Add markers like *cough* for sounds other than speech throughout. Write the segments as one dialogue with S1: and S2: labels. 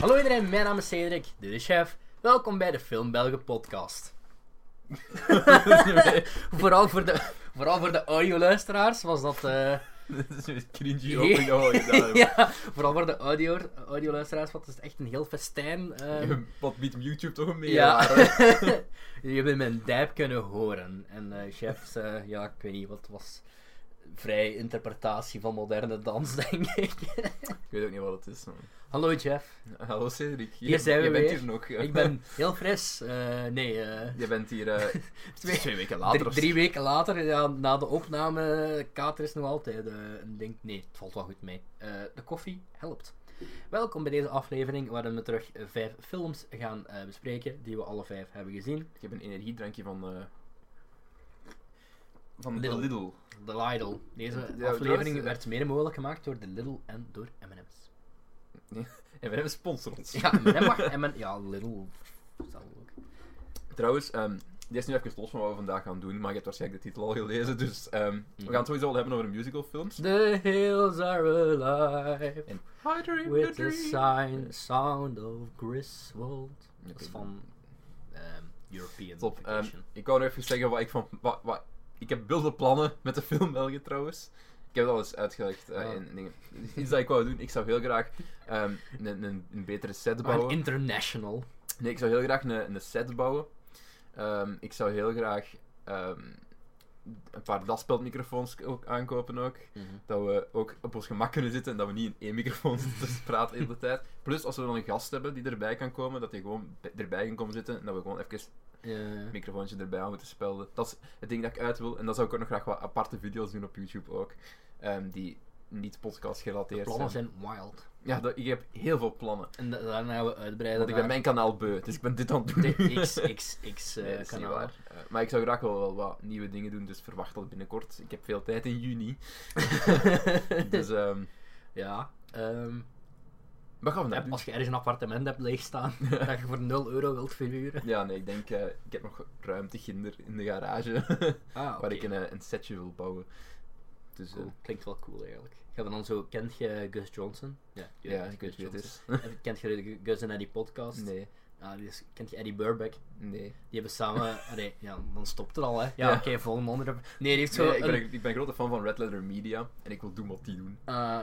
S1: Hallo iedereen, mijn naam is Cedric, dit is Chef. Welkom bij de Film Belgen podcast.
S2: *laughs*
S1: *laughs* vooral, voor de, *laughs* vooral voor de audio-luisteraars was dat... eh, *laughs*
S2: Dit is een cringy opengegooid daar.
S1: ja, vooral voor de audio, audio-luisteraars was het echt een heel festijn. ehm.
S2: Wat biedt YouTube toch een meer?
S1: ja. *laughs*
S2: aan, hè?
S1: Jullie hebben mijn dijp kunnen horen. En eh Chef, eh, ja, ik weet niet, wat was... Vrij interpretatie van moderne dans, *laughs* denk ik.
S2: Ik weet ook niet wat het is. man.
S1: Hallo Jeff,
S2: Hallo Cedric. Je,
S1: Hier zijn we
S2: je bent
S1: weer.
S2: hier nog.
S1: ik ben heel fris. Eh, nee, eh,
S2: *laughs* Je bent hier eh,
S1: *laughs* Twee-
S2: twee, weken later
S1: Drie,
S2: of
S1: drie weken later, ja, na de opname, kater is nog altijd eh, een ding. Nee, het valt wel goed mee. Eh, de koffie helpt. Welkom bij deze aflevering waarin we terug eh, vijf films gaan eh, bespreken die we alle vijf hebben gezien.
S2: Ik heb een energiedrankje van. eh van
S1: Lidl.
S2: Lidl. Lidl.
S1: The Lidl. Deze
S2: Ja,
S1: aflevering
S2: dat is-
S1: werd mede mogelijk gemaakt door de Lidl en door M&M's.
S2: En we hebben sponsor ons.
S1: Ja, *laughs* M&M mag M&M... Ja, *laughs* Lidl. Zal ook.
S2: Trouwens, ehm dit is nu even los van wat we vandaag gaan doen, maar je hebt waarschijnlijk de titel al gelezen. Dus ehm,
S1: Mhm.
S2: we gaan het sowieso al hebben over musicalfilms.
S1: The hills are alive
S2: En I dream
S1: with
S2: the
S1: the
S2: dream.
S1: sign, sound of Griswold.
S2: Oké.
S1: Dat is van ehm, European
S2: Top. ehm,
S1: Vacation.
S2: ik wou nog even zeggen wat ik van. Wat, wat, ik heb wilde plannen met de *laughs* film België trouwens. Ik heb dat al eens uitgelegd eh,
S1: Ah.
S2: in dingen. *laughs* Iets dat ik wou doen. Ik zou heel graag ehm, een, een, een betere set
S1: Maar een
S2: bouwen.
S1: international.
S2: Nee, ik zou heel graag een, een set bouwen. Ehm, ik zou heel graag ehm, een paar daspeldmicrofoons ook aankopen ook.
S1: Mhm.
S2: Dat we ook op ons gemak kunnen zitten en dat we niet in één microfoon *laughs* zitten te praten de hele tijd. Plus, als we dan een gast hebben die erbij kan komen, dat hij gewoon bij- erbij kan komen zitten en dat we gewoon even
S1: Eh,
S2: een microfoontje erbij aan moeten spelden. Dat is het ding dat ik uit wil. En dan zou ik ook nog graag wat aparte video's doen op YouTube ook. ehm, die niet podcast
S1: de
S2: gerelateerd
S1: plannen
S2: zijn.
S1: zijn wild.
S2: Ja, dat, ik heb heel veel plannen.
S1: En da- daarna gaan we uitbreiden
S2: Want ik ben mijn kanaal beu, dus ik ben dit aan het doen. *laughs*
S1: naar de *laughs* XXX eh,
S2: Nee, dat is niet
S1: kanaal. *laughs*
S2: waar. Eh, maar ik zou graag wel, wel wat nieuwe dingen doen, dus verwacht dat binnenkort. Ik heb veel tijd in
S1: *laughs*
S2: juni. dus ehm
S1: ja. ehm,
S2: wat gaan we nou
S1: heb-
S2: doen?
S1: als je ergens een appartement hebt *laughs* leegstaan, dat je voor 0 euro wilt verhuren.
S2: Ja, nee, ik denk, eh, ik heb nog ruimte ginder in de garage, *laughs*
S1: Ah,
S2: waar
S1: oké.
S2: ik een, eh, een setje wil bouwen. Dus eh,
S1: Cool. Klinkt wel cool eigenlijk. Gaan we dan zo, kent je Gus Johnson? Ja, je
S2: ja,
S1: weet
S2: ik weet wie het is. *laughs*
S1: Johnson. En *laughs* Kent je de Gus en Eddie podcast?
S2: Nee,
S1: Ah, die is- kent je Eddie Burbeck?
S2: nee.
S1: Die hebben
S2: *laughs*
S1: samen... Allee, ja, dan stopt het al hè. Ja,
S2: Ja.
S1: oké, volgende onderwerp. Nee, die heeft zo
S2: Nee, ik,
S1: een-
S2: ben, ik ben een grote fan van Red Letter Media en ik wil doen wat die doen.
S1: eh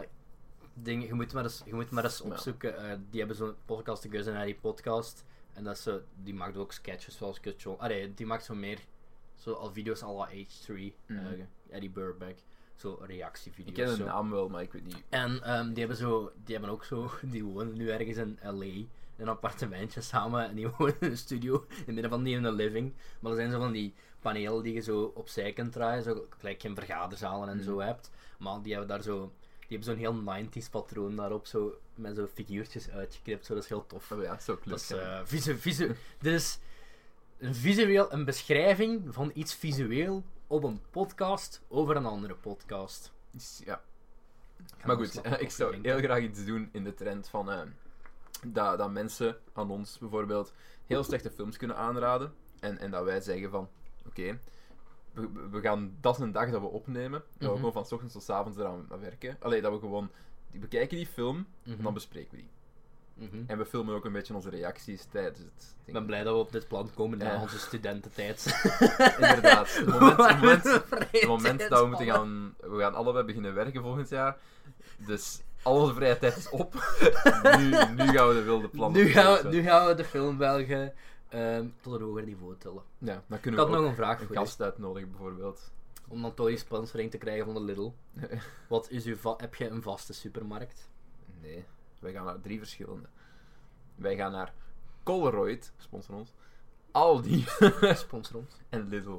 S1: ding, je, moet maar eens, je moet maar eens
S2: Ja.
S1: opzoeken. eh, die hebben zo'n podcast, de Gus en Harry podcast. En dat is zo, die maakt ook sketches zoals Gus Johnson. Allee, die maakt zo meer zo al video's à la H3, eh,
S2: Mhm.
S1: Eddie Burbeck. Zo
S2: Ik
S1: reactievideo's.
S2: ken de
S1: zo.
S2: naam wel, maar ik weet niet.
S1: En ehm, die, hebben zo, die hebben ook zo, *laughs* die wonen nu ergens in LA, in een appartementje samen, en die *laughs* wonen in een studio, in het midden van die in een living. Maar er zijn zo van die panelen die je zo opzij kunt draaien, zo gelijk geen vergaderzalen en
S2: Hmm.
S1: zo hebt. Maar die hebben daar zo, die hebben zo'n heel 90s patroon daarop, zo, met zo figuurtjes uitgeknipt, zo, dat is heel tof.
S2: Oh ja, het zou ook leuk
S1: Dat is
S2: zijn.
S1: eh, visu, visu, dit is een visueel, een beschrijving van iets visueel op een podcast over een andere podcast.
S2: Dus ja.
S1: Ik ga
S2: Maar
S1: nog eens
S2: goed, *laughs* eh,
S1: naar
S2: ik
S1: koffie
S2: zou
S1: drinken.
S2: heel graag iets doen in de trend van eh, dat, dat mensen aan ons bijvoorbeeld heel slechte films kunnen aanraden. En, en dat wij zeggen van oké, we, we gaan dat is een dag dat we opnemen. Dat
S1: Mhm.
S2: we gewoon van 's ochtends tot 's avonds eraan werken. Allee, dat we gewoon. We kijken die film
S1: Mhm.
S2: en dan bespreken we die.
S1: Mhm.
S2: En we filmen ook een beetje onze reacties tijdens het.
S1: Ik
S2: ding.
S1: ben blij dat we op dit plan komen na
S2: Ja.
S1: onze *laughs* studententijd.
S2: Inderdaad. Het moment,
S1: *laughs*
S2: het moment,
S1: het
S2: het moment dat we moeten gaan... We gaan allebei beginnen werken volgend jaar. Dus al onze vrije tijd is
S1: *laughs*
S2: op. nu, nu gaan we de wilde plannen...
S1: Nu gaan, we,
S2: verzetten.
S1: nu gaan we de film Belgen ehm, tot een hoger niveau tillen.
S2: Ja, dan
S1: Ik
S2: kunnen
S1: had
S2: we ook
S1: nog een vraag
S2: een
S1: voor je.
S2: gast uitnodigen, bijvoorbeeld.
S1: Om dan toch die sponsoring te krijgen van de Lidl. Wat is uw va- heb je een vaste supermarkt?
S2: Nee. Wij gaan naar drie verschillende. Wij gaan naar Colroyd, sponsor ons. Aldi *laughs*
S1: Sponsor ons.
S2: en Lidl.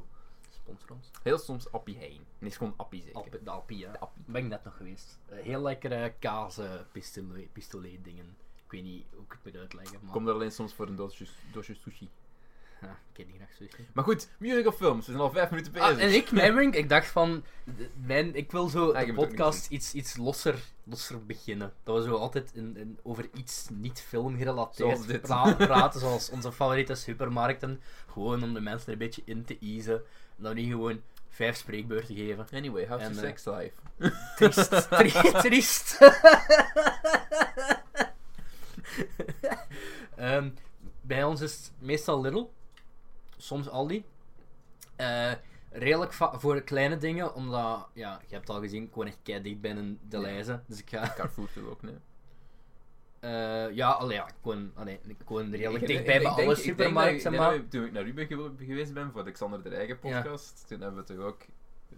S1: Sponsor ons.
S2: Heel soms Appie heen. Nee, is gewoon Appie zeker.
S1: Alpe- de Alpi, ja.
S2: De Appie.
S1: Ben ik net nog geweest. Eh, heel lekkere kaas-pistolet-dingen. Ik weet niet hoe ik het moet uitleggen, maar...
S2: Kom er alleen soms voor een doosje, doosje sushi.
S1: Ja, ik ken niet graag sushi.
S2: Maar goed, music of films. We zijn al vijf minuten bezig.
S1: Ah, en ik, mijn brink, ik dacht van, d- mijn, ik wil zo
S2: Ah, je
S1: de
S2: moet ook
S1: podcast iets, iets losser, losser beginnen. Dat we zo altijd in, in- over iets niet film gerelateerd
S2: Zoals dit. *laughs*
S1: pra- praten, zoals onze favoriete supermarkten. Gewoon om de mensen er een beetje in te easen. En dan niet gewoon vijf spreekbeurten geven.
S2: Anyway, how's
S1: En,
S2: your
S1: eh,
S2: sex life? *laughs*
S1: Triest, tri- triest. Ehm, bij ons is het meestal Lidl, soms Aldi. Eh, redelijk va- voor kleine dingen, omdat, ja, je hebt het al gezien, ik woon echt kei dicht bij een de
S2: Ja.
S1: lijzen. Dus ik ga,
S2: Carrefour toe ook, nee.
S1: eh, ja, allee, ja, ik woon, allee, ik woon redelijk
S2: Ik- ik-
S1: dichtbij
S2: ik
S1: bij
S2: denk-
S1: alle
S2: ik denk dat-
S1: supermarkten,
S2: ik
S1: maar
S2: denk dat Toen ik naar u ben gew- geweest ben voor de Xander de Eigen
S1: Ja.
S2: podcast, toen hebben we toch ook...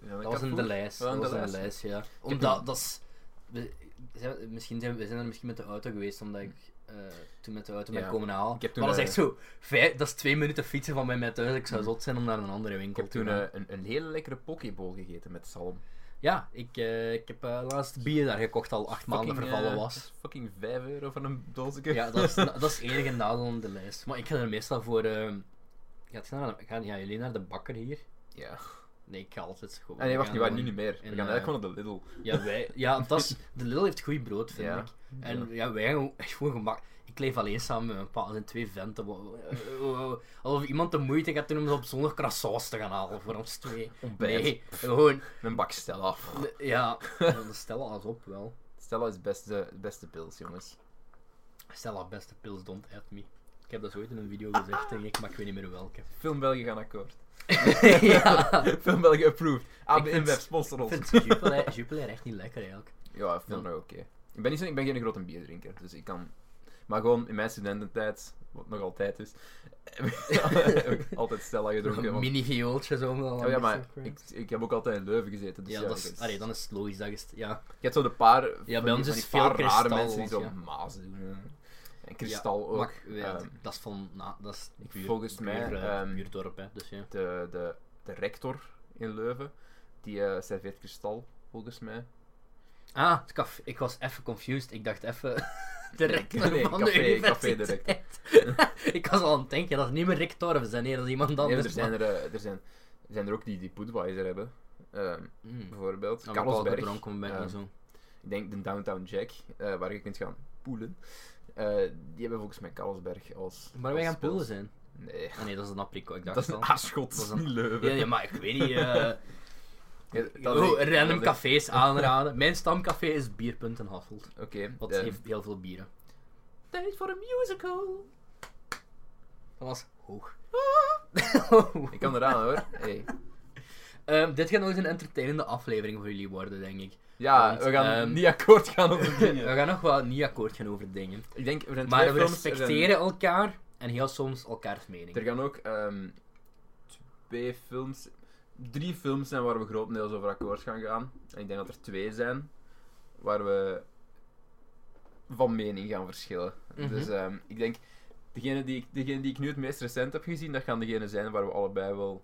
S1: dat was in de lijst.
S2: Wel
S1: Dat
S2: in
S1: was
S2: de
S1: in de
S2: lijst.
S1: lijst, ja.
S2: een-
S1: Omdat, dat is... we- zijn we- misschien zijn we, we zijn er misschien met de auto geweest, omdat ik eh, toen met de auto ben
S2: Ja.
S1: komen halen.
S2: Ik heb toen,
S1: maar dat is
S2: eh,
S1: echt zo... Vijf, dat is twee minuten fietsen van bij mij thuis. Ik zou
S2: Mm.
S1: zot zijn om naar een andere
S2: Ik
S1: winkel
S2: heb
S1: te
S2: toen
S1: gaan.
S2: eh, een, een hele lekkere pokeball gegeten met zalm.
S1: Ja, ik, eh, ik heb eh, laatst bier daar gekocht, al acht maanden
S2: Fucking,
S1: vervallen
S2: eh, *laughs*
S1: was.
S2: Fucking 5 euro van een doosje.
S1: Ja, dat is, dat is het enige nadeel aan de lijst. Maar ik ga er meestal voor... ehm, gaat, je naar de- gaan, gaan jullie naar de bakker hier?
S2: *laughs* Ja.
S1: Nee, ik ga altijd gewoon...
S2: Ah, nee, wacht,
S1: Oh, we
S2: nu,
S1: gaan
S2: waar, nu
S1: gewoon-
S2: niet meer. We
S1: in,
S2: gaan eigenlijk
S1: eh,
S2: gewoon naar de Lidl.
S1: Ja, wij,
S2: *laughs*
S1: ja dat is, de Lidl heeft goed brood, vind
S2: Ja.
S1: ik. En ja, wij gewoon, echt gewoon gemak. Ik leef alleen samen met mijn pa, dat zijn twee venten. Wa- wa- wa- wa- Alsof iemand de moeite gaat doen om ze op zondag croissants te gaan halen voor ons twee.
S2: Ontbijt.
S1: Nee, gewoon,
S2: Een bak Stella af.
S1: ja, we stellen alles op wel.
S2: Stella is beste, beste pils, jongens.
S1: Stella, beste pils, don't at me. Ik heb dat zo ooit in een video gezegd, denk ik, maar ik weet niet meer welke.
S2: Film België gaan akkoord.
S1: *laughs* ja,
S2: Film België approved. ABN
S1: vind-
S2: Web sponsor
S1: ik
S2: ons.
S1: vind Jupiler Jupiler echt niet lekker eigenlijk.
S2: Ja, ik vind
S1: Ja.
S2: nog oké. Ik ben niet zo, ik ben geen grote bierdrinker, dus ik kan... Maar gewoon in mijn studententijd, wat nog altijd is, *laughs* heb ik altijd Stella gedronken.
S1: Een
S2: want-
S1: mini viooltje zo. om dan
S2: Oh ja,
S1: een
S2: maar
S1: beetje-
S2: ik, ik heb ook altijd in Leuven gezeten, dus
S1: Ja,
S2: ja,
S1: dat
S2: ik
S1: is,
S2: heb-
S1: allee, dan is het logisch dat je... het- Ja,
S2: Je hebt zo de paar,
S1: bij
S2: van die-
S1: ons
S2: van
S1: is
S2: die
S1: veel
S2: paar rare
S1: kristal,
S2: mensen die zo
S1: ja.
S2: mazen doen. hè. En kristal
S1: ja,
S2: ook.
S1: maar ik- ja,
S2: Ehm,
S1: dat is van... na dat is puur-
S2: volgens mij,
S1: puur, eh,
S2: ehm,
S1: puur dorp, hè, dus ja.
S2: de, de, de rector in Leuven, die eh, serveert kristal, volgens mij.
S1: Ah, het café. Ik was even confused. Ik dacht even. *laughs* De rector
S2: nee,
S1: van
S2: café-
S1: de
S2: café de
S1: universiteit. *laughs* ik was al aan het denken, dat is niet meer Rick Torfs, hè. nee, dat is iemand
S2: Nee,
S1: anders.
S2: er, zijn er, eh, er zijn, er zijn er ook die, die Budweiser hebben. Ehm,
S1: maar- Mm.
S2: bijvoorbeeld.
S1: Nou, ik
S2: Carlsberg.
S1: heb al gedronken, ben ik
S2: Ehm,
S1: niet zo.
S2: ik denk de Downtown Jack, eh, waar je kunt gaan poelen. Eh, die hebben volgens mij Carlsberg als.
S1: Maar wij
S2: als
S1: gaan pullen
S2: spons.
S1: zijn.
S2: Nee,
S1: Ah, nee, dat is een apricot, ik dacht
S2: dat is een
S1: al.
S2: aarschot,
S1: Dat
S2: dat
S1: is
S2: is
S1: een-
S2: niet Leuven.
S1: Ja, ja, maar ik weet niet.
S2: *laughs*
S1: eh,
S2: Ja, dat
S1: oh,
S2: is echt- dat
S1: random
S2: is- *laughs*
S1: cafés aanraden. Mijn stamcafé is Bierpunt in Hasselt.
S2: Oké,
S1: Wat
S2: eh,
S1: heeft heel veel bieren.
S2: Tijd voor een musical.
S1: Dat was
S2: *laughs*
S1: hoog.
S2: Ik kan eraan hoor. Hey.
S1: Ehm, dit gaat nog eens een entertainende aflevering voor jullie worden, denk
S2: *laughs*
S1: ik.
S2: Ja,
S1: Want,
S2: we gaan
S1: ehm,
S2: niet akkoord gaan
S1: *laughs*
S2: over
S1: We
S2: dingen.
S1: gaan nog wel niet akkoord gaan over dingen.
S2: Ik denk, er zijn twee
S1: Maar we
S2: films, er zijn-
S1: respecteren elkaar en heel soms elkaars mening.
S2: Er gaan ook ehm, twee films, drie films zijn waar we grotendeels over akkoord gaan gaan. En ik denk dat er twee zijn waar we van mening gaan verschillen.
S1: Mhm.
S2: Dus ehm, ik denk, degene die, ik- degene die ik nu het meest recent heb gezien, dat gaan degene zijn waar we allebei wel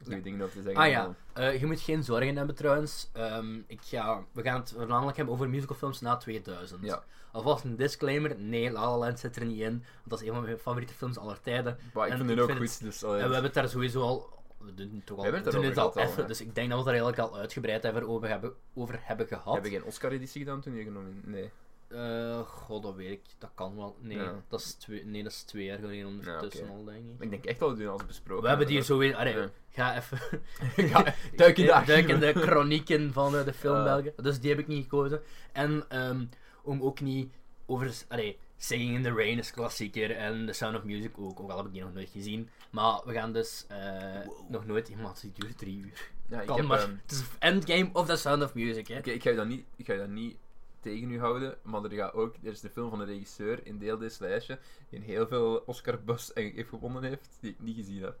S2: goede
S1: Ja.
S2: dingen over te zeggen
S1: Ah ja,
S2: hebben.
S1: eh, je moet geen zorgen hebben trouwens. Ehm, ik ga, we gaan het voornamelijk hebben over musicalfilms na 2000.
S2: Ja.
S1: Alvast een disclaimer, nee, La La Land zit er niet in. Want dat is een van mijn favoriete films aller tijden.
S2: Maar ik
S1: En
S2: vind
S1: ik
S2: het ook
S1: vind
S2: goed,
S1: het-
S2: dus
S1: En
S2: allee.
S1: we hebben het daar sowieso al... We doen het toch al,
S2: We hebben het
S1: doen
S2: erover
S1: al
S2: gehad al,
S1: even,
S2: hè.
S1: dus ik denk dat we het er eigenlijk al uitgebreid hebben over hebben, over hebben gehad.
S2: Heb je geen Oscar-editie gedaan toen je genomen? Nee.
S1: Eh, god, dat weet ik. Dat kan wel. Nee,
S2: Ja.
S1: dat, is twee, nee dat is twee jaar geleden ondertussen
S2: oké.
S1: al, denk ik.
S2: Ik denk echt dat we het doen als besproken.
S1: We hebben die zo weer... Allee,
S2: Ja.
S1: ga
S2: *laughs*
S1: even... *laughs*
S2: Ja, duik in de
S1: duik in
S2: archieven.
S1: de chronieken van eh, de film
S2: Eh.
S1: Belgen. Dus die heb ik niet gekozen. En ehm, om ook niet over... Allee, Singing in the Rain is klassieker en The Sound of Music ook, ook al heb ik die nog nooit gezien. Maar we gaan dus eh,
S2: Wow.
S1: nog nooit... Iemand, die duurt drie uur.
S2: Ja, ik
S1: Kan
S2: heb,
S1: maar.
S2: ehm,
S1: Het is Endgame of The Sound of Music, hè.
S2: Oké, ik, ga je dat niet, ik ga je dat niet tegen u houden, maar er, gaat ook, er is de film van de regisseur in deel dit lijstje, die een heel veel Oscar-bus en- heeft gewonnen heeft, die ik niet gezien heb.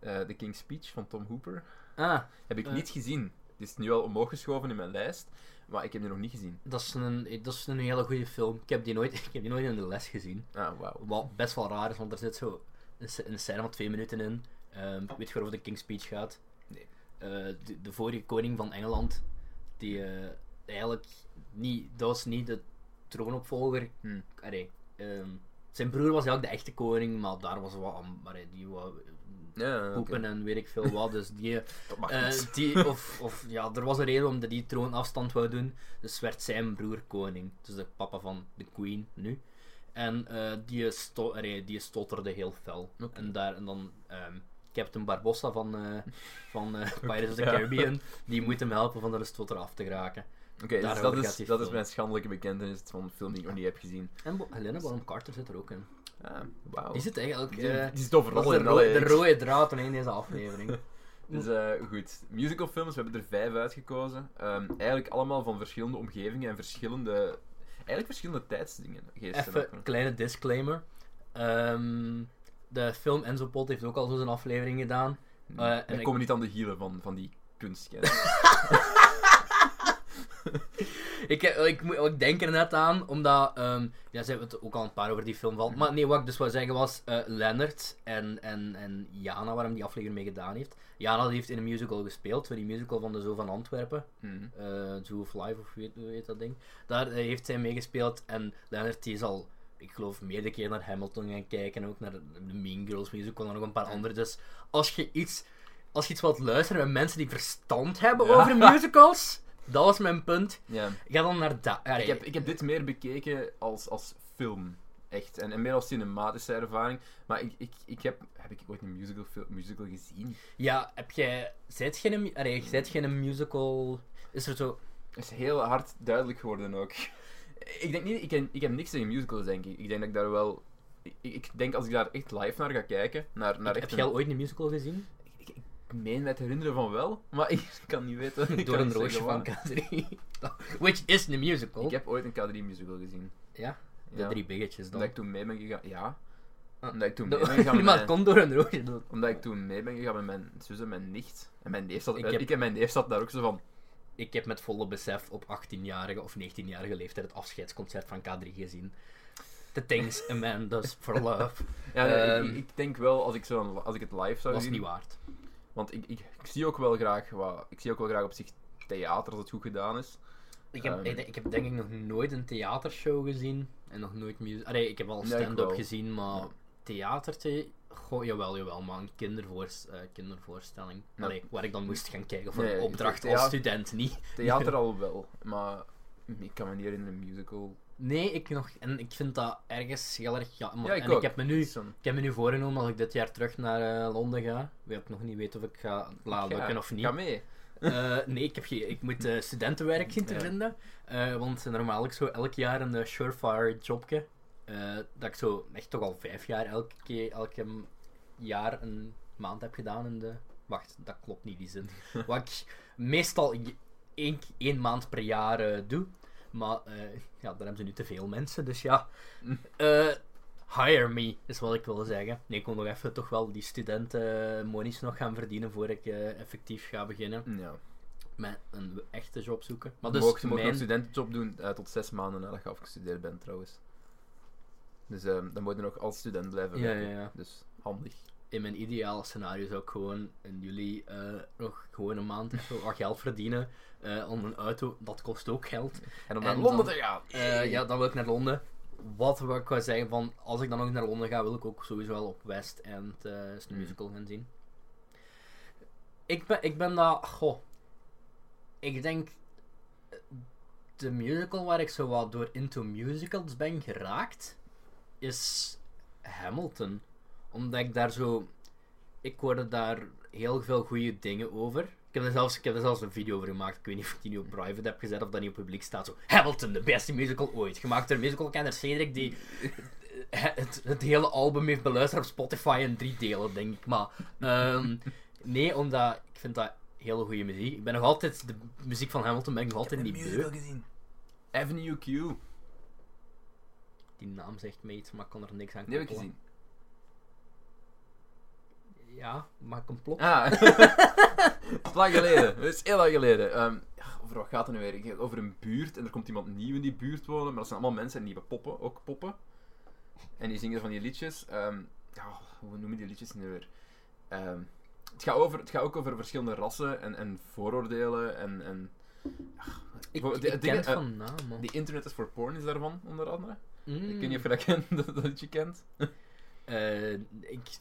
S2: Eh The King's Speech van Tom Hooper.
S1: Ah,
S2: Heb ik
S1: Eh.
S2: niet gezien. Het is nu wel omhoog geschoven in mijn lijst, maar ik heb die nog niet gezien.
S1: Dat is, een, dat is een hele goede film. Ik heb, die nooit, *laughs* ik heb die nooit in de les gezien.
S2: Ah, wauw.
S1: Wat best wel raar is, want er zit zo een, sc- een scène van twee minuten in. Ehm, weet je waarover de King's Speech gaat?
S2: Nee.
S1: Eh, de, de vorige koning van Engeland, die eh, eigenlijk niet, dat was niet de troonopvolger.
S2: Hm.
S1: Allee, ehm, zijn broer was eigenlijk de echte koning, maar daar was wat aan, maar hij- die wou
S2: Ja, Ah, oké.
S1: poepen en weet ik veel wat. Dus die,
S2: Dat mag
S1: eh,
S2: niet. *laughs*
S1: die, of, of ja, er was een reden om dat die troon afstand wou doen. Dus werd zijn broer koning. Dus de papa van de queen nu. En eh, die, sto allee, die stotterde heel fel.
S2: Oké.
S1: En, daar, en dan ehm, Captain Barbossa van, eh, van
S2: *laughs*
S1: eh, Pirates of the
S2: ja.
S1: Caribbean. Die moet hem helpen van de stotter af te geraken.
S2: Oké, dus
S1: daarover
S2: dat
S1: gaat
S2: is,
S1: die
S2: dat is
S1: film.
S2: mijn schandelijke bekentenis van een film die ik nog niet heb gezien.
S1: En Bo- Helena Bonham Carter zit er ook in.
S2: Ah, wauw.
S1: Is het eigenlijk?
S2: Die-
S1: eh,
S2: die zit
S1: dat
S2: overal
S1: is de,
S2: in
S1: rode-
S2: alle
S1: de
S2: reeks.
S1: rode draad in deze aflevering.
S2: Dus eh, goed, musicalfilms, we hebben er vijf uitgekozen. Ehm, eigenlijk allemaal van verschillende omgevingen en verschillende... Eigenlijk verschillende tijdsdingen. geesten ook
S1: Even
S2: nog.
S1: een kleine disclaimer. Ehm, de film Enzo Pot heeft ook al zo zijn aflevering gedaan. eh, en
S2: Wij
S1: ik-
S2: komen niet aan de hielen van, van die
S1: *laughs*
S2: kunstkennis.
S1: Ik, heb- ik, moet- ik denk er net aan, omdat... ehm ja, ze hebben het ook al een paar over die film gehad. Maar nee, wat ik dus wou zeggen was... eh Leonard en, en, en Jana, waar hem die aflevering mee gedaan heeft. Jana die heeft in een musical gespeeld. Die musical van de Zoo van Antwerpen.
S2: Mhm.
S1: eh Zoo of Life, of weet, hoe heet dat ding. Daar eh, heeft zij meegespeeld. En Leonard die is al, ik geloof, meerdere keer naar Hamilton gaan kijken. En ook naar de Mean Girls musical en nog een paar andere. Dus als je iets, als je iets wilt luisteren met mensen die verstand
S2: *laughs*
S1: hebben
S2: Ja.
S1: over musicals... Dat was mijn punt.
S2: Ja.
S1: Ga dan naar dat. Ja,
S2: Ik heb, ik heb dit meer bekeken als, als film. Echt. En, en meer als cinematische ervaring. Maar ik, ik, ik heb... Heb ik ooit een musical, fil- musical gezien?
S1: Ja, heb jij... Zijt geen, mu- allee, je zijt geen musical... Is er zo...
S2: Dat is heel hard duidelijk geworden ook. Ik denk niet... Ik, ken- ik heb niks tegen musicals, denk ik. Ik denk dat ik daar wel... Ik, ik denk als ik daar echt live naar ga kijken... Naar, naar
S1: Heb
S2: echt
S1: jij al ooit een musical gezien?
S2: Ik, ik, ik meen me te herinneren van wel, maar ik *laughs* kan niet weten... *laughs* ik
S1: Door
S2: kan
S1: een
S2: niet
S1: roosje
S2: zeggen
S1: van
S2: waar.
S1: K3. *laughs* Which is een musical.
S2: Ik heb ooit een K3 musical gezien.
S1: Ja, de
S2: Ja.
S1: drie biggetjes dan.
S2: Omdat ik toen mee ben gegaan... Ja.
S1: Ah.
S2: Omdat ik toen mee
S1: *laughs*
S2: ben
S1: De-
S2: gegaan
S1: Niemand
S2: met-
S1: komt door een roosje. dood.
S2: Omdat ik toen mee ben gegaan met mijn zus en mijn nicht. En mijn neef zat,
S1: Ik
S2: ik,
S1: heb-
S2: ik en mijn neef zat daar ook zo van.
S1: Ik heb met volle besef op 18-jarige of 19-jarige leeftijd het afscheidsconcert van K3 gezien. The things a man does *laughs* for love.
S2: Ja, nee, ik-
S1: Ehm.
S2: ik, ik denk wel, als ik, zo, als ik het live zou
S1: Was
S2: zien...
S1: niet waard.
S2: Want ik, ik, ik zie ook wel graag wat... Ik zie ook wel graag op zich theater als het goed gedaan is.
S1: Ik heb,
S2: Ehm.
S1: ik, ik heb denk ik nog nooit een theatershow gezien. En nog nooit music. Allee, ik heb al
S2: ik
S1: stand-up
S2: wel.
S1: gezien, maar
S2: Ja.
S1: theater. The Goh, jawel, jawel, man. Kindervoors, eh, kindervoorstelling.
S2: Ja.
S1: Allee, waar ik dan moest gaan kijken voor
S2: Nee,
S1: een
S2: ik-
S1: opdracht
S2: ja.
S1: als student, niet. *laughs*
S2: Theater al wel, maar ik kan me niet herinneren een musical.
S1: Nee, ik nog. En ik vind dat ergens heel erg jammer.
S2: Ja, ik
S1: en
S2: ook.
S1: ik heb me nu.
S2: Zo'n-
S1: Ik heb me nu voorgenomen als ik dit jaar terug naar eh, Londen ga. Weet ik nog niet weten of ik ga het laten
S2: Ja,
S1: lukken Ah, of niet.
S2: Ga mee.
S1: Eh, nee, ik, heb geen- ik moet eh, studentenwerk zien te
S2: Ja.
S1: vinden. Eh, want normaal ik zo elk jaar een eh, surefire jobje. eh, dat ik zo echt toch al vijf jaar elke keer, elke m- jaar een maand heb gedaan in de... Wacht, dat klopt niet, die zin. Wat ik meestal j- één, k- één maand per jaar eh, doe. Maar eh, ja, daar hebben ze nu te veel mensen, dus ja. Eh, hire me, is wat ik wil zeggen. Nee, ik wil nog even toch wel die studentenmonies nog gaan verdienen voor ik eh, effectief ga beginnen
S2: Ja.
S1: met een echte job zoeken. Maar
S2: Maar
S1: dus
S2: mocht, je mocht nog
S1: mijn...
S2: een studentenjob doen eh, tot zes maanden nadat je afgestudeerd bent trouwens. Dus ehm, dan moet je nog als student blijven
S1: Ja,
S2: werken.
S1: ja, ja.
S2: Dus handig.
S1: in mijn ideale scenario zou ik gewoon in juli eh, nog gewoon een maand of zo wat geld verdienen. eh, om een auto, dat kost ook geld.
S2: En om
S1: En
S2: naar Londen
S1: dan-
S2: te gaan.
S1: Eh, ja, dan wil ik naar Londen. Wat wil ik wel zeggen van, als ik dan ook naar Londen ga, wil ik ook sowieso wel op West End eh, eens de
S2: Mm.
S1: musical gaan zien. Ik ben, ik ben dat, goh. Ik denk, eh, de musical waar ik zo wat door into musicals ben geraakt, is Hamilton. Omdat ik daar zo, ik hoorde daar heel veel goede dingen over. Ik heb, er zelfs, ik heb er zelfs een video over gemaakt. Ik weet niet of ik die nu op private heb gezet of dat niet op publiek staat. Zo, Hamilton, de beste musical ooit. Gemaakt door musicalkenner Cedric, die *laughs* het, het hele album heeft beluisterd op Spotify in drie delen, denk ik. Maar ehm, nee, omdat ik vind dat hele goede muziek. Ik ben nog altijd, de muziek van Hamilton ben ik nog altijd niet beu.
S2: gezien. Avenue Q. Die
S1: Die naam zegt me iets, maar ik kon er niks aan
S2: heb ik
S1: koppelen.
S2: gezien.
S1: Ja, maar complot.
S2: *laughs* Ah. Het is lang geleden. Het is heel lang geleden. Ehm, ja, over wat gaat het nu weer? Ik- Over een buurt en er komt iemand nieuw in die buurt wonen. Maar dat zijn allemaal mensen en die hebben poppen, ook poppen. En die zingen van die liedjes. Ehm, ja, hoe noemen die liedjes nu weer? Ehm, het, gaat over, het gaat ook over verschillende rassen en, en vooroordelen. En, en
S1: ik
S2: voor-
S1: ik
S2: de-
S1: ken
S2: dingen,
S1: het
S2: eh,
S1: van naam, man.
S2: The Internet is for Porn is daarvan, onder andere.
S1: Mm.
S2: Ik weet niet of je dat kent, *laughs* dat, dat liedje kent.
S1: Eh, ik,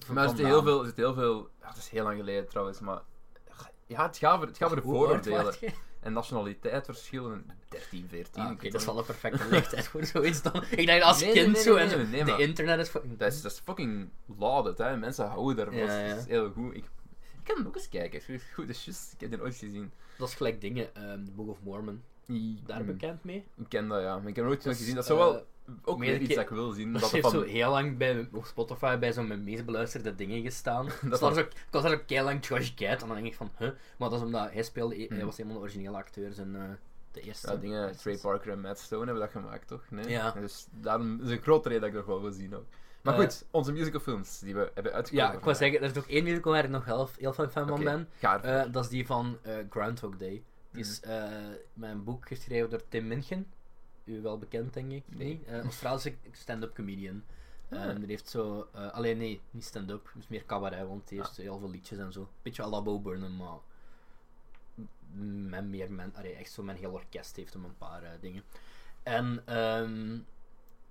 S2: Voor mij zit heel veel... er Zit heel veel ja, het is heel lang geleden trouwens, maar... Ja, het gaat over, het gaat over de vooroordelen. En nationaliteit verschillen. 13, 14.
S1: Ah,
S2: ik
S1: Oké,
S2: weet
S1: dat is
S2: het
S1: wel een perfecte leeftijd voor zoiets dan. Ik denk als
S2: Nee, nee,
S1: kind
S2: nee,
S1: zo
S2: nee,
S1: en zo.
S2: nee, nee,
S1: de
S2: maar-
S1: internet is fucking.
S2: niet. Dat is, dat is fucking lauded, hè. Mensen houden daarvan.
S1: Ja,
S2: dat is-
S1: ja.
S2: Dat is heel goed. Ik, ik kan hem ook eens kijken. Het is Goed, dat is juist. Ik heb die ooit gezien.
S1: dat is gelijk dingen. ehm The Book of Mormon. Daar
S2: Mm,
S1: bekend mee.
S2: Ik ken dat, ja. Maar ik heb hem nooit
S1: Dus,
S2: gezien. Dat is
S1: eh,
S2: zo wel
S1: Meerdere
S2: ook weer iets
S1: keer-
S2: dat ik wil
S1: *laughs*
S2: zien.
S1: Dat
S2: Dat er
S1: heeft
S2: van,
S1: zo heel lang bij, op Spotify bij zo'n mijn meest beluisterde dingen
S2: *laughs*
S1: gestaan. dat
S2: was-
S1: was ook, ik was daar ook heel lang Josh Gad en dan denk ik van, huh? Maar dat is omdat hij speelde, hij
S2: Hmm.
S1: was een van de originele acteurs en eh, de eerste. Dus-
S2: ja, dingen,
S1: acteurs.
S2: Trey Parker en Matt Stone hebben dat gemaakt, toch? Nee?
S1: Ja.
S2: Dus daarom is een grote reden dat ik dat wel wil zien ook. Maar
S1: Eh,
S2: goed, onze musicalfilms die we hebben uitgekozen.
S1: Ja, ik wou zeggen, er is nog één musical waar ik nog heel, heel fan van
S2: Oké,
S1: ben.
S2: ga ervoor.
S1: Eh, dat is die van eh, Groundhog Day. Die is eh, mijn boek geschreven door Tim Minchin. U wel bekend, denk ik.
S2: Nee.
S1: Nee. Eh, Australische stand-up comedian.
S2: Ah.
S1: En die heeft zo... eh, alleen nee, niet stand-up. Het is meer cabaret, want die heeft heel veel liedjes en zo. Beetje à la Bo Burnham, maar... Met meer men... Allee, echt zo mijn heel orkest heeft hem een paar eh, dingen. En... ehm,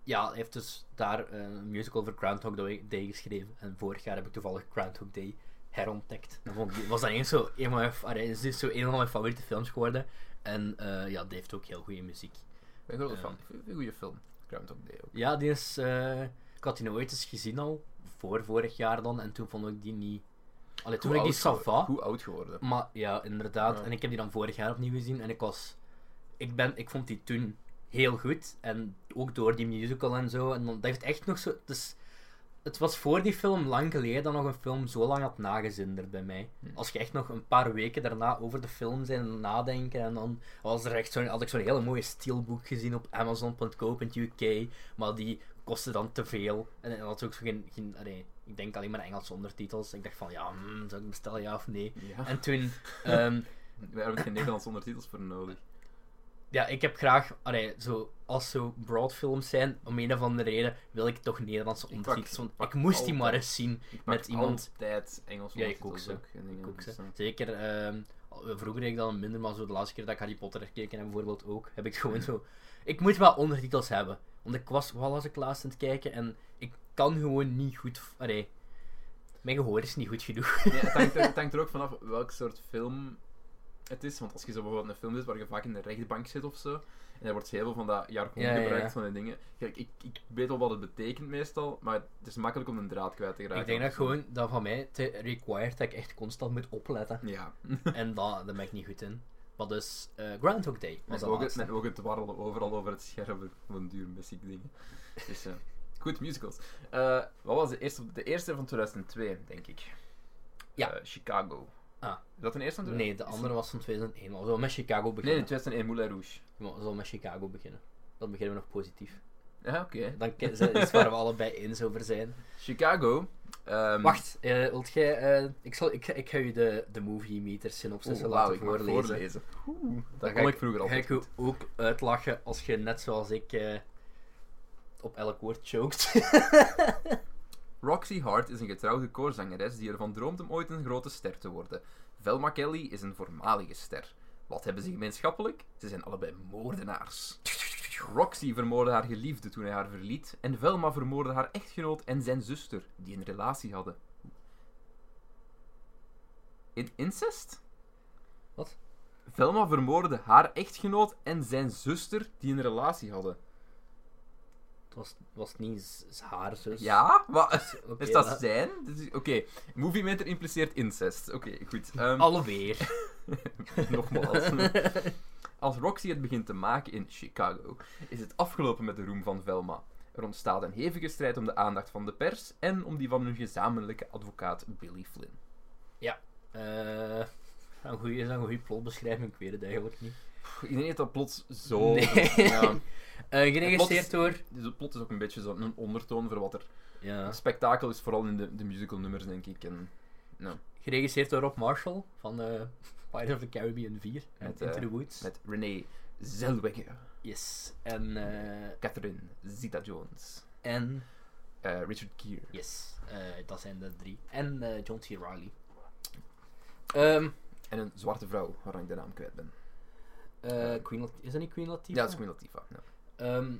S1: ja, hij heeft dus daar eh, een musical voor Groundhog Day Day geschreven. En vorig jaar heb ik toevallig Groundhog Day herontdekt. Dan vond ik, die- was dat eens zo een van mijn, allee, is dit zo een van mijn favoriete films geworden. En eh, ja, die heeft ook heel goede muziek.
S2: Ik ben grote
S1: eh,
S2: fan. Ik vind het Een goede film. Groundhog Day ook.
S1: Ja, die is... eh, ik had die nooit eens gezien al, voor vorig jaar dan. En toen vond ik die niet... Allee, toen
S2: Hoe
S1: vond ik die
S2: oud geworden-
S1: sava.
S2: Hoe oud geworden?
S1: Maar ja, inderdaad.
S2: Ja.
S1: En ik heb die dan vorig jaar opnieuw gezien. En ik was... Ik, ben, ik vond die toen heel goed. En ook door die musical en zo. En dan, dat heeft echt nog zo... Het, is- het was voor die film lang geleden dat nog een film zo lang had nagezinderd bij mij. Als je echt nog een paar weken daarna over de film zijn en nadenken. En dan was er echt zo'n, had ik zo'n hele mooie steelboek gezien op Amazon.co in het UK. Maar die kostte dan te veel. En dan had ze ook zo geen... geen allee, ik denk alleen maar Engelse ondertitels. Ik dacht van, ja, hmm, zou ik bestellen ja of nee?
S2: Ja.
S1: En toen, ehm,
S2: We hebben geen Nederlandse ondertitels voor nodig.
S1: ja, ik heb graag, allee, zo, als zo broadfilms zijn, om een of andere reden, wil ik toch Nederlandse
S2: pak-
S1: ondertitels. Want
S2: ik pak
S1: ik moest die
S2: altijd-
S1: maar eens zien
S2: Ik
S1: met
S2: pak
S1: iemand.
S2: altijd Engels
S1: Ja, ik
S2: ondertitels
S1: ook,
S2: en dingen,
S1: Ik ook,
S2: dus,
S1: hè.
S2: eh,
S1: Zeker, ehm, al- vroeger deed ik dan minder, maar zo de laatste keer dat ik Harry Potter gekeken heb, bijvoorbeeld ook, heb ik gewoon zo... Ik moet wel ondertitels hebben. Want ik was, wat was ik laatst aan het kijken, en ik kan gewoon niet goed... Allee, mijn gehoor is niet goed genoeg.
S2: dus, eh. Ja, het, hangt er, het hangt er ook vanaf welk soort film het is. Want als je zo bijvoorbeeld een film is waar je vaak in de rechtbank zit of zo. En er wordt heel veel van dat jargon
S1: Ja, ja, ja.
S2: gebruikt, van die dingen. Kijk, ik, ik weet wel wat het betekent meestal, maar het is makkelijk om een draad kwijt te geraken.
S1: *laughs* ik denk dat gewoon, dat van mij, te required dat ik echt constant moet opletten.
S2: Ja.
S1: En dat, daar ben ik niet goed in. Maar dus, eh, Groundhog Day was
S2: Mijn
S1: de
S2: ogen,
S1: laatste.
S2: mijn ogen dwarrelen overal over het scherm. Voor een duur mis ik dingen. Dus, eh, goed, musicals. Eh, wat was de eerste? De eerste van 2002, denk ik.
S1: Ja.
S2: Eh, Chicago.
S1: Ah.
S2: Is dat een eerste van 2002?
S1: Nee, de andere was van 2001. Maar we zullen met Chicago
S2: Nee, in
S1: beginnen.
S2: 2001, Moulin Rouge.
S1: Nee, we zullen met Chicago beginnen. Dan beginnen we nog positief.
S2: Ja, Ah, oké.
S1: Dan is iets waar we *laughs* allebei eens over zijn.
S2: Mm. Chicago. ehm,
S1: Wacht, eh, wilt jij... eh, ik, zal, ik, ik ga je de, de movie meter synopsis
S2: Oeh, oh, wauw,
S1: laten
S2: ik mag
S1: voorlezen.
S2: voorlezen. Oeh, dat
S1: Dan
S2: kon
S1: ga
S2: ik vroeger
S1: ga
S2: altijd.
S1: ik je ook uitlachen als je net zoals ik eh, op elk woord choked. *laughs*
S2: Roxy Hart is een getrouwde koorzangeres die ervan droomt om ooit een grote ster te worden. Velma Kelly is een voormalige ster. Wat hebben ze gemeenschappelijk? Ze zijn allebei moordenaars. Roxy vermoordde haar geliefde toen hij haar verliet. En Velma vermoordde haar echtgenoot en zijn zuster, die een relatie hadden. In incest?
S1: Wat?
S2: Velma vermoordde haar echtgenoot en zijn zuster, die een relatie hadden.
S1: Het was, was niet z- haar zus.
S2: Ja? Wat?
S1: Oké,
S2: Is dat
S1: dat-
S2: zijn? Dit is- Oké, movie meter impliceert incest. Oké, goed. Ehm,
S1: Alweer.
S2: *laughs* nogmaals. Als Roxy het begint te maken in Chicago, is het afgelopen met de roem van Velma. Er ontstaat een hevige strijd om de aandacht van de pers en om die van hun gezamenlijke advocaat Billy Flynn.
S1: Eh, een goeie, is dat een goede plotbeschrijving? Ik weet het eigenlijk niet.
S2: Pff, Ik denk dat dat plots zo...
S1: Nee.
S2: Oh, Ja,
S1: *laughs* Eh, geregisseerd door...
S2: *laughs* dus het plot is ook een beetje zo'n ondertoon voor wat er...
S1: Ja.
S2: Het spektakel is vooral in de, de musical nummers, denk ik. En, nou,
S1: Geregisseerd door Rob Marshall van eh Pirates of the Caribbean 4 en
S2: Met,
S1: Into
S2: eh,
S1: the Woods.
S2: met Renee Zellweger,
S1: Yes. En, eh,
S2: Catherine Zeta-Jones,
S1: en
S2: eh, Richard Gere.
S1: yes, eh, dat zijn de drie. En eh, John T. Reilly. Ehm
S2: En een zwarte vrouw, waarvan ik de naam kwijt ben.
S1: eh, Queen Lat- is dat niet Queen Latifah?
S2: Ja, dat is Queen Latifah. Ja.
S1: Ehm,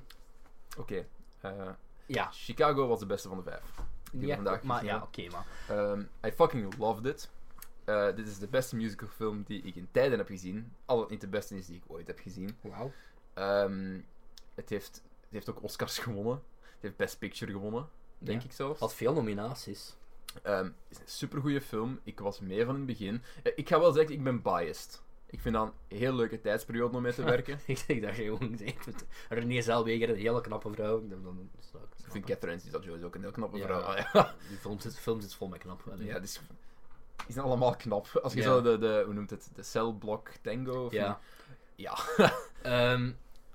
S2: Oké. eh,
S1: ja,
S2: Chicago was de beste van de vijf. Die we
S1: niet echt,
S2: vandaag
S1: maar
S2: gezien
S1: ja,
S2: hebben.
S1: oké, maar.
S2: Ehm, I fucking loved it. Eh, dit is de beste musicalfilm die ik in tijden heb gezien. Al dat het niet de beste is die ik ooit heb gezien.
S1: Wauw.
S2: Ehm, het, heeft, het heeft ook Oscars *laughs* gewonnen. Het heeft Best Picture gewonnen, denk
S1: Ja.
S2: ik zelfs.
S1: Had veel nominaties.
S2: Ehm, het is een supergoeie film. Ik was mee van het begin. Eh, ik ga wel zeggen, ik ben biased. Ik vind dat een heel leuke tijdsperiode om
S1: *laughs*
S2: mee te werken.
S1: ik zeg dat gewoon zegt. René Zellweger, een hele knappe vrouw. Ik denk dan, dat zou ik
S2: Ik
S1: snappen.
S2: vind Catherine Zeta Jones ook een heel knappe
S1: Ja.
S2: vrouw. *laughs* Ah, ja.
S1: Die film zit, film zit vol met knap. Allee.
S2: ja, dus die zijn allemaal knap. Als je
S1: Ja.
S2: zo de, de, hoe noemt het, de celblok tango? Of
S1: Ja.
S2: ja.
S1: *laughs* Ehm,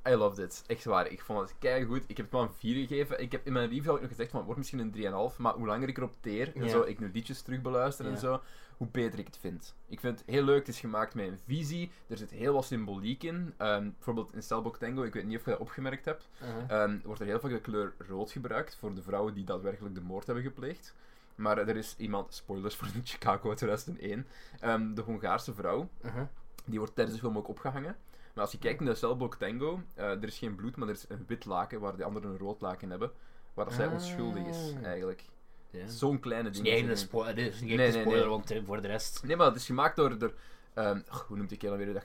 S2: I loved it. Echt waar. Ik vond het kei goed. Ik heb het maar een 4 gegeven. Ik heb in mijn review had ik nog gezegd van, het wordt misschien een 3,5. Maar hoe langer ik erop teer, en
S1: Ja.
S2: zo, ik nu liedjes terug beluister
S1: Ja.
S2: en zo, hoe beter ik het vind. Ik vind het heel leuk. Het is gemaakt met een visie. Er zit heel wat symboliek in. Ehm, bijvoorbeeld in Stelbok Tango, ik weet niet of je dat opgemerkt hebt,
S1: uh-huh.
S2: ehm, wordt er heel vaak de kleur rood gebruikt voor de vrouwen die daadwerkelijk de moord hebben gepleegd. Maar eh, er is iemand, spoilers voor *laughs* Chicago 2001, ehm, de Hongaarse vrouw,
S1: uh-huh.
S2: die wordt tijdens de film ook opgehangen. Maar als je kijkt naar de celblok Tango, eh, er is geen bloed, maar er is een wit laken waar de anderen een rood laken hebben. Waar dat zij
S1: Ah.
S2: onschuldig is, eigenlijk.
S1: Ja. Het
S2: Zo'n kleine
S1: is
S2: ding.
S1: niet echt een spoiler, dit is niet echt
S2: Nee,
S1: een
S2: nee,
S1: spoiler,
S2: nee.
S1: want eh, voor de rest...
S2: Nee, maar het is gemaakt door... door ehm, och, hoe noemt die kerel weer die dat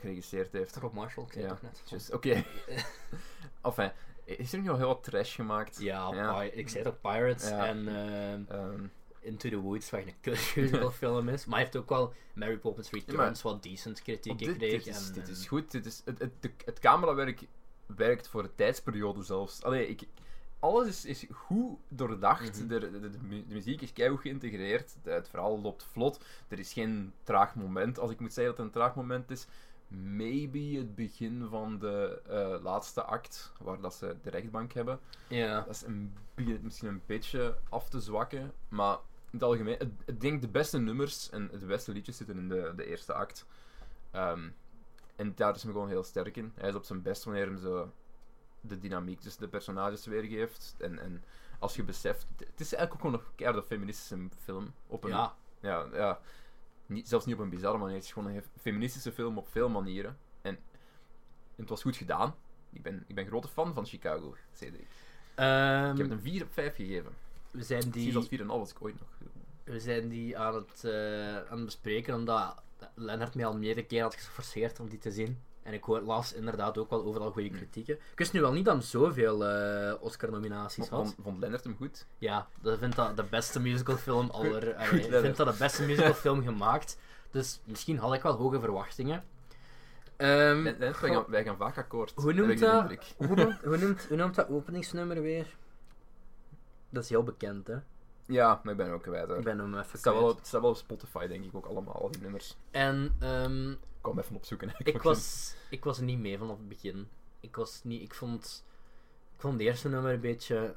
S1: *laughs*
S2: geregisseerd heeft?
S1: Rob Marshall, ik zei
S2: Ja,
S1: het toch net.
S2: Just- Oké. *laughs* enfin, is er nog wel heel wat trash gemaakt?
S1: Ja,
S2: Ja.
S1: Pi- ik zei toch Pirates
S2: Ja.
S1: en ehm,
S2: Ehm,
S1: Into the Woods, waar een *laughs* kutmusical film is. Maar hij heeft ook wel Mary Poppins Returns wat decent kritiek
S2: want dit,
S1: gekregen.
S2: dit is,
S1: en, eh,
S2: dit
S1: en-
S2: is goed. Dit is, het, het, de- het camerawerk werkt voor de tijdsperiode zelfs. Allee, ik, alles is, is goed doordacht.
S1: Mhm.
S2: de, de, de, mu- de muziek is keihard geïntegreerd. De- het verhaal loopt vlot. Er is geen traag moment. Als ik moet zeggen dat het een traag moment is, maybe het begin van de eh, laatste act, waar dat ze de rechtbank hebben.
S1: eh, Ja.
S2: Dat is een, begint misschien een beetje af te zwakken, maar in het algemeen, het- ik denk de beste nummers en de beste liedjes zitten in de, de eerste act. Ehm, en daar is hem gewoon heel sterk in. Hij is op zijn best wanneer hem zo de dynamiek tussen de personages weergeeft. En, en als je beseft, het is eigenlijk ook gewoon een keiharde feministische film. Op een,
S1: Ja.
S2: ja, ja. Niet, zelfs niet op een bizarre manier. Het is gewoon een hef- feministische film op veel manieren. En, en het was goed gedaan. Ik ben, ik ben grote fan van Chicago, Cedric.
S1: Ehm,
S2: Ik heb het een 4 op 5 gegeven.
S1: we, zijn
S2: Precies
S1: die,
S2: als 4,5 was ik ooit nog.
S1: we zijn die aan het, eh, aan het bespreken, omdat Lennart mij al meerdere keer had geforceerd om die te zien. En ik hoor las inderdaad ook wel overal
S2: Hmm.
S1: goede kritieken. Ik wist nu wel niet dat hij zoveel eh, Oscar-nominaties
S2: Vond,
S1: had.
S2: vond, vond Lennart hem goed?
S1: Ja, dat vindt dat de beste
S2: *laughs*
S1: musicalfilm aller. allee,
S2: Leonard.
S1: vindt dat de beste musicalfilm gemaakt. Dus misschien had ik wel hoge verwachtingen. Ehm,
S2: Len- Lennart, wij
S1: goh,
S2: gaan, wij gaan vaak akkoord.
S1: Hoe
S2: heb
S1: noemt
S2: ik de
S1: dat?
S2: indruk.
S1: hoe, noemt, hoe, noemt, hoe noemt dat openingsnummer weer? Dat is heel bekend, hè?
S2: Ja, maar ik ben ook kwijt. hoor.
S1: Ik ben hem even
S2: Het, staat wel
S1: kwijt.
S2: op, het staat wel op Spotify, denk ik ook allemaal, al die nummers.
S1: En ehm,
S2: Ik kom even opzoeken. *laughs* hè.
S1: ik,
S2: moet
S1: was, ik was er niet mee vanaf het begin. Ik was niet... Ik vond... Ik vond het eerste nummer een beetje...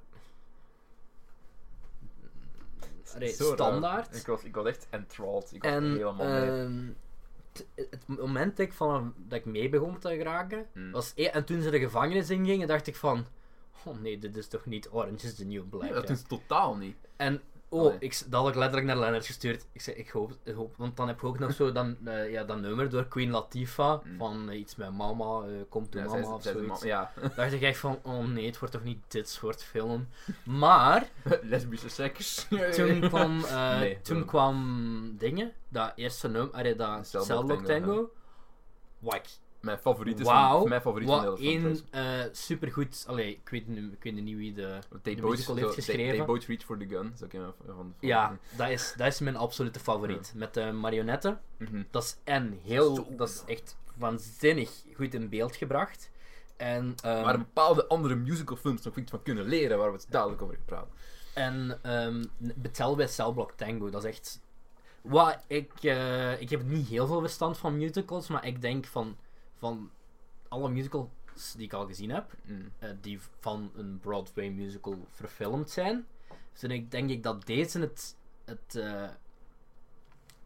S2: hem-
S1: Allee,
S2: Zo raar.
S1: standaard.
S2: Ik was, ik was echt enthralled. Ik was
S1: En
S2: helemaal mee.
S1: ehm, t- het moment dat ik, van, dat ik mee begon te raken,
S2: Hmm.
S1: was e- en toen ze de gevangenis ingingen, dacht ik van, oh nee, dit is toch niet Orange is the New Black. hè?
S2: Ja, dat is totaal niet.
S1: En oh,
S2: Allee.
S1: ik, s- dat had ik letterlijk naar Leonard gestuurd. Ik zei, ik hoop, ik hoop want dan heb je ook nog zo dan, *laughs* eh, ja, dat nummer door Queen Latifah,
S2: Hmm.
S1: van eh, iets met mama, eh komt toe
S2: Ja, zij-
S1: mama of
S2: zij- zij-
S1: zoiets.
S2: ja.
S1: *laughs* Dacht ik echt van, oh nee, het wordt toch niet dit soort film. Maar,
S2: *laughs* *laughs* lesbische *laughs* seks.
S1: toen kwam, eh,
S2: Nee,
S1: toen
S2: waarom?
S1: kwam dingen, dat eerste nummer, allee, dat
S2: Cellblock
S1: Cellblock
S2: Tango,
S1: Tango. Wak.
S2: Mijn favoriet is
S1: Wauw,
S2: van, mijn favoriet van de
S1: Wat
S2: hele film,
S1: één
S2: trouwens.
S1: eh supergoed, allee, ik weet, nu- ik weet nu niet wie de,
S2: They
S1: de
S2: both-
S1: musical heeft
S2: they-
S1: geschreven.
S2: They both reach for the gun. Dat is ook een van- van de
S1: ja, dat is, dat is mijn absolute favoriet. Met de marionetten.
S2: Mhm.
S1: Dat is en heel,
S2: Zo,
S1: dat is echt waanzinnig goed in beeld gebracht. En, ehm,
S2: Waar bepaalde andere musicalfilms nog iets van kunnen leren, waar we het dadelijk over gaan praten.
S1: En ehm betel bij Cellblock Tango, dat is echt... Wat, ik, eh, ik heb niet heel veel verstand van musicals, maar ik denk van, van alle musicals die ik al gezien heb,
S2: Mm.
S1: eh, die v- van een Broadway musical verfilmd zijn, vind ik denk ik dat deze het, het, eh,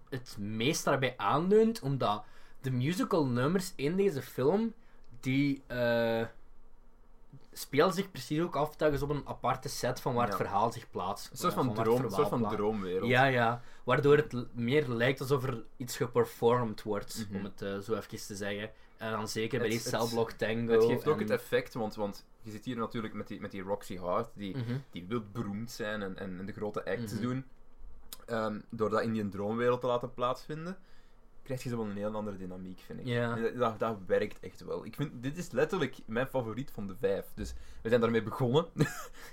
S1: het meest daarbij aanleunt, omdat de musical nummers in deze film, die eh, spelen zich precies ook af telkens op een aparte set van waar het
S2: Ja.
S1: verhaal zich plaatst.
S2: Een soort
S1: eh,
S2: van,
S1: waar het
S2: droom, een soort
S1: verhaal
S2: van
S1: plaatst.
S2: droomwereld.
S1: Ja, ja. Waardoor het l- meer lijkt alsof er iets geperformed wordt,
S2: Mhm.
S1: om het eh, zo even te zeggen. En dan zeker bij
S2: Het-
S1: die
S2: het-
S1: Cellblock Tango.
S2: Het geeft ook
S1: en-
S2: het effect, want, want je zit hier natuurlijk met die, met die Roxy Hart, die,
S1: Mhm.
S2: die wil beroemd zijn en, en, en de grote acts
S1: Mhm.
S2: doen. Ehm, door dat in die droomwereld te laten plaatsvinden, krijg je zo wel een heel andere dynamiek, vind ik.
S1: Ja.
S2: En Dat, dat, dat werkt echt wel. Ik vind, dit is letterlijk mijn favoriet van de vijf. Dus we zijn daarmee *laughs* begonnen.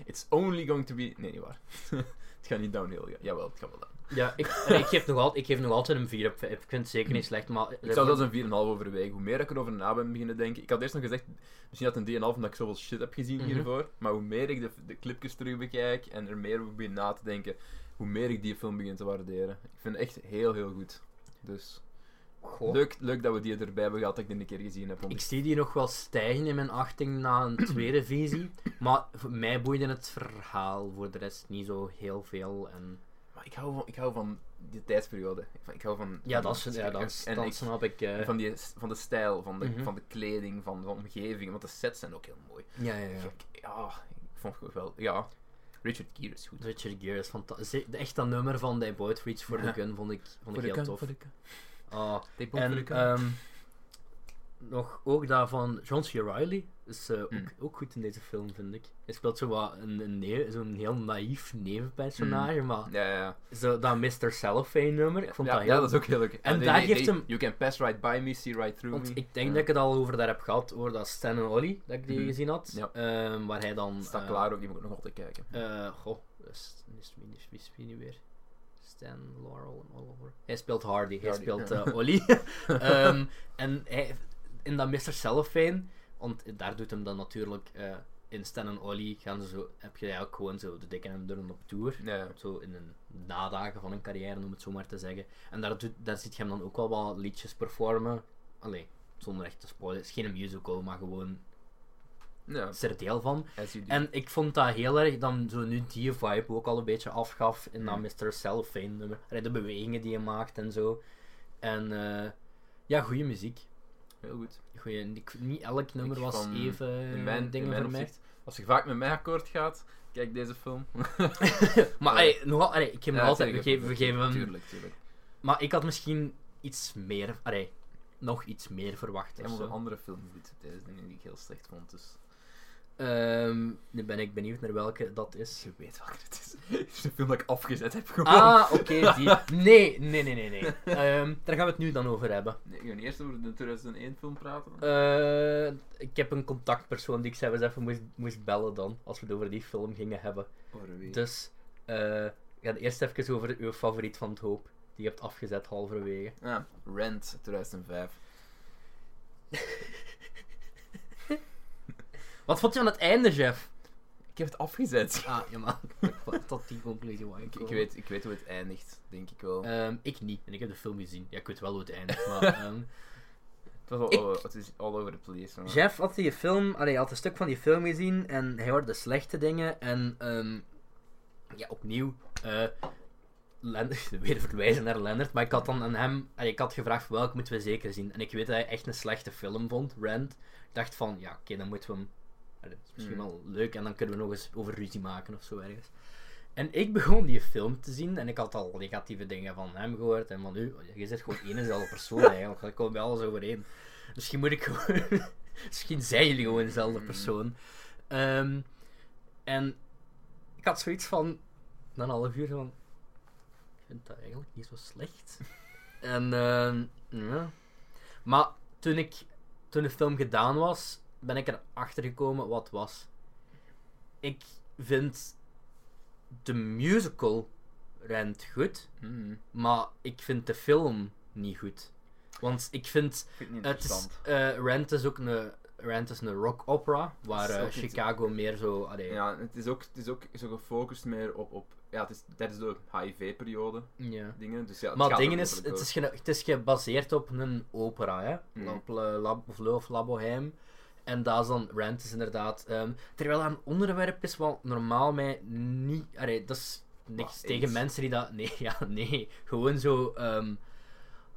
S2: It's only going to be... Nee, niet waar. het gaat niet downhill. gaan. Jawel, het gaat wel down.
S1: Ja, ik, en ik, geef *laughs* nog altijd, ik geef nog altijd een 4 op 5. Ik vind het zeker niet slecht, maar...
S2: Ik zou zelfs een 4,5 overwegen. Hoe meer ik erover na ben beginnen denken. Ik had eerst nog gezegd, misschien dat een 3,5 omdat ik zoveel shit heb gezien
S1: Mhm.
S2: hiervoor. Maar hoe meer ik de, de clipjes terug bekijk en er meer over begin na te denken, hoe meer ik die film begin te waarderen. Ik vind het echt heel, heel goed. Dus
S1: Goh.
S2: leuk, leuk dat we die erbij hebben gehad, dat ik die een keer gezien heb. want
S1: Ik zie die nog wel stijgen in mijn achting na
S2: *clears throat*
S1: een tweede visie. Maar voor mij boeide het verhaal voor de rest niet zo heel veel. En
S2: Maar ik hou van, ik hou van die tijdsperiode. Ik van- Ik hou van...
S1: ja,
S2: van-
S1: dat, is, ja, dat,
S2: en
S1: dat
S2: ik-
S1: snap ik. eh.
S2: van, die, van de stijl, van de,
S1: Mhm.
S2: van de kleding, van de omgeving. Want de sets zijn ook heel mooi.
S1: ja, ja, ja.
S2: Ik- Ja, ik vond het wel... Ja, Richard Gere is goed.
S1: Richard Gere is fantastisch. Echt dat nummer van They Boyd Reach for
S2: Ja.
S1: the Gun vond ik, vond ik heel tof. Ah,
S2: They both
S1: en ehm, nog ook dat van John C. Reilly is eh,
S2: Mm.
S1: ook, ook goed in deze film, vind ik. Hij speelt zo wat een, een, ne- zo'n heel naïef nevenpersonage, maar
S2: Ja, ja, ja.
S1: zo, dat Mr. Cellophane nummer, ik vond
S2: Hmm. ja,
S1: dat heel
S2: ja, dat is ook heel leuk.
S1: En daar geeft hem-
S2: You can pass right by me, see right through
S1: Want
S2: me.
S1: ik denk
S2: Ja.
S1: dat ik het al over daar heb gehad, over dat Stan en Ollie, dat ik die
S2: Mhm.
S1: gezien had.
S2: Ja.
S1: Ehm, waar hij dan...
S2: Staat
S1: eh,
S2: klaar ook, die moet ik nog altijd kijken.
S1: eh, goh, dat is, is, is, is wie nu weer? Stan, Laurel en Oliver. Hij speelt Hardy, hij
S2: Hardy,
S1: speelt
S2: ja.
S1: eh,
S2: *laughs*
S1: Ollie. Ehm, en hij, in dat Mr. Cellophane, want daar doet hem dan natuurlijk... eh, in Stan en Ollie gaan ze zo, heb je eigenlijk gewoon zo de dikke en dunne op tour.
S2: Ja, ja.
S1: Zo in een nadagen van een carrière, om het zo maar te zeggen. En daar, doet, daar ziet je hem dan ook wel wat liedjes performen. Allee, zonder echt te spoilen. Het is geen musical, maar gewoon
S2: ja.
S1: is er deel van.
S2: as you do.
S1: En ik vond dat heel erg dan zo nu die vibe ook al een beetje afgaf in
S2: Mm.
S1: dat Mr. Cellophane nummer. Allee, De bewegingen die je maakt en zo. En eh, ja, goede muziek.
S2: Heel goed.
S1: Goeie, ik- niet elk nummer
S2: Ik
S1: was
S2: van-
S1: even eh,
S2: In mijn,
S1: dingen
S2: in mijn
S1: voor mij.
S2: opzicht, als je vaak met mij akkoord gaat, kijk deze film.
S1: *laughs* Maar allee, nogal, allee, ik heb hem
S2: Ja,
S1: altijd, we
S2: tuurlijk,
S1: geven, we geven hem
S2: Tuurlijk, tuurlijk.
S1: Maar ik had misschien iets meer, allee, nog iets meer verwacht.
S2: Hij
S1: of
S2: moet een
S1: zo.
S2: andere film goed. Deze is die ik heel slecht vond, dus...
S1: Ehm, nu ben ik benieuwd naar welke dat
S2: *laughs*
S1: is.
S2: Je weet welke het is. Het is een film dat ik afgezet heb gewoon.
S1: Ah, oké, die. Nee, nee, nee, nee. nee. Ehm, daar gaan we het nu dan over hebben.
S2: Nee, we gaan eerst over de 2001 film praten.
S1: Eh, ik heb een contactpersoon die ik zelfs even moest, moest bellen dan, als we het over die film gingen hebben. Dus, eh, ik ga eerst even over uw favoriet van het hoop, die je hebt afgezet halverwege.
S2: Ah, Rent, 2005.
S1: Wat vond je van het einde, Jeff?
S2: Ik heb het afgezet.
S1: Ah, ja, maar *laughs* tot die conclusie wou
S2: Ik, ik,
S1: komen.
S2: weet, ik weet hoe het eindigt, denk ik wel.
S1: Ehm, ik niet. En ik heb de film gezien. Ja, ik weet wel hoe het *laughs* eindigt, maar... ehm,
S2: het, was al,
S1: ik-
S2: oh, het is all over the place. maar-
S1: Jeff had die film... Allee, hij had een stuk van die film gezien en hij hoorde slechte dingen. En ehm, ja, opnieuw... eh Lennart, *laughs* weer verwijzen naar Leonard, maar ik had dan aan hem... Allee, ik had gevraagd welke moeten we zeker zien. En ik weet dat hij echt een slechte film vond, Rand. Ik dacht van, ja, oké, dan moeten we hem... allee, dat is misschien
S2: Hmm.
S1: wel leuk en dan kunnen we nog eens over ruzie maken of zo ergens. En ik begon die film te zien en ik had al negatieve dingen van hem gehoord en van u. Je zit gewoon één en dezelfde persoon eigenlijk, daar komen we alles overeen. Misschien moet ik gewoon... *laughs* Misschien zijn jullie gewoon dezelfde
S2: Mm.
S1: persoon. Ehm, en ik had zoiets van... Na een half uur van... Ik vind dat eigenlijk niet zo slecht. en ehm, ja... Maar toen, ik, toen de film gedaan was, ben ik erachter gekomen wat het was. Ik vind de musical rent goed,
S2: Mhm. Ik
S1: maar ik vind de film niet goed. Want ik vind
S2: vind het niet
S1: het is,
S2: interessant.
S1: eh, Rent is ook een, Rent is een rock opera, waar
S2: is
S1: eh,
S2: ook niet-
S1: Chicago meer zo... Allee, ja.
S2: Ja, het is ook, het is ook zo gefocust meer op... op ja, het is tijdens de HIV-periode dingen. Dus ja, het
S1: Maar
S2: gaat
S1: het ding
S2: ook
S1: is,
S2: over de
S1: het is, gene- het is gebaseerd op een opera, hè?
S2: Mm.
S1: Op La, La- of Le of La Bohème. En dat is dan Rent, is inderdaad... ehm, terwijl dat een onderwerp is wat normaal mij niet... Allee, dat is niks
S2: Wat,
S1: tegen
S2: AIDS?
S1: mensen die dat... Nee, *laughs* ja, nee. Gewoon zo... ehm,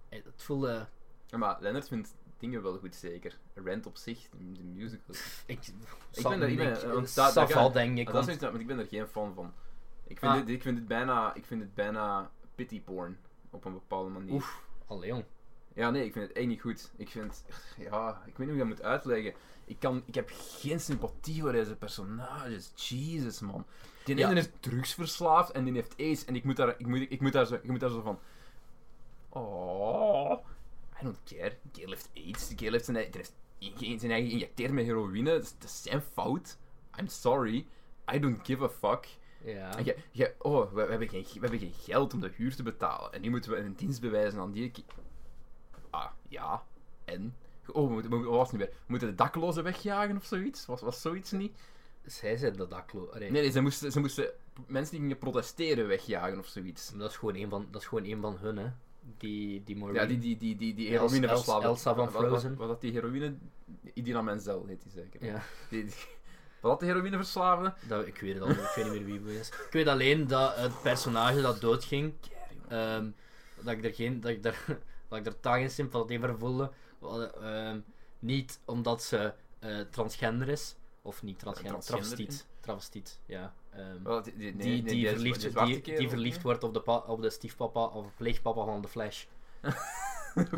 S1: eh, het voelde...
S2: Ja, maar Leonard vindt dingen wel goed, zeker. Rent op zich, de musical.
S1: Ik,
S2: Ik ben daar niet mee.
S1: ik-
S2: want daar- daar
S1: Saval,
S2: ga-
S1: denk ik.
S2: Maar dat is
S1: want-
S2: iets dat- want ik ben er geen fan van. Ik vind,
S1: Ah.
S2: dit, ik vind dit bijna, ik vind dit bijna pity porn op een bepaalde manier.
S1: Oef, allee, jong.
S2: Ja, nee, ik vind het echt niet goed. Ik vind, ja, ik weet niet hoe ik dat moet uitleggen. Ik, kan, ik heb geen sympathie voor deze personages. Jezus, man. Die
S1: Ja.
S2: ene is drugsverslaafd en die heeft aids. En ik moet daar, ik moet, ik moet daar, zo, ik moet daar zo van... Oh, I don't care. Gail heeft aids. Gail heeft zijn, ei- die heeft ge- zijn eigen geïnjecteerd met heroïne. Dat is, dat is zijn fout. I'm sorry. I don't give a fuck.
S1: Ja.
S2: En jij, jij- oh, we, we hebben geen, we hebben geen geld om de huur te betalen. En nu moeten we een dienst bewijzen aan die... ki- Ah, ja. En? Oh, we moeten, we, moeten- wat was het nu weer? We moeten de daklozen wegjagen of zoiets? Was, was zoiets niet?
S1: Zij zijn dat daklo. Allee,
S2: Nee, nee, ze moesten, ze moesten mensen die gingen protesteren wegjagen of zoiets.
S1: maar Dat, is gewoon een van, dat is gewoon een van hun, hè. Die, die Maureen.
S2: Ja, die, die, die, die, die
S1: Els-
S2: heroïne
S1: Els-
S2: verslaafde.
S1: Elsa van
S2: Wat- wat-
S1: Frozen.
S2: Wat, wat dat die heroïne... Idina Menzel heet die zeker.
S1: Ja,
S2: Die, die- wat dat de heroïne verslaafde?
S1: dat, ik weet het al, ik weet niet meer wie het is. Ik weet alleen dat het personage dat doodging, ehm, dat ik er geen, dat ik er, *laughs* dat ik er taal geen sympathie voor voelde. Wel, ehm, niet omdat ze eh, transgender is, of niet transgender,
S2: Transgender,
S1: travestiet. Travestiet, ja. ehm.
S2: Wel, die, die, nee,
S1: die,
S2: nee, dus
S1: die,
S2: is-
S1: verliefd,
S2: is
S1: die,
S2: zwarte
S1: die,
S2: kerel, hè?
S1: verliefd wordt op de, pa- op de stiefpapa of pleegpapa van de
S2: *laughs*
S1: Flash. *laughs*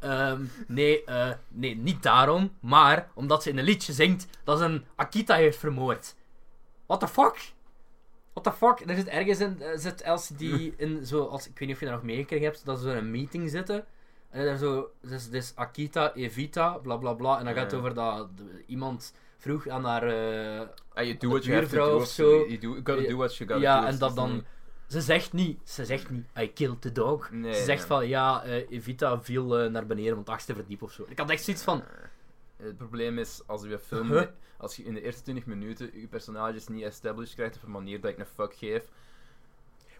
S1: Ehm, nee, eh, nee, niet daarom, maar omdat ze in een liedje zingt dat ze een Akita heeft vermoord. What the fuck? What the fuck? Er zit ergens in, eh, zit LCD
S2: *laughs*
S1: in zo, als, ik weet niet of je daar nog meegekregen hebt, dat ze zo in een meeting zitten. En daar zo, dus, dus Akita, Evita, bla bla bla. En dan gaat het
S2: Ja.
S1: over dat de- iemand vroeg aan haar, eh,
S2: Ah, you do what you have to
S1: buurvrouw
S2: do.
S1: of
S2: Of
S1: zo.
S2: zo. You, do, you gotta do what you gotta
S1: Ja,
S2: do.
S1: en
S2: is-
S1: dat
S2: is
S1: dan-
S2: niet-
S1: Ze zegt niet, ze zegt niet, I killed the dog.
S2: Nee,
S1: ze zegt
S2: nee.
S1: van, ja, eh, Evita viel eh, naar beneden, want het achtste verdiep of zo. Ik had echt zoiets van,
S2: eh, Het probleem is, als je film...
S1: Huh?
S2: Als je in de eerste 20 minuten je personages niet established krijgt op een manier dat ik een fuck geef...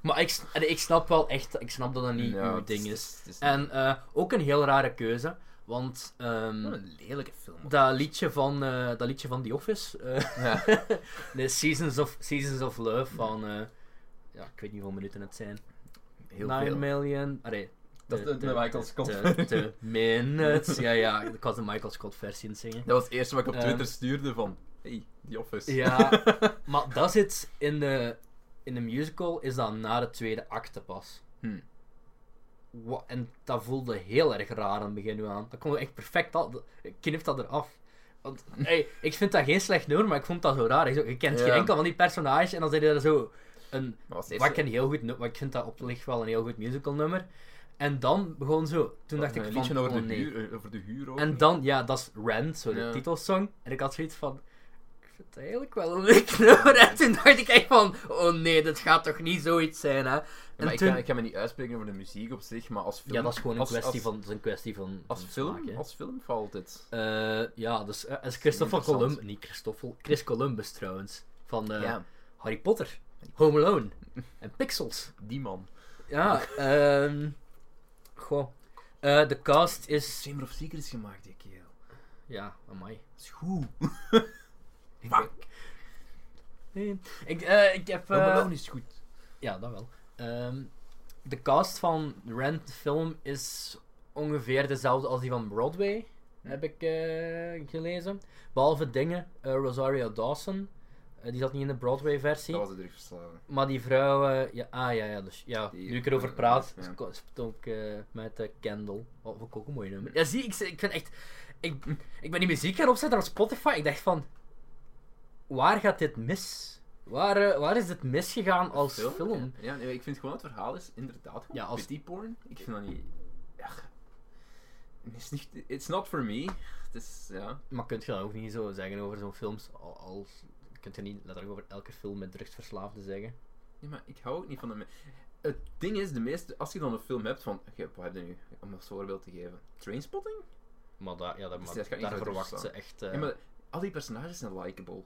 S1: maar ik, s- en ik snap wel echt, ik snap dat dat niet
S2: ja,
S1: uw
S2: het
S1: ding is.
S2: het is
S1: En eh, ook een heel rare keuze, want ehm,
S2: Wat een lelijke film.
S1: dat, liedje van, eh, dat liedje van The Office, eh,
S2: Ja.
S1: *laughs* de Seasons of, Seasons of Love van, eh, ja, ik weet niet hoeveel minuten het zijn.
S2: Heel
S1: 9
S2: veel.
S1: million, allee.
S2: Dat is de- de Michael Scott.
S1: De, de minutes,
S2: *laughs*
S1: ja ja, ik was de Michael Scott versie in het zingen.
S2: Dat was het eerste wat ik op
S1: Ehm.
S2: Twitter stuurde van... Hey, The Office.
S1: Ja, *laughs* maar dat zit in de, in de musical, is dat na de tweede acte pas.
S2: Hm.
S1: Wa- en dat voelde heel erg raar aan het begin nu aan. Dat kon echt perfect, al, knip dat eraf.
S2: *laughs*
S1: Want, hey, ik vind dat geen slecht nummer, maar ik vond dat zo raar. Ik zo, Je kent geen
S2: Ja.
S1: enkel van die personages en dan zit je daar zo een...
S2: Maar was het
S1: Wat ik,
S2: eerste...
S1: een heel goed, nu- wat ik vind dat op zich wel een heel goed musical nummer. En dan begon zo... Toen dacht ik
S2: een
S1: van,
S2: liedje over,
S1: oh
S2: de
S1: nee.
S2: huur, eh, over de huur ook.
S1: En dan, ja, dat is Rand, zo de
S2: Ja.
S1: titelsong. En ik had zoiets van. Ik vind het eigenlijk wel een leuk *laughs* nummer. En toen dacht ik echt van. Oh nee, dat gaat toch niet zoiets zijn, hè?
S2: Ja,
S1: En
S2: maar ik,
S1: toen-
S2: kan, ik kan me niet uitspreken over de muziek op zich, maar als film...
S1: ja, dat is gewoon een
S2: als-
S1: kwestie
S2: als-
S1: van. Dat is een kwestie van.
S2: Als
S1: van
S2: film,
S1: smaak, hè.
S2: als film valt het.
S1: Eh, ja, dus eh, als Christopher
S2: interessant.
S1: Columbus. Niet Christoffel, Chris Columbus trouwens. Van eh,
S2: ja,
S1: Harry Potter, Home
S2: *laughs*
S1: Alone en Pixels.
S2: die man.
S1: Ja, ehm. Goh. Eh, de cast is.
S2: Chamber of Secrets gemaakt, die kerel.
S1: Ja, amai.
S2: Dat is goed.
S1: Ik,
S2: Fuck.
S1: Nee. ik, eh, ik heb. eh,
S2: is goed.
S1: Ja, dat wel. Ehm, de cast van Rent de film is ongeveer dezelfde als die van Broadway, heb ik eh, gelezen. Behalve dingen, eh, Rosario Dawson, eh, die zat niet in de Broadway-versie.
S2: Dat was het drugsverslaven.
S1: Maar die vrouw, eh, ja, ah ja, ja, dus, ja
S2: Die-
S1: nu ik erover praat,
S2: ja.
S1: is ko- is het ook eh, met eh, Kendall. Wat vond ik ook een mooie nummer. Ja, zie, ik, ik vind echt, ik, ik ben die muziek gaan opzetten op Spotify. Ik dacht van, waar gaat dit mis? Waar, eh, waar is dit misgegaan als film?
S2: Ja, nee, ik vind gewoon het verhaal is inderdaad gewoon
S1: Ja, als-
S2: pity porn. Ik vind dat niet... Ach. Het is niet... It's not for me. Het is... Ja.
S1: Maar kunt je dat ook niet zo zeggen over zo'n films? Al, als, kunt je niet letterlijk over elke film met drugsverslaafden zeggen?
S2: Nee, maar ik hou ook niet van de... me- Het ding is, de meeste... Als je dan een film hebt van... oké, wat heb je nu? Om een voorbeeld te geven. Trainspotting?
S1: Maar, dat ja, dat,
S2: Dus
S1: maar
S2: dat gaat niet
S1: daar
S2: over
S1: verwacht ze
S2: drugsverslaafden.
S1: echt... eh,
S2: Ja, maar al die personages zijn likable.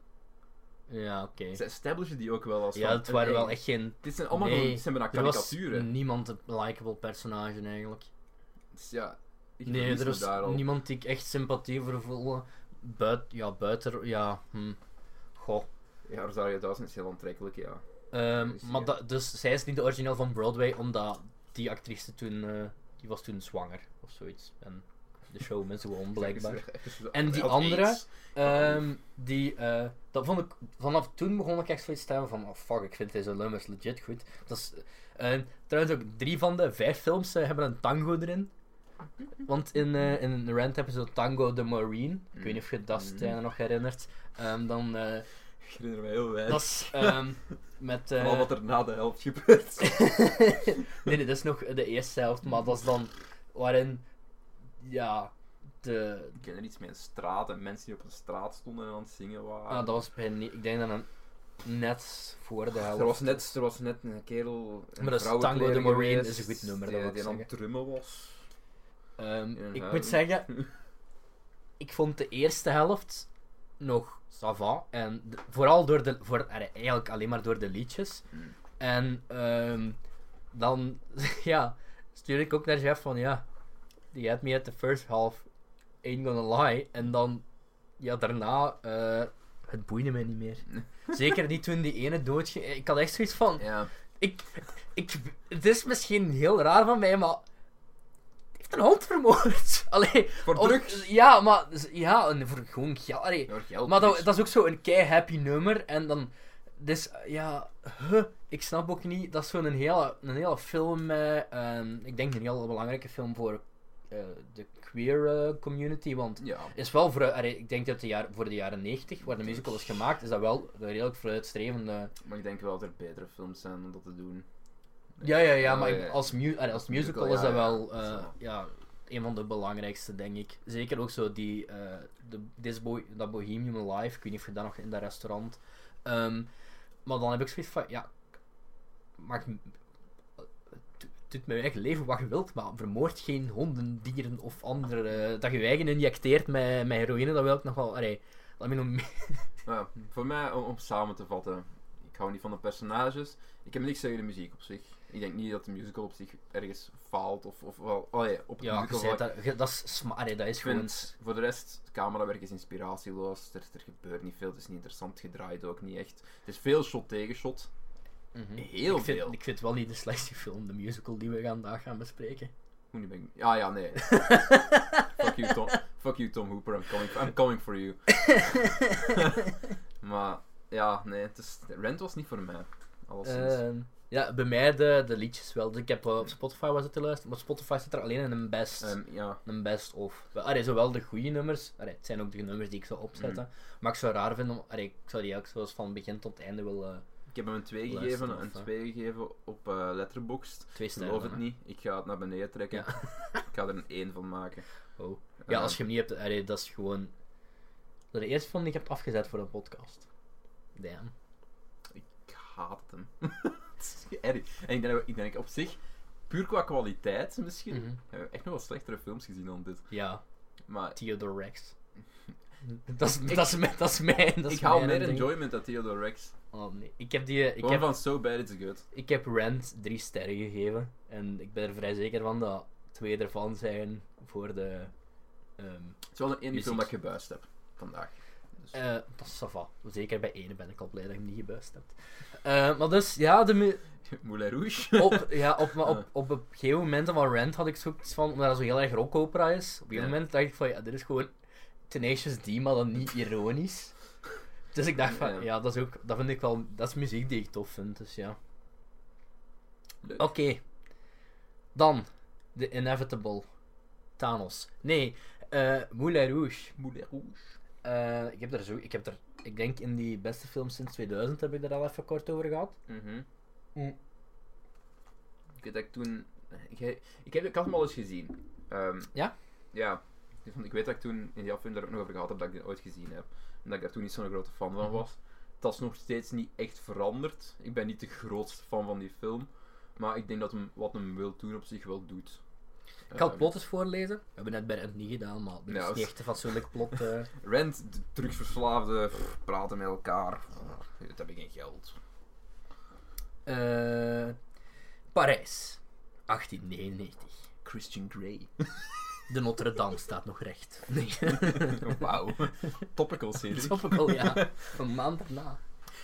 S1: ja, oké.
S2: Ze establishen die ook wel als
S1: Ja,
S2: van,
S1: het waren
S2: hey,
S1: wel echt geen...
S2: Dit zijn allemaal gewoon,
S1: Nee,
S2: dit zijn bijna
S1: Er was
S2: karikaturen.
S1: niemand een likable personage eigenlijk.
S2: Dus ja, ik
S1: nee,
S2: verlies
S1: er
S2: me
S1: was
S2: daar al.
S1: niemand die ik echt sympathie voor voelde. Buit, ja, buiten... Ja, hm. Goh.
S2: Ja, Rosario Dawson is heel aantrekkelijk, ja.
S1: Ehm,
S2: Dus,
S1: maar
S2: ja.
S1: dat- dus zij is niet de origineel van Broadway, omdat die actrice toen... eh, die was toen zwanger, of zoiets. En de show mensen gewoon, blijkbaar.
S2: *laughs*
S1: En die
S2: Had
S1: andere?
S2: aids.
S1: Ehm, die, eh, dat vond ik, vanaf toen begon ik echt zoiets te hebben van, oh fuck, ik vind deze nummers legit goed. Dat is, eh, trouwens ook drie van de vijf films eh, hebben een tango erin. Want in, eh in Rent hebben ze Tango de Marine. Ik weet niet of je dat
S2: Mm.
S1: Stijn nog herinnert. Ehm, dan, eh,
S2: *laughs* Ik herinner me heel weinig.
S1: dat is ehm, met... eh,
S2: Van
S1: *laughs*
S2: al wat er na de helft gebeurt.
S1: nee, nee, dat is nog de eerste helft, maar dat is dan waarin, ja, de,
S2: ik ken er iets met een straat en mensen die op een straat stonden en aan het zingen waren.
S1: Ah, dat was bij... ni- Ik denk dat een... net voor de helft.
S2: Er was, net, er was net een kerel. in
S1: Maar dat is
S2: vrouwenkleren
S1: Tango de Maureen is
S2: geweest,
S1: een goed nummer, dat
S2: Die,
S1: wil ik
S2: die aan het
S1: zeggen.
S2: drummen was.
S1: Ehm,
S2: Ja,
S1: ik
S2: ja.
S1: moet zeggen, ik vond de eerste helft nog ça va. En de- vooral door de, voor, allee, eigenlijk alleen maar door de liedjes.
S2: Hmm.
S1: En ehm, dan *laughs* ja, stuur ik ook naar Jeff van ja, die had me at the first half, ain't gonna lie. En dan, ja, daarna, eh, het boeide mij niet meer. Zeker niet toen die ene doodging. Ik had echt zoiets van,
S2: Ja.
S1: ik, ik, het is misschien heel raar van mij, maar. die heeft een hond vermoord. *laughs* Allee,
S2: Voor
S1: om-
S2: drugs.
S1: Ja, maar. dus, Ja, en voor gewoon geld. Allee,
S2: Door geld.
S1: maar dat,
S2: dus.
S1: dat is ook zo een kei happy nummer. En dan. Dus ja, huh, ik snap ook niet. Dat is zo'n hele, een hele film. eh, ehm, ik denk een heel belangrijke film voor eh, de queer eh, community. Want
S2: Ja.
S1: is wel voor, allee, ik denk dat de jaar, voor de jaren 90, waar de musical is gemaakt, is dat wel een redelijk vooruitstrevende.
S2: Maar ik denk wel dat er betere films zijn om dat te doen.
S1: Ja, ja, ja,
S2: Ja,
S1: maar
S2: ja,
S1: ik-
S2: ja.
S1: Als, mu allee, als musical is
S2: Musical,
S1: dat
S2: ja, ja.
S1: wel
S2: Dat is
S1: eh,
S2: wel.
S1: ja, een van de belangrijkste, denk ik. Zeker ook zo die, eh, de, this boy, dat Bohemian Live, ik weet niet of je dat nog in dat restaurant. Ehm, maar dan heb ik zoiets van, ja, maak, het doet met je eigen leven wat je wilt, maar vermoord geen honden, dieren of andere. eh, dat je je eigen injecteert met, met heroïne, dat wil ik nog wel. Allee, dat heb ik nog meer.
S2: Maar ja,
S1: Hmm.
S2: voor mij, om, om samen te vatten, ik hou niet van de personages. Ik heb niks tegen de muziek op zich. Ik denk niet dat de musical op zich ergens faalt of, of wel. Oh ja, op het
S1: Ja, je
S2: musical
S1: zei
S2: vlak.
S1: dat, je- dat is, sma- allee, dat is
S2: Ik
S1: gewoon.
S2: vind voor de rest, het camerawerk is inspiratieloos. Er, er gebeurt niet veel. Het is niet interessant gedraaid ook niet echt. Het is veel shot tegen shot.
S1: Mhm.
S2: Heel
S1: ik vind,
S2: veel.
S1: Ik vind wel niet de slechtste film, de musical die we vandaag gaan bespreken.
S2: Hoe nu ben ik. Ja, ja,
S1: *laughs*
S2: nee. Fuck you, Tom. Fuck you, Tom Hooper. I'm coming, I'm coming for
S1: *laughs*
S2: you. maar ja, nee. Het is, Rent was niet voor mij. Alleszins.
S1: Ehm, ja, bij mij de, de liedjes wel. Dus ik heb eh, op Spotify was het te luisteren, maar Spotify zit er alleen in een best.
S2: Ehm, ja.
S1: een best of. Wel, Allee, zowel de goede nummers, allee, het zijn ook de nummers die ik zou opzetten.
S2: Mm.
S1: Maar ik zou raar vinden, om, allee, ik zou die ook zoals van begin tot einde eh, willen
S2: Ik heb hem een 2
S1: Luister
S2: gegeven,
S1: of,
S2: een
S1: eh.
S2: 2 gegeven op eh Letterboxd.
S1: twee
S2: Ik
S1: sterren.
S2: geloof het
S1: hè.
S2: niet. Ik ga het naar beneden trekken.
S1: Ja. *laughs*
S2: Ik ga er een 1 van maken.
S1: Oh. Ja,
S2: Eh,
S1: als je hem niet hebt, allee, dat is gewoon. Dat is de eerste film die ik heb afgezet voor een podcast. Damn.
S2: Ik haat het hem. *laughs* het is erg. En ik denk, ik denk op zich, puur qua kwaliteit misschien,
S1: Mhm.
S2: hebben we echt nog wel slechtere films gezien dan dit.
S1: Ja,
S2: Maar
S1: Theodore Rex. *laughs* dat is, dat is, mijn- dat is mijn. Dat is
S2: ik haal
S1: mijn
S2: meer
S1: ding.
S2: enjoyment uit Theodore Rex.
S1: Oh nee, ik heb die. Ik
S2: Gewoon
S1: heb,
S2: van So Bad It's Good.
S1: ik heb Rent drie sterren gegeven. En ik ben er vrij zeker van dat twee ervan zijn voor de. ehm,
S2: Het is wel de enige
S1: Muziek.
S2: film dat ik gebuist heb vandaag. *laughs* Dus,
S1: eh, dat is sava. Zeker bij ene ben ik al blij dat je hem niet gebuist hebt. Eh, maar dus, ja, de mu-
S2: Moulin Rouge.
S1: op, ja op, maar op,
S2: *laughs* Ja.
S1: op een gegeven moment van Rent had ik zoiets van, omdat dat zo heel erg rockopera is. Op een gegeven
S2: Ja.
S1: moment dacht ik van, ja, dit is gewoon Tenacious D, maar dan niet ironisch. Dus ik dacht van,
S2: Ja.
S1: ja, dat is ook, dat vind ik wel, dat is muziek die ik tof vind, dus ja.
S2: Leuk.
S1: Oké. Dan. The Inevitable. Thanos. Nee. eh Moulin Rouge.
S2: Moulin Rouge.
S1: Eh, ik heb er zo... Ik heb er... Ik denk in die beste films sinds 2000 heb ik er al even kort over gehad.
S2: Mhm.
S1: Mm.
S2: Ik weet dat ik toen. Ik, he- ik, heb, ik had hem al eens gezien. Ehm,
S1: Ja?
S2: Ja. Dus, want ik weet dat ik toen in die aflevering daar ook nog over gehad heb dat ik dit ooit gezien heb. En dat ik daar toen niet zo'n grote fan van
S1: Mhm.
S2: was. Dat is nog steeds niet echt veranderd. Ik ben niet de grootste fan van die film. Maar ik denk dat hem, wat hem wil doen op zich wel doet.
S1: Ik ga het
S2: Ehm,
S1: plot eens voorlezen. We hebben net bij Rent niet gedaan, maar dit
S2: Ja,
S1: is
S2: dat
S1: niet
S2: is-
S1: echt een fatsoenlijk plot.
S2: *laughs*
S1: eh.
S2: Rent, de drugsverslaafde, pff, praten met elkaar. Pff, Dat heb ik geen geld.
S1: Eh, Parijs. 1899.
S2: Christian
S1: *laughs*
S2: Grey.
S1: De Notre Dame staat nog recht. *laughs* Nee. *laughs*
S2: Wauw. Topical series.
S1: Topical, *laughs* ja. Een maand na.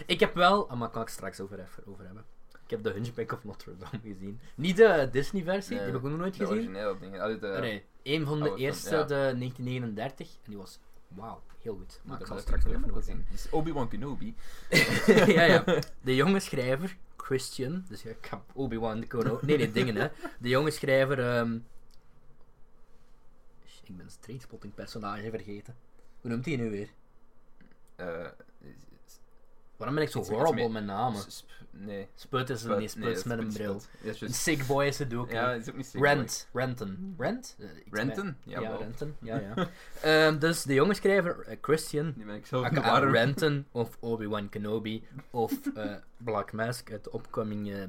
S1: Ik heb wel, ah, maar kan ik straks over, even over hebben. Ik heb de Hunchback of Notre Dame gezien. Niet de Disney-versie, die
S2: Nee,
S1: heb ik ook nog nooit
S2: De Ah,
S1: gezien. Ah,
S2: originele dingen. Allee, de-
S1: Nee, een van de
S2: Oude film,
S1: eerste,
S2: ja.
S1: de 1939. En die was, wauw, heel goed. Maar ik
S2: Dat
S1: zal
S2: moet
S1: straks nog
S2: ik
S1: even
S2: ook
S1: over
S2: zien.
S1: hebben.
S2: Dus Obi-Wan Kenobi.
S1: ja, ja.
S2: *laughs*
S1: De jonge schrijver, Christian. Dus ja, ik ga Obi-Wan, de Kono. Nee, nee, dingen, hè. De jonge schrijver... ehm, Ik ben een trainspotting personage vergeten. Hoe noemt hij nu weer?
S2: eh,
S1: Waarom ben ik zo
S2: Iets met-
S1: horrible
S2: iets
S1: met namen?
S2: S- sp- Nee.
S1: Sput is een nee,
S2: Spuit- nee,
S1: sput is
S2: dat
S1: met een
S2: sput-
S1: bril.
S2: sput. Ja, is
S1: Een
S2: juist-
S1: sick boy is het ook.
S2: Ja,
S1: hè.
S2: dat is ook niet sick,
S1: Rent, renten. Rent? Eh, iets
S2: hoor.
S1: met-
S2: Renten?
S1: Ja,
S2: Ja, wel.
S1: Renton. Ja,
S2: *laughs*
S1: ja. Ehm, dus de jonge schrijver, eh, Christian,
S2: Die ben ik zelf nog
S1: aka
S2: warm.
S1: Ah, Renton of Obi-Wan Kenobi of eh, Black Mask uit de opkoming eh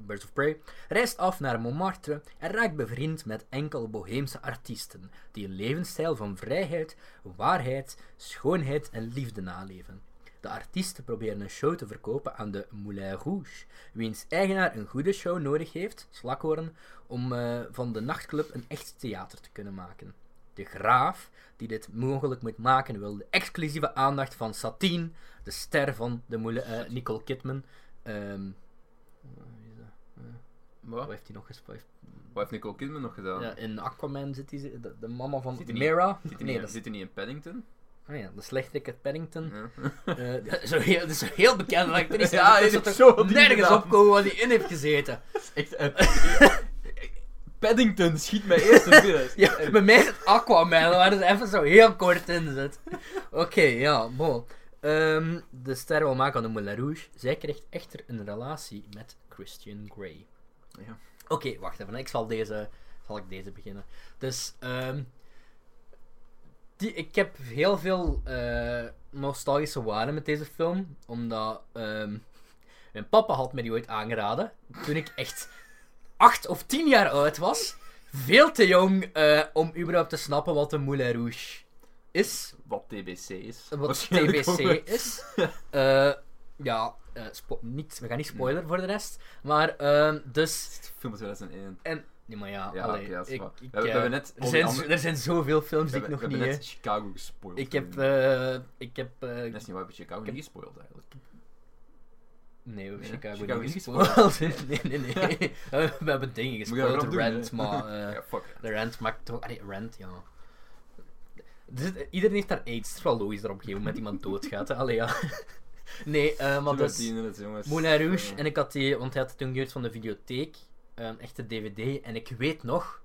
S1: Birds of Prey, reist af naar Montmartre en raakt bevriend met enkele boheemse artiesten die een levensstijl van vrijheid, waarheid, schoonheid en liefde naleven. De artiesten proberen een show te verkopen aan de Moulin Rouge, wiens eigenaar een goede show nodig heeft, slakhoorn, om eh, van de nachtclub een echt theater te kunnen maken. De graaf, die dit mogelijk moet maken, wil de exclusieve aandacht van Satine, de ster van de moele, eh, Nicole Kidman. Ehm, wie is dat? Wat
S2: *laughs* Wat
S1: heeft hij nog gespeeld?
S2: Wat heeft Nicole Kidman nog gedaan?
S1: Ja, in Aquaman zit hij, de, de mama van
S2: Zit hij niet-
S1: Mira.
S2: Zit hij
S1: nee,
S2: niet-
S1: dat is, Hm.
S2: Zit hij niet in Paddington?
S1: oh ja, de slechterik uit Paddington.
S2: Ja.
S1: Eh, *laughs* dat is een heel, dat is een heel bekende actrice.
S2: Ja,
S1: Ja,
S2: die
S1: is
S2: heeft
S1: er
S2: zo
S1: toch
S2: die
S1: nergens
S2: gedaan.
S1: opkomen waar die in heeft *laughs* gezeten.
S2: Echt, eh, Paddington schiet mij
S1: *laughs*
S2: eerst Eh, een binnen.
S1: Ja, bij mij is het Aquaman, waar het even zo heel kort in zit. Oké, ja, bon. Ehm, de ster wil maken aan de Moulin Rouge. Zij krijgt echter een relatie met Christian Grey.
S2: Ja.
S1: Oké, wacht even. Ik zal deze, zal ik deze beginnen. Dus, ehm, die, ik heb heel veel eh, nostalgische waarde met deze film. Omdat ehm, mijn papa had me die ooit aangeraden. Toen ik echt acht of tien jaar oud was. Veel te jong eh, om überhaupt te snappen wat een Moulin Rouge is
S2: Wat TBC is.
S1: wat
S2: Waarschijnlijk ook.
S1: TBC
S2: *laughs*
S1: is. Eh, ja, eh, spo- niet, we gaan niet spoileren voor de rest. Maar, ehm, dus.
S2: Film 2001.
S1: En, nee, maar ja,
S2: Ja,
S1: allee,
S2: oké, dat is
S1: ik-
S2: waar.
S1: ik,
S2: We hebben- we
S1: eh,
S2: hebben net
S1: er,
S2: al die
S1: zijn,
S2: andere-
S1: er zijn zoveel films
S2: We
S1: die ik
S2: hebben,
S1: nog
S2: we
S1: niet.
S2: hebben net
S1: eh,
S2: Chicago gespoild.
S1: Ik heb,
S2: Dat
S1: eh, ik heb. eh,
S2: is niet waar, we hebben Chicago
S1: ik heb-
S2: niet gespoild eigenlijk.
S1: nee, we hebben
S2: Ja,
S1: Chicago,
S2: Chicago
S1: niet
S2: niet
S1: gespoild. *laughs* nee, nee, nee.
S2: *laughs*
S1: Eh, we hebben dingen
S2: Moet je dat
S1: gespoild.
S2: erop doen,
S1: Rent,
S2: hè?
S1: maar. eh,
S2: ja, fuck.
S1: De rent maakt toch... Allee, rent, ja. Dus, iedereen heeft daar aids. Het is wel logisch dat op een gegeven moment iemand doodgaat. hè. Allee, ja. *laughs* Nee, eh maar
S2: Zullen we
S1: dus...
S2: die in het, jongens?
S1: Moulin Rouge.
S2: Eh,
S1: En ik had die... Want hij had het toen gehuurd van de videotheek. Een echte dvd. En ik weet nog...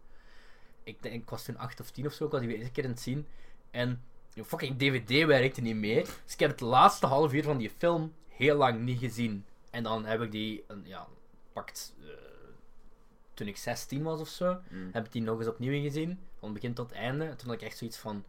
S1: Ik, denk, ik was toen 8 of 10 of zo. Ik was die weer eerste keer aan het zien. En die fucking dvd werkte niet meer. Dus ik heb het laatste half uur van die film heel lang niet gezien. En dan heb ik die... een- Ja, pakt... eh, toen ik 16 was of zo
S2: mm.
S1: heb ik die nog eens opnieuw gezien, van begin tot einde. En toen had ik echt zoiets van.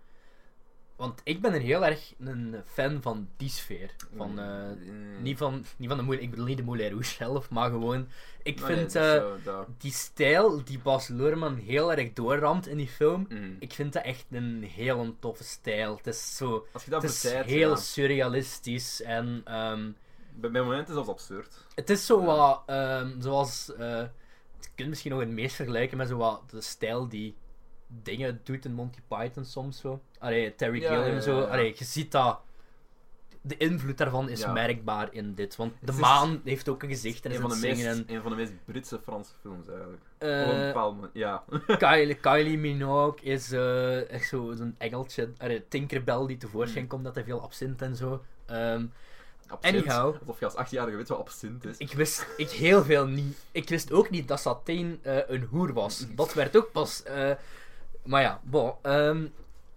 S1: Want ik ben een heel erg een fan van die sfeer. Van, eh,
S2: Mm.
S1: niet, van, niet van de Moulin, ik bedoel niet de Moulin Rouge zelf, maar gewoon. Ik
S2: Maar
S1: vind
S2: Ah, nee, dat is
S1: eh,
S2: zo, dat-
S1: die stijl die Bas Luhrmann heel erg doorramt in die film.
S2: Mm.
S1: Ik vind dat echt een heel toffe stijl. Het is zo.
S2: Als je dat
S1: Het is
S2: verzeidt,
S1: heel
S2: ja.
S1: surrealistisch en. ehm,
S2: Bij mijn moment is dat absurd.
S1: het is zo
S2: Ja.
S1: wat, ehm, zoals, eh, je kunt misschien nog het meest vergelijken met zo wat de stijl die dingen doet in Monty Python soms zo. Allee, Terry
S2: Ja,
S1: Gilliam
S2: ja, ja,
S1: zo.
S2: ja.
S1: Allee, je ziet dat, de invloed daarvan is
S2: Ja.
S1: merkbaar in dit, want de
S2: is-
S1: maan heeft ook een gezicht en
S2: Een
S1: is
S2: van,
S1: aan
S2: de
S1: het
S2: meest,
S1: zingen en...
S2: een van de meest Britse Franse films eigenlijk.
S1: eh,
S2: Op een bepaald moment, ja. *laughs*
S1: Kylie, Kylie Minogue is eh, echt zo- zo'n engeltje, allee, Tinkerbell die
S2: Mm.
S1: tevoorschijn komt dat hij veel absint en zo. Ehm,
S2: Absint.
S1: Anyhow.
S2: Alsof je als 18-jarige weet wat absint is.
S1: Ik wist ik heel veel niet. Ik wist ook niet dat Satijn eh, een hoer was. Dat werd ook pas. eh, maar ja, bon. ehm,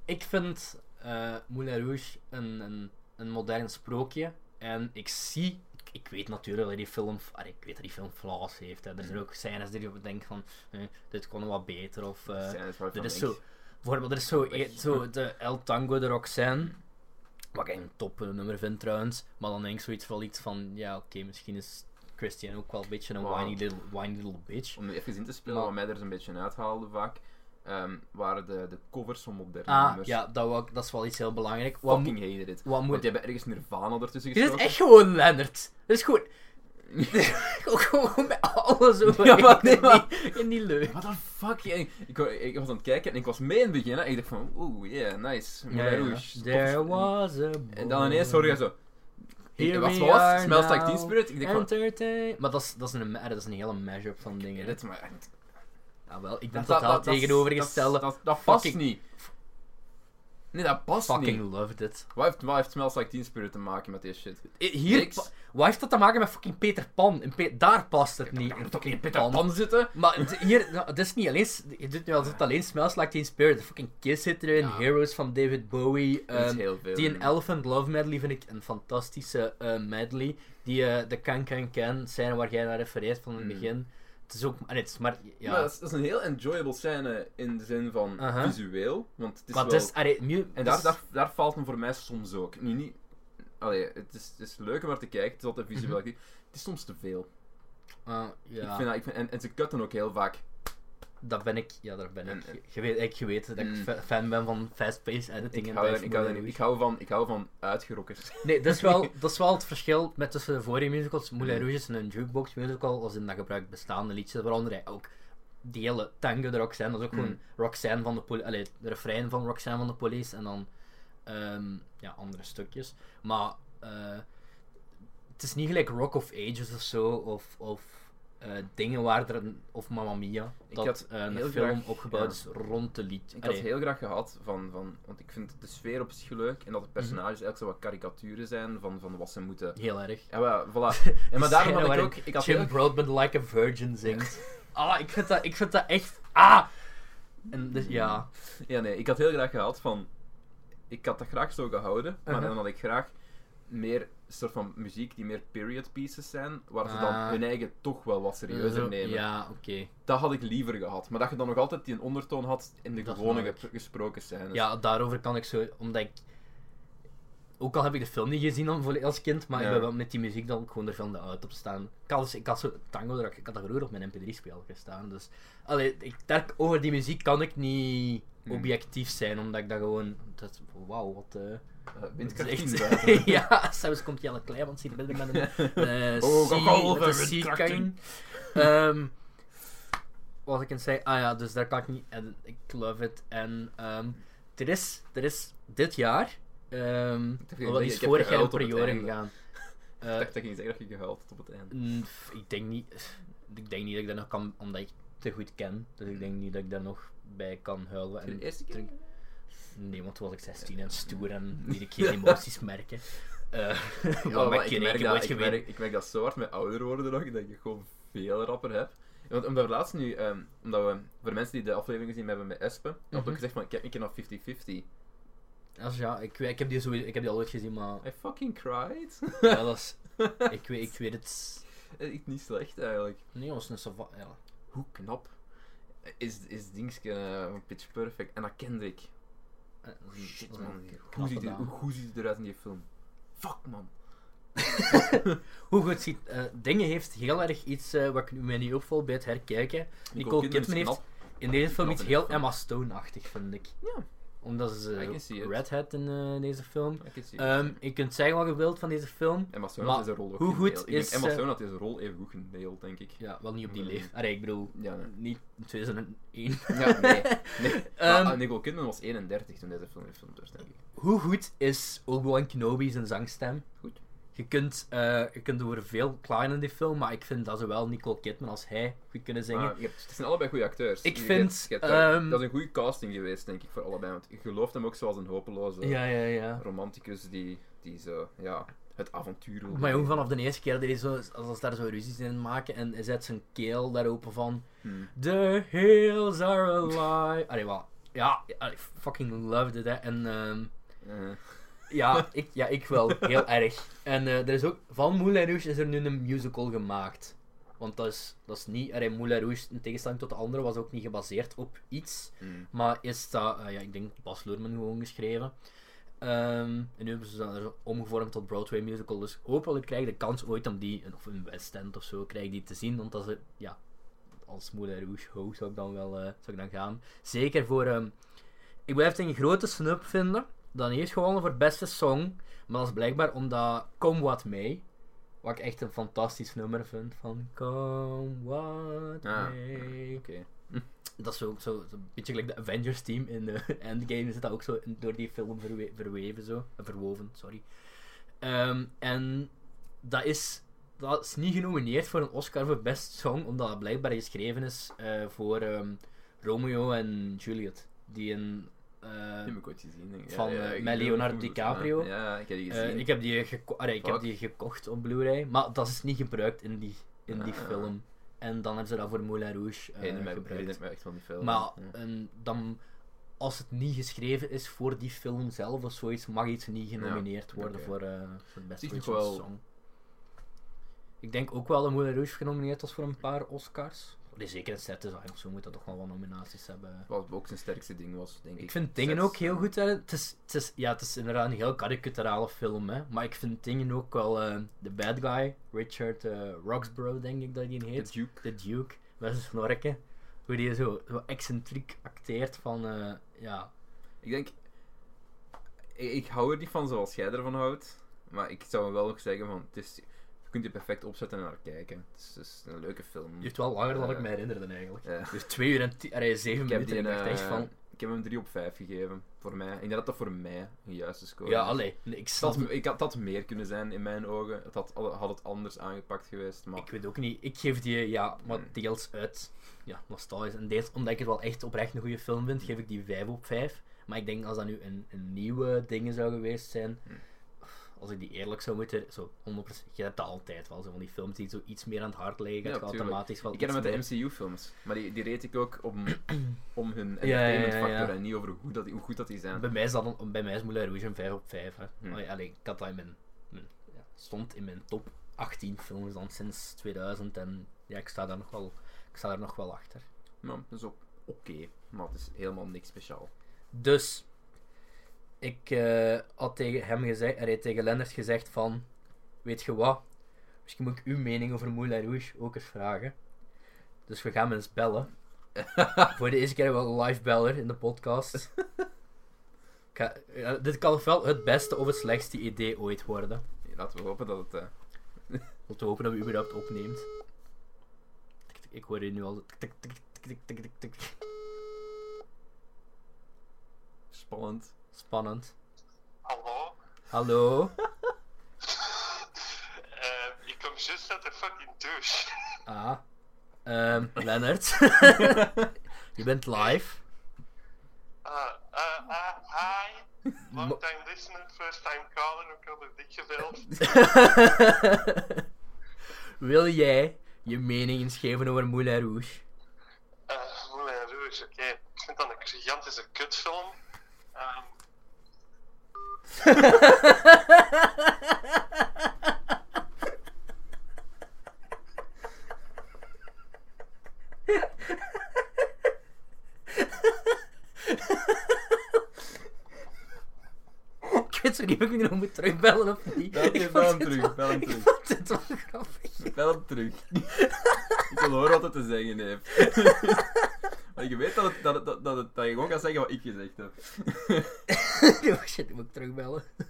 S1: ik vind eh, Moulin Rouge een, een, een modern sprookje. En ik zie. Ik, ik weet natuurlijk dat die film. ah, ik weet dat die film flaws heeft. Hè. Er zijn ook scènes die je denkt van. eh, dit kon wat beter. Of, eh,
S2: Scènes waarvan
S1: dit is
S2: ik-
S1: zo. Bijvoorbeeld, er is zo, e-
S2: Weg.
S1: zo de El Tango de Roxanne. Wat ik een top eh, nummer vind trouwens. Maar dan denk ik zoiets wel iets van, ja oké, misschien is Christian ook wel een beetje een
S2: Wow.
S1: whiny, little, whiny little bitch.
S2: Om even in te spelen,
S1: Maar-
S2: wat mij er dus een beetje uithaalde vaak, ehm, waren de, de covers van moderne
S1: Ah,
S2: nummers.
S1: ja, dat, wou ik- dat is wel iets heel belangrijk. Wat,
S2: Fucking
S1: moet
S2: hated it.
S1: wat
S2: Want
S1: moet...
S2: die hebben ergens Nirvana ertussen
S1: Dit is
S2: gestoken.
S1: echt gewoon Leonard. Dit is
S2: *laughs*
S1: gewoon... *laughs* gewoon bij alles over.
S2: Ja, maar nee,
S1: Ik vind
S2: maar-
S1: die- vind die leuk.
S2: What the fuck? ja. Ik, ik, ik was aan het kijken en ik was mee in het begin. hè, En ik dacht van, oeh, yeah, nice. Moulin Rouge.
S1: There
S2: Tof.
S1: was a
S2: En dan ineens hoor je zo...
S1: Here
S2: Ik, wat
S1: we
S2: was?
S1: are
S2: Smells like
S1: now.
S2: Teen Spirit? Ik dacht van,
S1: Entertain. Maar dat is, dat, is een, dat is een hele mashup van dingen.
S2: nee,
S1: hè.
S2: dit maar...
S1: Ah, wel, ik ben totaal tegenovergestelde.
S2: Dat, dat, dat past
S1: Fucking-
S2: niet. Nee, dat past
S1: Fucking
S2: niet.
S1: loved it.
S2: Wat heeft, wat heeft Smells Like Teen Spirit te maken met deze shit?
S1: I- Eh, Hier,
S2: Niks.
S1: pa- wat heeft dat te maken met fucking Peter Pan? In Pe- daar past het niet. in
S2: Kan toch
S1: fucking
S2: niet Peter Pan zitten?
S1: Maar het- hier, *laughs* nou, het is niet alleen... s- Je doet nu alsof het alleen Smells Like Teen Spirit. De fucking Kiss zit erin.
S2: Ja.
S1: Heroes van David Bowie.
S2: Dat is
S1: ehm,
S2: heel veel.
S1: die een Elephant Love medley vind ik een fantastische eh, medley. Die eh, de Can Can Can scène waar jij naar refereert van in het
S2: Mm.
S1: begin. Het is ook... En het is maar... Ja.
S2: Maar dat, is, dat is een heel enjoyable scène in de zin van
S1: Aha.
S2: visueel. Want het is
S1: maar
S2: wel...
S1: het is... Allee, mu-
S2: En
S1: het
S2: daar,
S1: is-
S2: daar, daar valt hem voor mij soms ook. Nu niet... Allee, het is, het is leuk om naar te kijken, het is altijd visueel.
S1: Mhm.
S2: actief. Het is soms te veel.
S1: Ah, ja.
S2: Ik vind dat, ik vind, en, en ze cutten ook heel vaak.
S1: Dat ben ik, ja, daar ben
S2: En- eh,
S1: ik. Je weet, ik je weet dat ik
S2: Mm.
S1: fa- fan ben van fast-paced editing
S2: Ik
S1: en
S2: hou,
S1: tijd
S2: daar-
S1: voor
S2: ik, hou, daar-
S1: moeilijke
S2: ik, hou van, ik hou van uitgerokkers.
S1: Nee, dat is,
S2: *laughs*
S1: wel, dat is wel het verschil met tussen de vorige musicals. Moulin Rouge is een jukebox musical, als in dat gebruikt bestaande liedjes, waaronder hij ook die hele tango de Roxanne, dat is ook gewoon
S2: Mm.
S1: Roxanne van de Police, allee, de refrein van Roxanne van de Police en dan ehm, ja, andere stukjes. Maar eh, het is niet gelijk Rock of Ages of zo, of, of eh, dingen waar er, een- of Mamma Mia,
S2: Ik
S1: dat
S2: had
S1: eh, een
S2: heel
S1: film
S2: graag-
S1: opgebouwd
S2: ja.
S1: is rond de lied.
S2: Ik had
S1: allee,
S2: heel graag gehad van, van... Want ik vind de sfeer op zich leuk. En dat de
S1: Mhm.
S2: personages eigenlijk zo wat karikaturen zijn van, van wat ze moeten...
S1: heel erg.
S2: Ja, maar,
S1: *laughs*
S2: voilà. En maar daarom had ik
S1: Waarin
S2: ook... Ik had
S1: Jim *laughs*
S2: heel-
S1: Broadbent Like a Virgin zingt. Ah, ik vind dat, ik vind dat echt... Ah! En dus, ja.
S2: *laughs* Ja, nee, ik had heel graag gehad van. Ik had dat graag zo gehouden, maar
S1: Uh-huh.
S2: dan had ik graag meer soort van muziek die meer period pieces zijn, waar ze dan
S1: Ah.
S2: hun eigen toch wel wat serieuzer
S1: Zo,
S2: nemen.
S1: Ja, oké.
S2: Dat had ik liever gehad, maar dat je dan nog altijd die ondertoon had in de
S1: Dat
S2: gewone
S1: snap ik.
S2: gep- gesproken scènes.
S1: Ja, daarover kan ik zo... Omdat ik... Ook al heb ik de film niet gezien dan volle- als kind, maar
S2: Ja.
S1: ik ben wel met die muziek dan ook gewoon er van de uit op staan. Ik had, dus- ik had zo tango, er- ik had dat vroeger op mijn mp3-speler gestaan, dus... Allee, ik, daar, over die muziek kan ik niet
S2: Hmm.
S1: objectief zijn, omdat ik dat gewoon... Dat, wauw, wat... eh,
S2: Eh,
S1: Dat
S2: Windkracht
S1: is
S2: 10
S1: *laughs* echt-
S2: buiten.
S1: ja, zelfs komt Jelle Klein, want ziet binnen
S2: *laughs*
S1: met een eh,
S2: Oh,
S1: sea-
S2: golven
S1: met een
S2: met
S1: sea
S2: kraken.
S1: king. Ehm, Wat ik kan zeggen, ah ja, dus daar kan ik niet. En ik love it. En ehm, er, is, er is dit jaar, ehm
S2: heb geen
S1: wel
S2: idee,
S1: is
S2: ik heb
S1: vorig jaar in
S2: gehuild op het
S1: periode
S2: einde. *laughs*
S1: gegaan.
S2: Ik
S1: Eh,
S2: dacht dat je niet zeggen dat je gehuild hebt op het einde.
S1: mm, f- ik denk niet, ik denk niet dat ik dat nog kan, omdat ik te goed ken. Dus ik denk niet dat ik daar nog bij kan huilen.
S2: De
S1: En
S2: eerste keer? *laughs*
S1: Nee, want toen was ik 16 en stoer en liet *laughs* ik geen emoties merken. Eh
S2: Ja,
S1: *laughs* wat
S2: maar
S1: mijn
S2: ik,
S1: kinderen
S2: merk
S1: hebben
S2: dat,
S1: ooit
S2: ik,
S1: geweten.
S2: merk, ik merk dat zo hard met ouder worden nog, dat je gewoon veel rapper hebt. Want omdat we laatst nu, ehm, omdat we, voor de mensen die de aflevering gezien hebben met Espen, mm had
S1: Mhm.
S2: ik gezegd van, ik heb een keer nog 50-50.
S1: Als ja, ik, weet- ik, heb die sowieso, ik heb die al ooit gezien, *laughs* maar
S2: I fucking cried. *laughs*
S1: ja, dat is, *laughs* ik, weet, ik weet het.
S2: Echt niet slecht eigenlijk.
S1: Nee, dat was een savat. Ja.
S2: Hoe knap is, is Dingske eh, van Pitch Perfect. En dat kende ik.
S1: Eh, dat is een- dat
S2: Oh, Shit
S1: is een
S2: man,
S1: knap
S2: hoe ziet, die,
S1: gedaan.
S2: hoe, hoe ziet het eruit in die film? Fuck man.
S1: Hoe goed ziet. eh, dingen heeft heel erg iets eh, wat ik nu mij niet opvalt bij het herkijken. Nicole Kidman
S2: is
S1: heeft
S2: knap.
S1: in deze film
S2: knap
S1: iets
S2: in de
S1: heel
S2: film.
S1: Emma Stone-achtig, vind ik.
S2: Ja.
S1: Omdat ze
S2: I can
S1: eh,
S2: see it.
S1: redhead in eh, deze film.
S2: I can see it.
S1: Ehm, je kunt zeggen wat je wilt van deze film.
S2: Emma Stone
S1: maar
S2: had deze rol ook
S1: hoe goed
S2: geneeld. Ik denk
S1: is,
S2: Emma
S1: eh,
S2: Stone had deze rol even goed geneeld, denk ik.
S1: Ja, wel niet op die
S2: Mm.
S1: leeftijd. Allee, ik bedoel, *laughs*
S2: Ja, nee.
S1: niet in 2001.
S2: Ja, nee.
S1: *laughs*
S2: nee.
S1: Ehm,
S2: Maar Nicole Kidman was 31 toen deze film gefilmd werd, denk ik.
S1: Hoe goed is Obi-Wan Kenobi zijn zangstem?
S2: Goed.
S1: Je kunt, eh, je kunt over veel klagen in die film, maar ik vind dat zowel Nicole Kidman als hij goed kunnen zingen.
S2: Maar je hebt- het zijn allebei goede acteurs.
S1: Ik
S2: Je
S1: vind,
S2: hebt- je hebt daar-
S1: ehm,
S2: dat is een goede casting geweest, denk ik, voor allebei. Want je gelooft hem ook zoals een hopeloze
S1: ja, ja, ja.
S2: romanticus die, die zo, ja, het avontuur wil.
S1: Maar ook vanaf de eerste keer dat hij zo, als, als daar zo ruzies in maken en hij zet zijn keel daar open van
S2: Hmm.
S1: The hills are alive. Allee, wat? Ja, I fucking loved it, hè. En ehm,
S2: Eh,
S1: ja, ik, ja, ik wel. Heel erg. En eh, er is ook, van Moulin Rouge is er nu een musical gemaakt. Want dat is, dat is niet, allee, Moulin Rouge, in tegenstelling tot de andere, was ook niet gebaseerd op iets.
S2: hmm.
S1: Maar is dat, eh, ja, ik denk Bas Loerman gewoon geschreven. Ehm, en nu hebben ze dat er omgevormd tot Broadway musical. Dus hopelijk krijg ik de kans ooit om die, of een West End of zo, krijg ik die te zien. Want dat is, het- ja, als Moulin Rouge ho zou ik dan wel eh, zou ik dan gaan. Zeker voor, ehm, ik blijf het een grote snub vinden. Dan heeft gewonnen voor beste song. Maar dat is blijkbaar omdat Kom Wat Mee, wat ik echt een fantastisch nummer vind, van Kom Wat
S2: Ah,
S1: Mee.
S2: Oké.
S1: Dat is zo, zo, zo een beetje gelijk de Avengers team in de *laughs* Endgame zit dat ook zo in- door die film verwe- verweven zo, Eh, verwoven, sorry. Ehm, en dat is, dat is niet genomineerd voor een Oscar voor Best Song, omdat dat blijkbaar geschreven is eh, voor ehm, Romeo en Juliet, die een eh,
S2: Die heb ik ooit gezien, denk ik.
S1: Van, eh,
S2: ik
S1: met
S2: weet
S1: Leonardo
S2: ook hoe het
S1: DiCaprio.
S2: was, maar- Ja, ik heb die gezien.
S1: eh, ik, heb die geko- allee, ik heb
S2: Fuck.
S1: die gekocht op Blu-ray, maar dat is niet gebruikt in die, in die
S2: Ah.
S1: film. En dan hebben ze dat voor Moulin Rouge eh,
S2: herinner me-
S1: gebruikt.
S2: herinner me echt van die film.
S1: Maar
S2: Ja.
S1: ehm, dan, als het niet geschreven is voor die film zelf of zoiets, mag iets niet genomineerd
S2: Ja,
S1: worden
S2: oké.
S1: voor, eh voor Best
S2: Zich nog
S1: Original
S2: wel-
S1: Song. Ik denk ook wel dat Moulin Rouge genomineerd was voor een paar Oscars. Allee, zeker een set design of zo moet dat toch wel wat nominaties hebben.
S2: Wat ook zijn sterkste ding was, denk ik.
S1: Ik vind dingen
S2: Sets eh,
S1: ook heel
S2: en-
S1: goed. Hè. Het, is, het, is, ja, het is inderdaad een heel karikaturale film, hè. maar ik vind dingen ook wel. eh, de bad guy, Richard eh, Roxborough, denk ik dat hij heet
S2: The Duke.
S1: de Duke met zijn snorken. Hoe die zo, zo excentriek acteert van, eh, ja,
S2: Ik denk... Ik, ik hou er niet van zoals jij ervan houdt. Maar ik zou wel nog zeggen van... Het is, je kunt die perfect opzetten en naar kijken. Het is, het is een leuke film.
S1: duurt wel langer dan ik
S2: Eh,
S1: me herinnerde eigenlijk.
S2: ja.
S1: Dus twee uur en tien, allee, zeven
S2: Ik heb,
S1: minuten.
S2: die,
S1: Ik dacht echt
S2: eh,
S1: van,
S2: ik heb hem 3 op 5 gegeven. Voor mij. Ik denk dat dat voor mij een juiste score
S1: ja,
S2: is.
S1: allee, nee, ik snap
S2: Dat,
S1: het.
S2: ik had dat meer kunnen zijn in mijn ogen. Het had, had het anders aangepakt geweest. Maar
S1: Ik weet ook niet, ik geef die, ja, maar
S2: Hmm.
S1: deels uit, ja, nostalgisch. En deels, omdat ik het wel echt oprecht een goede film
S2: Hmm.
S1: vind, geef ik die vijf op vijf. Maar ik denk als dat nu een, een nieuwe ding zou geweest zijn...
S2: Hmm.
S1: Als ik die eerlijk zou moeten, zo 100%. Je hebt dat altijd wel, zo van die films die zo iets meer aan het hart liggen.
S2: Ja,
S1: gaat
S2: tuurlijk.
S1: automatisch wel
S2: ik ken hem
S1: iets
S2: met de MCU-films. Maar die, die reed ik ook
S1: *clears throat*
S2: om, om hun
S1: ja, ja, ja.
S2: entertainment factor en niet over hoe, dat, hoe goed dat die zijn.
S1: Bij mij is, dat een, bij mij is Moulin Rouge een 5 op 5. Hè.
S2: Hmm.
S1: Allee, allee, ik had dat in mijn, mijn- ja, stond in mijn top 18 films dan sinds 2000. En ja, ik sta daar nog wel, ik sta daar nog wel achter.
S2: Maar dat is ook oké. Maar het is helemaal niks speciaal.
S1: Dus, ik eh, had tegen hem gezegd, er heeft tegen Lennart gezegd van, weet je wat, misschien moet ik uw mening over Moulin Rouge ook eens vragen. Dus we gaan hem eens bellen. Voor de eerste keer hebben we een live beller in de podcast. Ik ga- ja, dit kan ofwel het beste of het slechtste idee ooit worden.
S2: Ja, Laten we hopen dat het... eh,
S1: Laten we hopen dat we überhaupt opneemt. Tik, tik, Ik hoor hier nu al... tik, tik, tik, tik, tik, tik, tik, tik.
S2: spannend.
S1: Spannend.
S3: Hallo?
S1: Hallo?
S3: Eh, ik kom juist uit de fucking douche. *laughs*
S1: Ah. Ehm, Lennart. je bent live.
S3: Ah, ah, ah, hi.
S1: Mo-
S3: Long time listener, first time caller, ook al door dik gebeld.
S1: Wil jij je mening eens geven over Moulin Rouge?
S3: Eh, Moulin Rouge, oké. Ik vind dat een gigantische kutfilm. Ehm,
S1: ik weet zo niet of ik nu nog moet terugbellen of niet.
S2: Bel hem,
S1: Ik vond
S2: bel hem
S1: dit
S2: terug,
S1: wel-
S2: bel hem
S1: Ik
S2: terug.
S1: vond dit wel grappig. *laughs*
S2: Bel hem terug. *laughs* ik wil horen wat het te zeggen
S1: *laughs*
S2: heeft. maar je weet dat, het, dat, het- dat, dat, het- dat je gewoon kan zeggen wat ik gezegd
S1: *laughs*
S2: heb.
S1: Oh shit, die moet ik terugbellen. *laughs*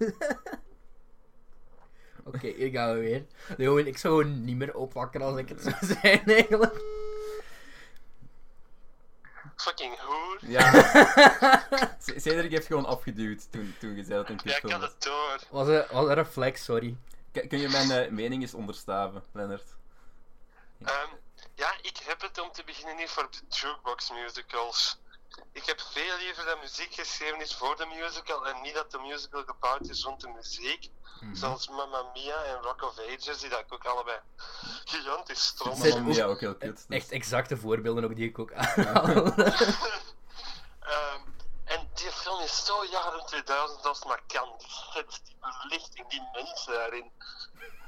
S1: Oké, hier gaan we weer. Nee, gewoon, ik zou gewoon niet meer oppakken als ik het zou *laughs* zijn, eigenlijk.
S3: fucking hoer.
S2: ja. C- Cedric heeft gewoon afgeduwd toen, toen je zei dat het een
S3: Ja, ik
S2: kutfilm
S3: had
S2: was.
S3: het door.
S1: Was een, was een reflex, sorry.
S2: K- Kun je mijn eh, mening eens onderstaven, Lennart?
S3: Ehm, ja, ik heb het om te beginnen niet voor de jukebox musicals. Ik heb veel liever dat muziek geschreven is voor de musical en niet dat de musical gebouwd is rond de muziek. Zoals Mamma Mia en Rock of Ages, die dat ik ook allebei gigantisch stom
S1: Zit-
S2: Mamma Mia ook heel kut. dus-
S1: Echt exacte voorbeelden ook die ik ook aanhaal.
S2: *laughs*
S3: Ehm, en die film is zo jaren 2000 als het maar kan. Die sets, die verlichting, die mensen daarin.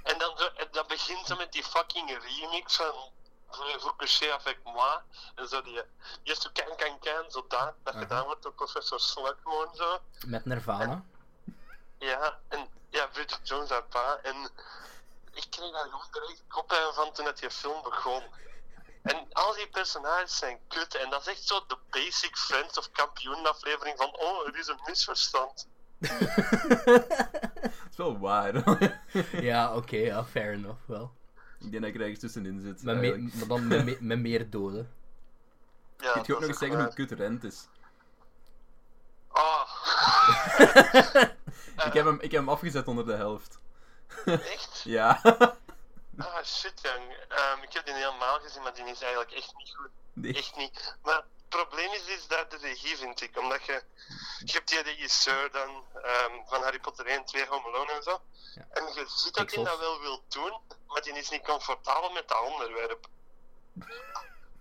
S3: En dan, zo- en dan begint ze met die fucking remix van Vous couchez avec moi. En zo die Yes, you can, can, can. Zo dat, dat
S1: Aha.
S3: gedaan wordt door professor Slug gewoon zo.
S1: Met
S2: *laughs*
S1: Nirvana.
S3: Ja, en ja, Bridget Jones haar pa. En ik kreeg daar gewoon direct koppijn van toen dat die film begon. En al die personages zijn kut. En dat is echt zo de basic Friends of Kampioen aflevering van oh, er is een misverstand.
S2: Het is wel waar.
S1: *laughs* Ja, oké, ja, fair enough, wel.
S2: ik denk dat ik er ergens tussenin zit.
S1: Met, me-
S2: eigenlijk.
S1: maar dan met, me- met meer doden.
S2: Kun
S3: Ja,
S2: je ook
S3: dat
S2: nog
S3: is
S2: eens zeggen hoe
S3: waar.
S2: kut rent is?
S3: Oh,
S2: Ik heb, hem, ik heb hem afgezet onder de helft.
S3: Oh,
S2: *laughs*
S3: echt?
S2: Ja.
S3: Ah, shit, jong. Ehm, ik heb die niet helemaal gezien, maar die is eigenlijk echt niet goed.
S2: Nee.
S3: Echt niet. Maar probleem is, is daar de regie, vind ik. Omdat je, je hebt die regisseur dan ehm, van Harry Potter 1, 2, Home Alone en zo.
S1: Ja.
S3: En je ziet dat hij
S1: Pixels.
S3: dat wel wil doen, maar die is niet comfortabel met dat
S2: *laughs*
S3: onderwerp.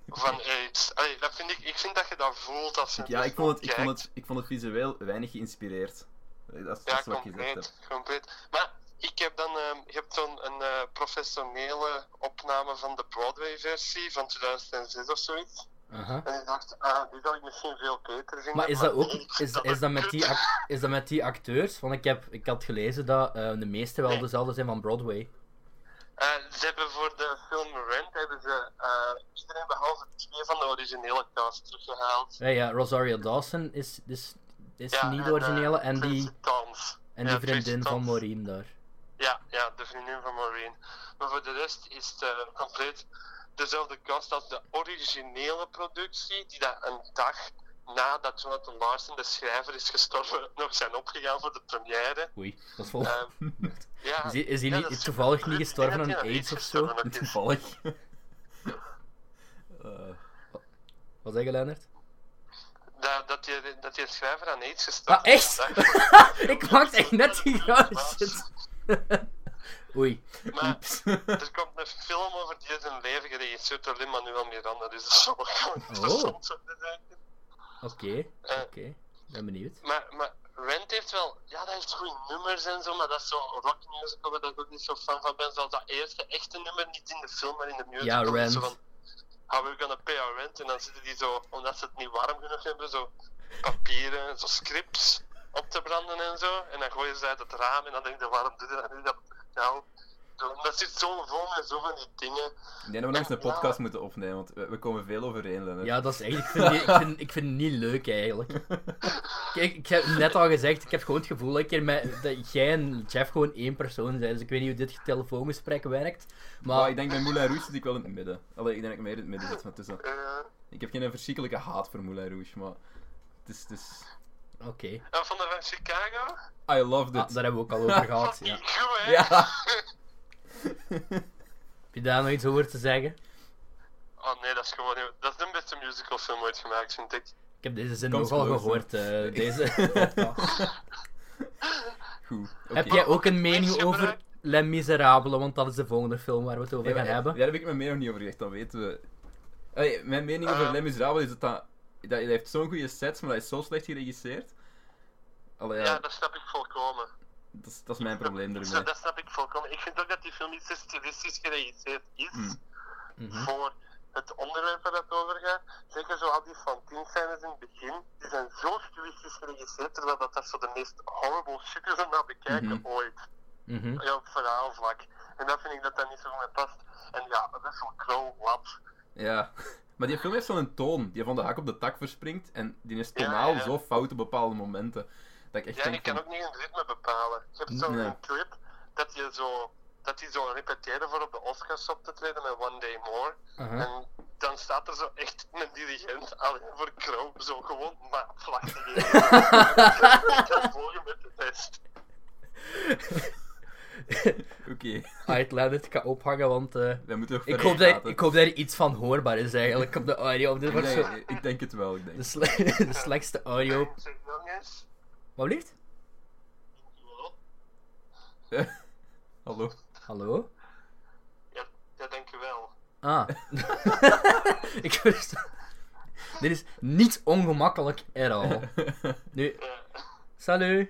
S3: Van AIDS. Allee, dat vind ik, ik vind dat je dat voelt als je
S2: Ja, ik vond, het, ik,
S3: kijkt.
S2: vond het, ik vond het visueel weinig geïnspireerd. Dat is, dat eh.
S3: Ja,
S2: is wat ik gezegd heb.
S3: compleet, compleet. Maar ik heb dan, ehm, je hebt zo'n een eh, professionele opname van de Broadway-versie van 2006 of zoiets.
S1: Aha.
S3: En ik dacht, ah, die zal ik misschien veel beter vinden.
S1: Maar is dat ook
S3: nee, Eh,
S1: is, is dat met die, ac- is dat met die acteurs? Want ik, heb, ik had gelezen dat eh, de meeste wel
S3: Nee.
S1: dezelfde zijn van Broadway.
S3: Eh, ze hebben voor de film Rent, hebben ze eh, iedereen behalve twee van de originele cast teruggehaald.
S1: Ja, ja, Rosaria Dawson is, is, is niet de
S3: en,
S1: originele
S3: eh,
S1: en die,
S3: Tracy Toms.
S1: en
S3: ja,
S1: die
S3: Tracy
S1: vriendin van
S3: Toms.
S1: Maureen daar.
S3: Ja, ja, de vriendin van Maureen. Maar voor de rest is het eh, compleet dezelfde cast als de originele productie, die dat een dag nadat Jonathan Larson, de schrijver, is gestorven, *laughs* nog zijn opgegaan voor de première.
S1: Oei, dat is vol.
S3: Ehm,
S1: *laughs*
S3: ja,
S1: Is die- is die
S3: *laughs* ja,
S1: niet-
S3: dat
S1: is toevallig
S3: supergoed.
S1: niet gestorven
S3: Ik denk
S1: aan
S3: dat die
S1: AIDS
S3: niet
S1: of zo?
S3: gestorven is. *laughs*
S2: Toevallig. *laughs* Eh,
S1: Wat zeg je, Leonard?
S3: Dat, dat, die, dat die schrijver aan AIDS gestorven
S1: Ah, echt?
S3: is. Dat is-
S1: *laughs* ik maakte echt net die grauwe shit. Oei.
S3: Maar
S2: oeps.
S3: er komt een film over die zijn leven geregisseerd door Lin-Manuel Miranda, dus dat zal wel *laughs* gewoon
S1: Oh.
S3: interessant zijn.
S1: Oké,
S3: Eh,
S1: oké. Ben benieuwd.
S3: Maar, maar Rent heeft wel, ja, dat heeft goede nummers en zo, maar dat is zo'n rock musical waar ik ook niet zo fan van ben. Zoals dat eerste echte nummer, niet in de film, maar in de musical.
S1: Ja, Rent.
S3: Zo van, how Ah, we gonna pay our rent? En dan zitten die zo, omdat ze het niet warm genoeg hebben, zo papieren, zo scripts op te branden en zo. En dan gooien ze uit het raam en dan denk je, waarom doe je dat nu? Dat, nou, zo- dat zit zo vol met zo van die dingen.
S2: Ik denk dat we nog eens een podcast moeten opnemen, want we, we komen veel overeen, Lennart. *laughs*
S1: Ja, dat is echt. Ik vind, die- ik vind, ik vind het niet leuk eigenlijk. Kijk, ik heb net al gezegd, ik heb gewoon het gevoel dat, ik hier met, dat jij en Jeff gewoon één persoon zijn. Dus ik weet niet hoe dit telefoongesprek werkt. Maar
S2: Maar ik denk bij Moulin Rouge zit ik wel in het midden. Allee, ik denk dat ik meer in het midden zit van tussen.
S3: Eh,
S2: Ik heb geen verschrikkelijke haat voor Moulin Rouge, maar... Het is... Het is...
S1: oké,
S3: en van de van Chicago?
S2: I loved
S1: Ah,
S2: it.
S1: daar hebben we ook al
S3: *laughs*
S1: over gehad. Ja.
S3: Fucking goed, hè?
S2: *laughs* Ja.
S1: Heb je daar nog iets over te zeggen?
S3: Oh nee, dat is gewoon, dat is de beste musicalfilm ooit gemaakt, vind ik.
S1: Ik heb deze zin
S2: Kan
S1: nogal
S2: geloven.
S1: gehoord. eh, deze podcast.
S2: *laughs* Goed. oké.
S1: Heb jij ook een
S3: Is
S1: mening
S3: gebruikt?
S1: over Les Miserables? Want dat is de volgende film waar we het over
S2: Nee, maar
S1: gaan hebben.
S2: Daar heb ik mijn mening niet over gezegd, dan weten we. Allee, mijn mening over
S3: Ah.
S2: Les Miserables is dat dat... dat hij heeft zo'n goede sets, maar hij is zo slecht geregisseerd. Allee, ja,
S3: Ja, dat snap ik volkomen.
S2: dat, is, dat is mijn probleem
S3: Dat-
S2: ermee.
S3: Dat snap ik volkomen. Ik vind ook dat die film niet zo stilistisch gerealiseerd is
S2: Hmm.
S1: Mhm.
S3: voor het onderwerp waar dat over gaat. Zeker zo al die Fantine-scènes in het begin, die zijn zo stilistisch gerealiseerd, terwijl dat, dat zo de meest horrible shit is om naar bekijken
S2: Mhm.
S3: ooit.
S1: Mhm.
S3: Ja, op verhaalvlak. En dat vind ik dat dat niet zo goed mee past. En ja, Russell Crowe, wat?
S2: Ja. *laughs* Maar die film heeft zo'n toon die van de hak op de tak verspringt en die is
S3: Ja,
S2: tonaal
S3: ja.
S2: zo fout op bepaalde momenten. Dat ik echt
S3: Ja, en
S2: denk
S3: ik kan
S2: van-
S3: ook niet een ritme bepalen. Je hebt zo'n
S2: Nee.
S3: clip dat je zo... Dat die zo repeteren voor op de Oscars op te treden met One Day More.
S1: Aha.
S3: En dan staat er zo echt een dirigent alleen voor Crow, zo gewoon maatvlak te geven. Dat volgen met de test.
S2: Oké, *laughs*
S1: Alright, Leonard, Ah, ik ga ophangen, want... eh,
S2: wij moeten nog
S1: Ik
S2: verder
S1: hoop, dat,
S2: praten.
S1: ik hoop dat er iets van hoorbaar is eigenlijk op de audio. want Dit
S2: Ik
S1: wordt
S2: denk,
S1: zo
S2: ik denk het wel, ik denk.
S1: de, sle- *laughs* de slechtste audio.
S3: Zeg nog eens.
S1: Wat blijft?
S2: *laughs* Hallo.
S1: Hallo?
S3: Ja, dat denk ik wel.
S1: Ah. *laughs* ik versta- Dit is niet ongemakkelijk at
S2: *laughs*
S1: all. Nu,
S3: Ja.
S1: salut.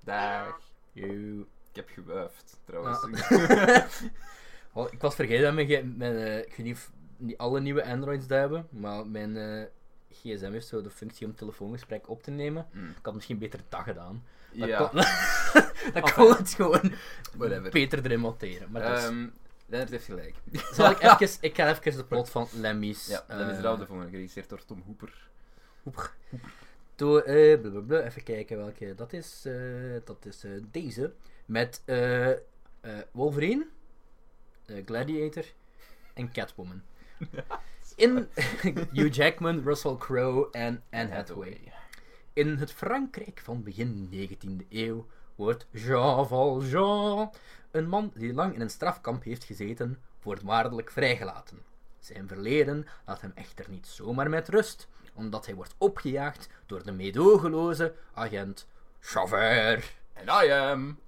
S2: Daar.
S1: Yo.
S2: Ik heb gewuifd, trouwens.
S1: Ah. Wel, ik was vergeten dat mijn, ge- mijn eh, ik weet niet of niet alle nieuwe Androids dat hebben, maar mijn eh, gsm heeft zo de functie om telefoongesprek op te nemen.
S2: Mm.
S1: Ik had misschien beter dat gedaan. Dat
S2: *laughs* ja.
S1: kon, *laughs* dat
S2: Enfin.
S1: kon het gewoon
S2: Whatever.
S1: beter erin monteren. Maar dus.
S2: Ehm Lennart heeft
S1: *laughs*
S2: gelijk.
S1: Zal ik even, ik ga even de plot van eh, Lemmy's.
S2: Ja, Les Miserables de volgende, geregisseerd door Tom Hooper.
S1: Door, eh, blablabla, even kijken welke dat is. eh, dat is eh, deze. Met eh, eh, Wolverine, eh, Gladiator en *laughs* Catwoman. In *laughs* Hugh Jackman, Russell Crowe en Anne Hathaway. In het Frankrijk van begin 19e eeuw wordt Jean Valjean, een man die lang in een strafkamp heeft gezeten, voorwaardelijk vrijgelaten. Zijn verleden laat hem echter niet zomaar met rust, omdat hij wordt opgejaagd door de meedogenloze agent Javert.
S2: En I am.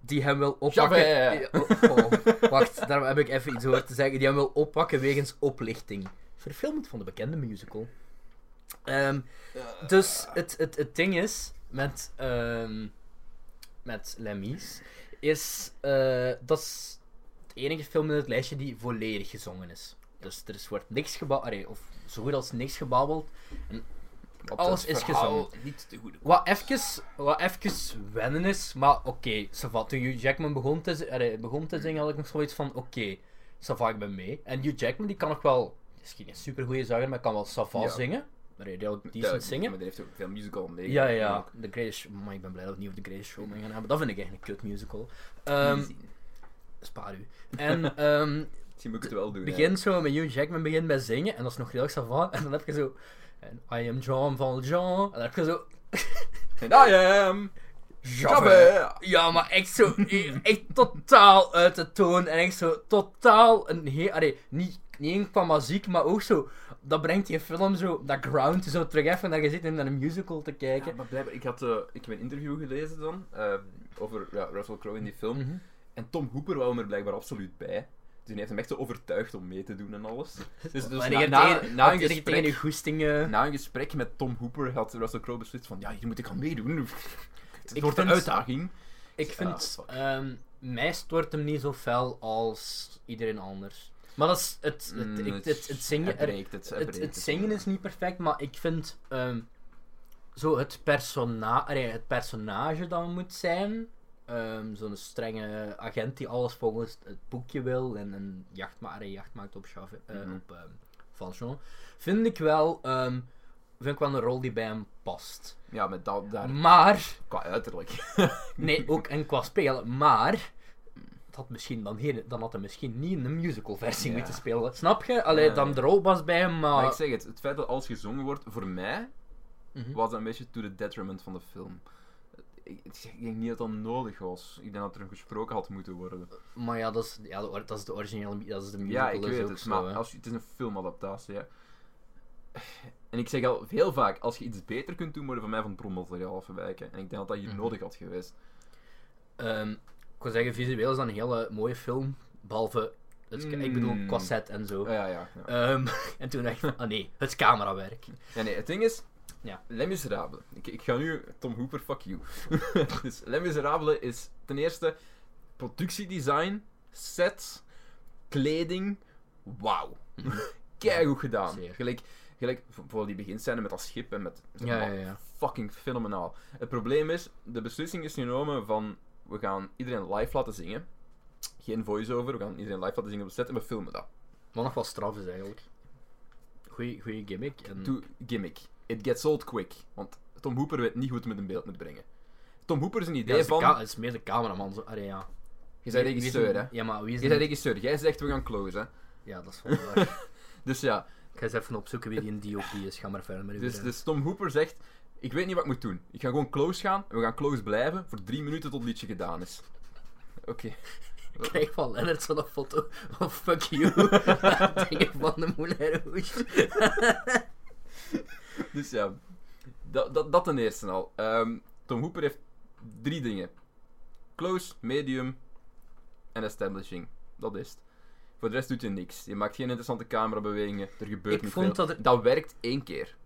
S1: Die hem wil oppakken.
S2: Javert.
S1: Eh, oh, oh, Wacht, daar heb ik even iets over te zeggen. Die hem wil oppakken wegens oplichting. Verfilmd van de bekende musical. Ehm, dus het, het, het ding is met, ehm met Lemmy's, is eh, dat is het enige film in het lijstje die volledig gezongen is. Dus er is, wordt niks gebabbeld, of zo goed als niks gebabbeld.
S2: Wat
S1: alles
S2: het
S1: is
S2: verhaal
S1: gezongen.
S2: Niet te goede.
S1: Wat even, wat even wennen is, maar oké, ça va. Toen Hugh Jackman begon te, zi- allee, begon te zingen, had ik nog zoiets van, oké, ça va, ik ben mee. En Hugh Jackman, die kan nog wel, misschien een supergoeie zanger, maar kan wel ça va
S2: Ja.
S1: zingen. Maar redelijk decent
S2: Duidelijk,
S1: zingen.
S2: Maar die heeft ook veel musical mee.
S1: Ja, ja, ja. The Greatest Maar ik ben blij dat we het niet over The Greatest Showman gaan hebben. Dat vind ik echt een kut musical. Ehm, spaar u.
S2: *laughs*
S1: En ehm,
S2: Misschien moet ik het wel doen. hè.
S1: begint zo met Hugh Jackman begint met zingen. En dat is nog heel savant. En dan heb je zo... En I am John van Jean. En dan heb je zo...
S2: En I am.
S1: Jabbe. Ja, maar echt zo... eh, Echt totaal uit de toon. En echt zo totaal... Een heel, allee, niet, niet één qua muziek, maar ook zo... Dat brengt die film zo... Dat ground zo terug even naar je zit en naar een musical te kijken.
S2: Ja, maar blijkbaar, ik, had, eh, ik heb een interview gelezen dan eh, over ja, Russell Crowe in die film.
S1: Mhm.
S2: En Tom Hooper wou hem er blijkbaar absoluut bij. Dus hij heeft hem echt zo overtuigd om mee te doen en
S1: *laughs*
S2: alles. Dus, dus
S1: Maar
S2: na,
S1: je
S2: na,
S1: tegen-
S2: na
S1: tegen- tegen
S2: een
S1: je
S2: gesprek,
S1: goesting... eh,
S2: na een gesprek met Tom Hooper had Russell Crowe beslist van ja, hier moet ik aan meedoen. *laughs* Het
S1: Ik
S2: wordt een
S1: vind-
S2: uitdaging.
S1: Ik vind,
S2: fuck.
S1: ehm, mij stoort hem niet zo fel als iedereen anders. Maar dat is het, het,
S2: Mm,
S1: ik- het, het, zingen,
S2: hij
S1: er-
S2: breekt het, hij
S1: het,
S2: breekt
S1: het zingen is niet perfect, maar ik vind ehm, zo het, persona allee, het personage dat moet zijn. ehm, Zo'n strenge agent die alles volgens het boekje wil en een jacht, ma- allee, jacht maakt op, Chave, eh,
S2: Mhm.
S1: op ehm, Valjean. Vind ik, wel, ehm, vind ik wel een rol die bij hem past.
S2: Ja, met dat daar
S1: Maar
S2: qua uiterlijk.
S1: Nee, ook en qua spelen, maar het had misschien dan, hier, dan had hij misschien niet in de musical versie
S2: Ja.
S1: moeten spelen. Snap je? Allee,
S2: Ja,
S1: dan
S2: ja.
S1: de rol was bij hem, maar...
S2: Maar ik zeg het, het feit dat alles gezongen wordt, voor mij
S1: Ah. Mhm.
S2: was dat een beetje to the detriment van de film. Ik, ik zeg- ik denk niet dat dat nodig was. Ik denk dat er een gesproken had moeten worden.
S1: Maar ja, dat is, ja, de or- dat is de originele, mu- dat is de musical,
S2: Ja, ik
S1: is
S2: weet
S1: ook
S2: het,
S1: zo,
S2: maar
S1: hè.
S2: als, je- het is een filmadaptatie. Hè. En ik zeg al heel vaak, als je iets beter kunt doen, moet je van mij van het bronmateriaal afwijken. En ik denk dat dat hier
S1: Mhm.
S2: nodig had geweest.
S1: Ehm, ik wil zeggen, visueel is dat een hele mooie film, behalve, het, ik bedoel,
S2: Mm.
S1: qua set en zo.
S2: Ah, ja, ja. ja.
S1: Ehm, *laughs* en toen dacht ik van, ah nee, het camerawerk.
S2: Ja, nee, het ding is...
S1: Ja.
S2: Les Miserables. Ik, ik ga nu... Tom Hooper, fuck you. *laughs* dus Les Miserables is ten eerste productiedesign, sets, kleding. Wauw. Keigoed gedaan.
S1: Mhm. Zeer.
S2: Gelijk, gelijk voor die beginscène met dat schip en met...
S1: Ja, ja, ja.
S2: Fucking fenomenaal. Het probleem is, de beslissing is genomen van... We gaan iedereen live laten zingen. Geen voice-over, we gaan iedereen live laten zingen op de set en we filmen dat.
S1: Wat nog wel straf is eigenlijk. Goeie, goeie gimmick. En...
S2: to gimmick. It gets old quick. Want Tom Hooper weet niet hoe het met een beeld moet brengen. Tom Hooper is een
S1: Ja,
S2: idee
S1: het is de ka-
S2: van...
S1: het is meer de cameraman. Zo. Allee, ja.
S2: Je bent
S1: Wie- wie is
S2: regisseur,
S1: een-
S2: hè?
S1: Ja, maar wie is
S2: Je
S1: een-
S2: bent regisseur. Jij zegt, we gaan close, hè?
S1: Ja, dat is wel waar.
S2: Dus ja,
S1: Ik ga eens even opzoeken wie die een DOP is. Ga maar verder met uw
S2: dus,
S1: verhaal.
S2: dus Tom Hooper zegt... Ik weet niet wat ik moet doen. Ik ga gewoon close gaan, en we gaan close blijven, voor drie minuten tot het liedje gedaan is. Oké.
S1: Ik krijg van Lennart zo'n foto van fuck
S2: *laughs*
S1: you. *laughs* Dingen van de Moulin Rouge.
S2: *laughs* Dus ja, dat, dat, dat ten eerste al. Ehm, Tom Hooper heeft drie dingen: close, medium en establishing. Dat is het. Voor de rest doet hij niks. Je maakt geen interessante camerabewegingen. Er gebeurt
S1: Ik
S2: niet
S1: vond
S2: veel.
S1: dat er-
S2: dat werkt één keer.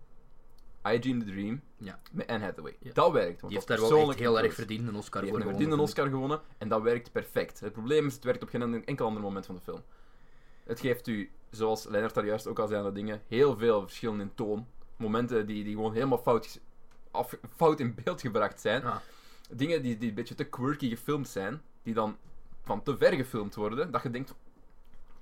S2: I Dream the Dream
S1: Ja.
S2: met Anne Hathaway.
S1: Ja.
S2: Dat werkt. Want
S1: Die heeft
S2: dat
S1: daar wel echt
S2: persoonlijk
S1: heel erg
S2: close.
S1: verdiend een Oscar
S2: Die
S1: voor
S2: heeft een
S1: gewonnen.
S2: verdiende Oscar gewonnen en dat werkt perfect. Het probleem is, het werkt op geen enkel ander moment van de film. Het geeft u, zoals Leonard daar juist ook al zei aan de dingen, heel veel verschillen in toon. Momenten die, die gewoon helemaal fout, ges- af, fout in beeld gebracht zijn.
S1: Ah.
S2: Dingen die, die een beetje te quirky gefilmd zijn, die dan van te ver gefilmd worden, dat je denkt...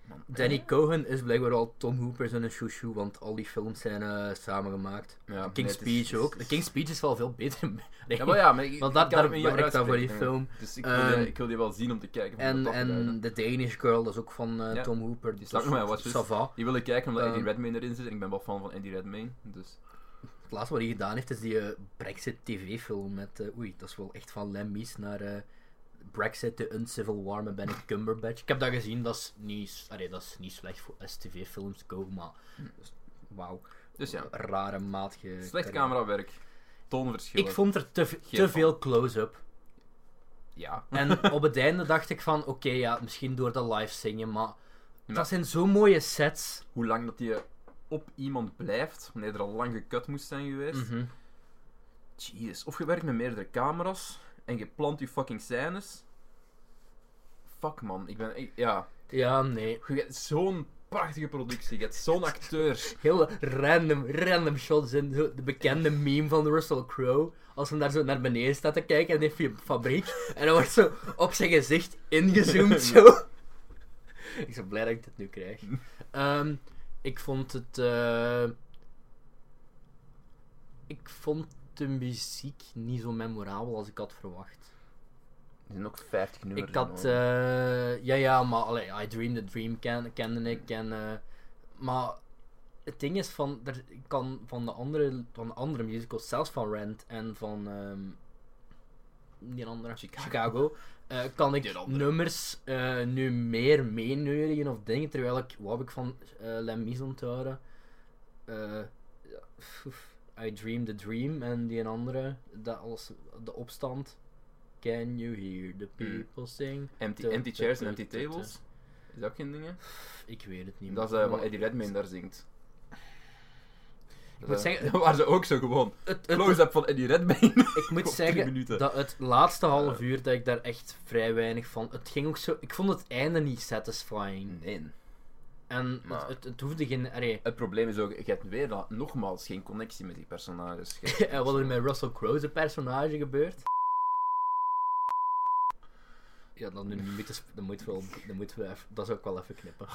S2: Man,
S1: Danny Cohen is blijkbaar al Tom Hooper zijn chouchou, want al die films zijn eh, samengemaakt.
S2: Ja, nee,
S1: King's
S2: het is-
S1: Speech
S2: het
S1: *laughs*
S2: is-
S1: ook. De King's Speech is wel veel beter. *laughs* Nee.
S2: Ja, maar ja, maar ik,
S1: Want
S2: ik
S1: daar-
S2: kan
S1: daar
S2: het niet over
S1: werkt dat voor die
S2: uitspreken.
S1: film.
S2: Dus ik wil, die-
S1: Ehm,
S2: ik wil die wel zien om te kijken. om
S1: En,
S2: dat te duiden.
S1: en The Danish Girl, dat is ook van eh,
S2: Ja.
S1: Tom Hooper.
S2: Die staat nog maar wat.
S1: ça va.
S2: Die wil ik kijken omdat
S1: Ehm.
S2: Eddie Redmayne erin zit. En ik ben wel fan van Eddie Redmayne. Dus
S1: Het laatste wat hij gedaan heeft is die eh, Brexit TV-film met. eh, oei, dat is wel echt van Lemmy's naar eh, Brexit, The Uncivil War met Benedict Cumberbatch. Ik heb dat gezien, dat is niet, allee, dat is niet slecht voor STV-films go, maar
S2: Hm.
S1: dus, wauw.
S2: Dus ja.
S1: Rare maat. ge-
S2: Slecht camerawerk. Toonverschillen.
S1: Ik vond er te, v-
S2: Geen
S1: te
S2: van.
S1: veel
S2: *laughs*
S1: close-up.
S2: Ja.
S1: En op het einde dacht ik van, oké, ja, misschien door dat live zingen, maar
S2: Ja.
S1: dat zijn zo'n mooie sets.
S2: Hoe lang dat je op iemand blijft, wanneer er al lang gekut moest zijn geweest.
S1: Mhm.
S2: Jezus. Of je werkt met meerdere camera's en je plant je fucking scènes. Fuck man, ik ben. ik- ja.
S1: Ja, nee.
S2: Je hebt zo'n prachtige productie, je hebt zo'n acteur.
S1: Heel random, random shots in zo de bekende meme van Russell Crowe. Als hij daar zo naar beneden staat te kijken en heeft hij een fabriek. En dan wordt zo op zijn gezicht ingezoomd zo. Ik ben blij dat ik dit nu krijg. Ehm, ik vond het... eh, Ik vond de muziek niet zo memorabel als ik had verwacht.
S2: Er zijn ook 50 nummers.
S1: Ik had, eh, ja, ja, maar allee, I Dream the Dream ken, kende ik. En, eh, maar het ding is van, er, ik kan van de andere, van de andere musicals, zelfs van Rent en van ehm, die andere
S2: Chicago.
S1: Chicago, eh, kan ik
S2: Die andere.
S1: nummers eh, nu meer meeneurigen of dingen, terwijl ik, wat heb ik van eh Les Mis onthouden? Eh, ja, pff, I Dream the Dream en die andere, dat als de opstand. Can you hear the people sing?
S2: Hmm. empty,
S1: te-
S2: empty
S1: te-
S2: chairs
S1: te-
S2: en empty
S1: te- te-
S2: tables. Is dat ook geen dingen?
S1: Pff, Ik weet het niet.
S2: Dat is
S1: man.
S2: eh, wat Eddie Redmayne daar zingt.
S1: Ik moet
S2: Eh, *laughs*
S1: zeggen-
S2: daar waren ze ook zo gewoon.
S1: Het- het-
S2: Close-up van Eddie Redmayne.
S1: *laughs*
S2: *laughs*
S1: ik moet
S2: op drie
S1: zeggen
S2: minuten. Eh.
S1: dat het laatste half uur dat ik daar echt vrij weinig van. Het ging ook zo. Ik vond het einde niet satisfying.
S2: Nee.
S1: En
S2: Hmm. Maar-
S1: het, het, het hoefde geen. Allee, *laughs*
S2: Het probleem is ook, je hebt weer dat, nogmaals geen connectie met die personages.
S1: *laughs*
S2: Je hebt-
S1: en eh, wat er met Russell Crowe zijn personage gebeurt. Ja, dan nu niet te sp- dan moeten we, wel- dan moeten we even, dat zou ik wel even knippen.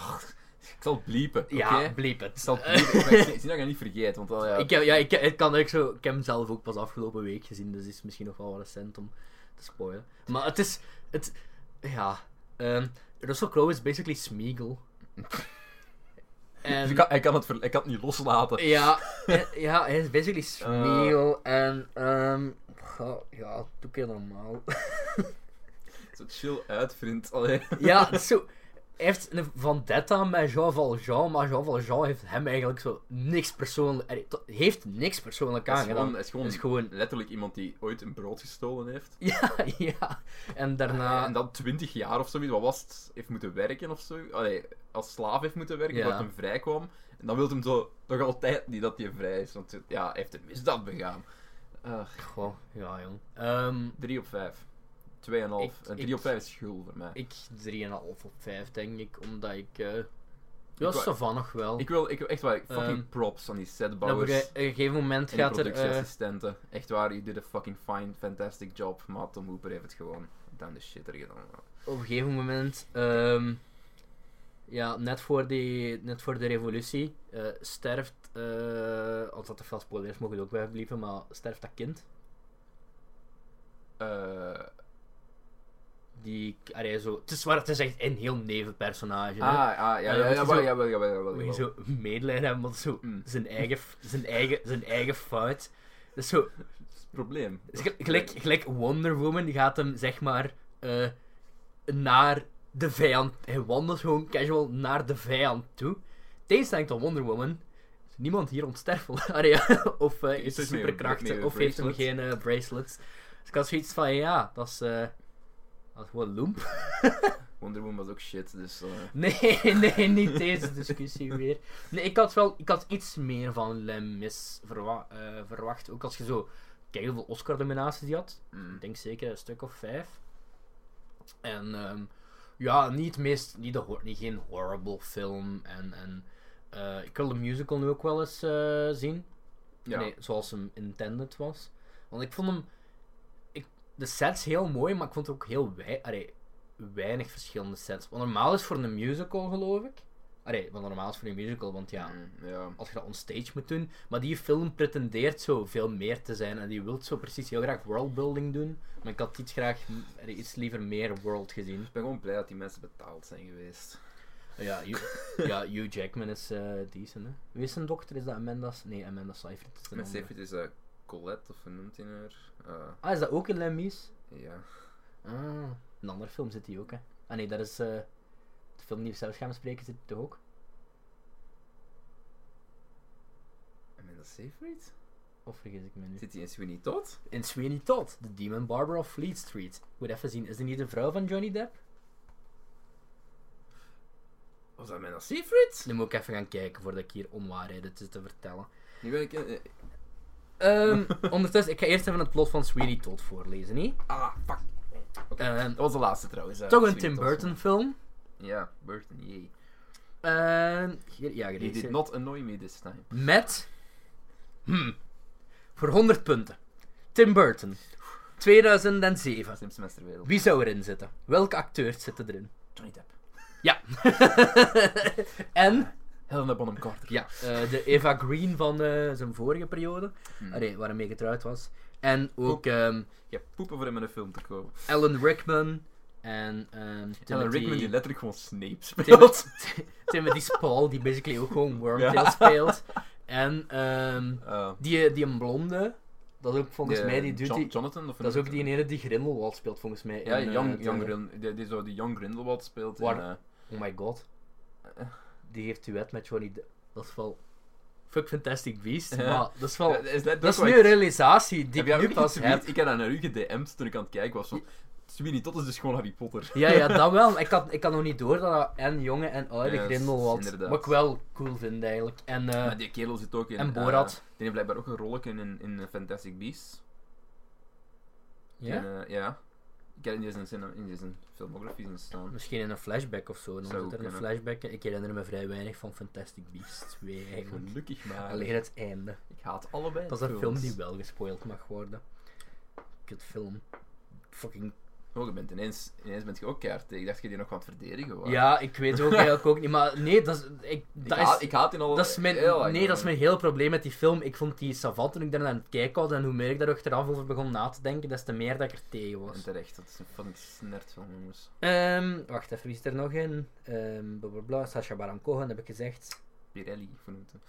S2: Ik zal het bliepen, oké?
S1: Ja,
S2: Ik
S1: bleep het. Eh,
S2: zal het bliepen. maar ik zie- ik zie dat je niet vergeet, want al ja...
S1: *laughs* Ik heb, ja, ik, ik kan ook zo, ik heb hem zelf ook pas afgelopen week gezien, dus is misschien nog wel wat recent om te spoilen. Maar het is, het, ja, ehm, Russell Crowe is basically Smeagol.
S2: Dus
S1: en,
S2: ik kan, hij, kan het ver- hij kan het niet loslaten.
S1: ja, eh, ja, hij is basically Smeagol en, ehm, goh, ja, doe ik heel normaal.
S2: Zo chill uit, vriend. Allee. *laughs*
S1: ja, het is zo, hij heeft een vendetta met Jean Valjean, maar Jean Valjean heeft hem eigenlijk zo niks persoonlijk, eh, to- heeft niks persoonlijk
S2: Hij is
S1: aangedaan.
S2: gewoon, is gewoon
S1: is gewoon *laughs*
S2: letterlijk iemand die ooit een brood gestolen heeft.
S1: Ja, ja. En daarna...
S2: En dan 20 jaar of zoiets, wat was het, heeft moeten werken of zo. Allee, als slaaf heeft moeten werken,
S1: Ja.
S2: dat hem vrij kwam. En dan wil hem zo nog altijd niet dat hij vrij is, want ja, hij heeft een misdaad begaan. Eh,
S1: Goh, ja jong. Ehm
S2: 3 op 5. 2,5. En
S1: Ik-
S2: 3
S1: ik-
S2: op 5 is schul voor mij. Ik,
S1: ik 3,5 op 5 denk ik, omdat ik... eh ja,
S2: wou-
S1: Savan nog wel.
S2: wil ik, wil echt waar, fucking
S1: Ehm,
S2: props aan die
S1: Dan op
S2: setbouwers.
S1: een ge- een gegeven moment
S2: en die
S1: gaat er... eh,
S2: productieassistenten. Echt waar, you did a fucking fine, fantastic job. Maar Tom Hooper heeft het gewoon down the shitter gedaan.
S1: op een gegeven moment... ehm, ja, net voor, die, net voor de revolutie eh, sterft... eh als dat te veel spoilers mogen het ook wel blijven, maar sterft dat kind.
S2: Eh,
S1: Die, allee, zo, het is waar, het is echt een heel nevenpersonage. hè.
S2: ah, ah, ja, ja,
S1: En dan
S2: ja,
S1: moet je
S2: jawel,
S1: zo-
S2: jawel, jawel, jawel,
S1: Moet je
S2: jawel.
S1: zo medelijden hebben, want zo
S2: Mm.
S1: zijn, eigen, f- zijn, eigen, zijn eigen fout. Dat is zo,
S2: Dat is het probleem.
S1: is Dus gel- gelijk, gelijk Wonder Woman die gaat hem zeg maar eh, naar de vijand. Hij wandelt gewoon casual naar de vijand toe. Tegenstelling tot Wonder Woman. is Niemand hier onsterfelijk. *laughs* Allee, ja, of eh,
S2: Is
S1: heeft
S2: het met een- met
S1: superkrachten.
S2: een
S1: Of heeft hem
S2: bracelet?
S1: geen eh, bracelets. Dus ik had zoiets van ja, dat is. eh, dat is gewoon loemp. *laughs*
S2: Wonder Woman was ook shit, dus... eh,
S1: Nee, nee, niet deze discussie weer. Nee, ik had wel ik had iets meer van Lemis verwa eh, verwacht. Ook als je zo kijkt hoeveel Oscar-nominaties die had.
S2: mm.
S1: Ik denk zeker een stuk of vijf. En ehm, ja, niet meest, niet, de, hor- niet geen horrible film. En, en eh, ik wil de musical nu ook wel eens eh, zien.
S2: ja.
S1: Nee, zoals hem intended was. Want ik vond hem. Ik, de sets heel mooi, maar ik vond er ook heel wei, allee, weinig verschillende sets. Wat normaal is voor een musical, geloof ik. Allee, wat normaal is voor een musical, want ja,
S2: Mm, ja.
S1: als je dat onstage moet doen. Maar die film pretendeert zo veel meer te zijn. En die wil zo precies heel graag worldbuilding doen. Maar ik had iets graag, allee, iets liever meer world gezien. Oh
S2: Ik ben gewoon blij dat die mensen betaald zijn geweest.
S1: Ja, Hugh,
S2: *laughs*
S1: ja, Hugh Jackman is eh decent, hè. Wie is zijn dochter? Is dat Amanda... S- Nee, Amanda Seyfried is de
S2: Met
S1: andere.
S2: Safety is eh, Colette, of hoe noemt hij haar? nou Eh,
S1: Ah, is dat ook in Lemmies?
S2: ja.
S1: Ah, een andere film zit die ook, hè. Ah nee, dat is... eh, de film die we zelf gaan bespreken zit die toch ook?
S2: Amanda Seyfried?
S1: Of vergis ik me nu?
S2: Zit hij in Sweeney Todd?
S1: In Sweeney Todd, The Demon Barber of Fleet Street. Moet even zien, is die niet de vrouw van Johnny Depp?
S2: Was dat Amanda Seyfried?
S1: Nu moet ik even gaan kijken voordat ik hier onwaarheden zit te vertellen.
S2: Nu ben ik... eh, eh, *laughs*
S1: Ehm, ondertussen, ik ga eerst even het plot van Sweeney Todd voorlezen, niet?
S2: ah, fuck.
S1: Ehm,
S2: Dat was de laatste trouwens. eh,
S1: toch een
S2: Sweeney
S1: Tim
S2: Todd.
S1: Burton film.
S2: Ja, Burton, jee.
S1: Ehm, ge- ja,
S2: He did
S1: geregisseerd.
S2: not annoy me this time.
S1: Met. Hm. Voor 100 punten. Tim Burton. 2007.
S2: Slimste meesterwereld.
S1: Wie zou erin zitten? Welke acteurs zitten erin? *laughs*
S2: Johnny Depp.
S1: Ja. en.
S2: Helena Bonham Carter.
S1: Ja, eh, de Eva Green van eh, zijn vorige periode. Allee, waarmee getrouwd was. En ook ehm,
S2: Je hebt poepen voor hem in een film te komen.
S1: Alan Rickman. En ehm
S2: Alan
S1: Timothy-
S2: Rickman die letterlijk gewoon Snape
S1: Tim-
S2: speelt.
S1: *laughs*
S2: *laughs*
S1: Timothy Spall, die basically ook gewoon Wormtail
S2: Ja.
S1: speelt. En ehm,
S2: Eh,
S1: die, die een blonde, dat is ook volgens
S2: de-
S1: mij die dude
S2: John-
S1: die-
S2: Jonathan? Of
S1: Dat is ook die ene die Grindelwald speelt volgens mij.
S2: Ja,
S1: in, eh,
S2: Young,
S1: het,
S2: Young
S1: eh,
S2: Grind- die, die, zo die Young Grindelwald speelt.
S1: Waar-
S2: In, eh,
S1: Oh my god. Die heeft duet met Johnny Depp. Dat is wel... Fuck Fantastic Beast.
S2: Ja.
S1: Maar dat is *laughs* wel...
S2: Ja, *laughs* is dat,
S1: Dat is
S2: ook
S1: nu
S2: wat
S1: een
S2: ik-
S1: realisatie die
S2: Heb
S1: ik
S2: jij
S1: nu
S2: ook
S1: pas
S2: iets
S1: heb.
S2: gebied? Ik heb dat naar u gedm'd toen ik aan het kijken was. Van, Sweeney Todd is dus gewoon Harry Potter.
S1: Ja,
S2: *laughs*
S1: ja, dat wel. maar Ik had, ik had nog niet door dat dat en jonge en oude
S2: Ja, dat is
S1: Grindelwald...
S2: inderdaad.
S1: Wat ik wel cool vind eigenlijk. En eh,
S2: Maar die kerel zit ook in...
S1: en
S2: eh,
S1: Borat.
S2: die heeft blijkbaar ook een rolletje in, in eh, Fantastic Beasts.
S1: ja?
S2: En, eh, ja. Ik heb in zijn, cine- in zijn filmografie zien staan.
S1: Misschien in een flashback of zo. Dan
S2: Zou
S1: zit er een
S2: kunnen.
S1: flashback in. Ik herinner me vrij weinig van Fantastic Beasts 2 eigenlijk.
S2: Gelukkig maar.
S1: Alleen het einde.
S2: Ik haat allebei
S1: Dat is een film
S2: films.
S1: die wel gespoild mag worden. Kut film. Fucking.
S2: Oh, je bent ineens, ineens bent je ook keihard tegen. Ik dacht dat je die nog aan het verdedigen was.
S1: Ja, ik weet ook eigenlijk ook niet. Maar nee, dat is. Ik,
S2: ik,
S1: dat
S2: haat,
S1: is,
S2: ik haat die al
S1: dat is mijn,
S2: heel lang.
S1: nee, dat is mijn heel probleem met die film. Ik vond die savant toen ik daarna aan het kijken was. En hoe meer ik daar achteraf over begon na te denken, des te meer dat ik er tegen
S2: En
S1: was.
S2: terecht, dat is een fucking snert film, jongens.
S1: Ehm, wacht even, wie is er nog in? Ehm bla bla bla. Sacha Baron Cohen heb ik gezegd.
S2: Pirelli vernoemd. hem.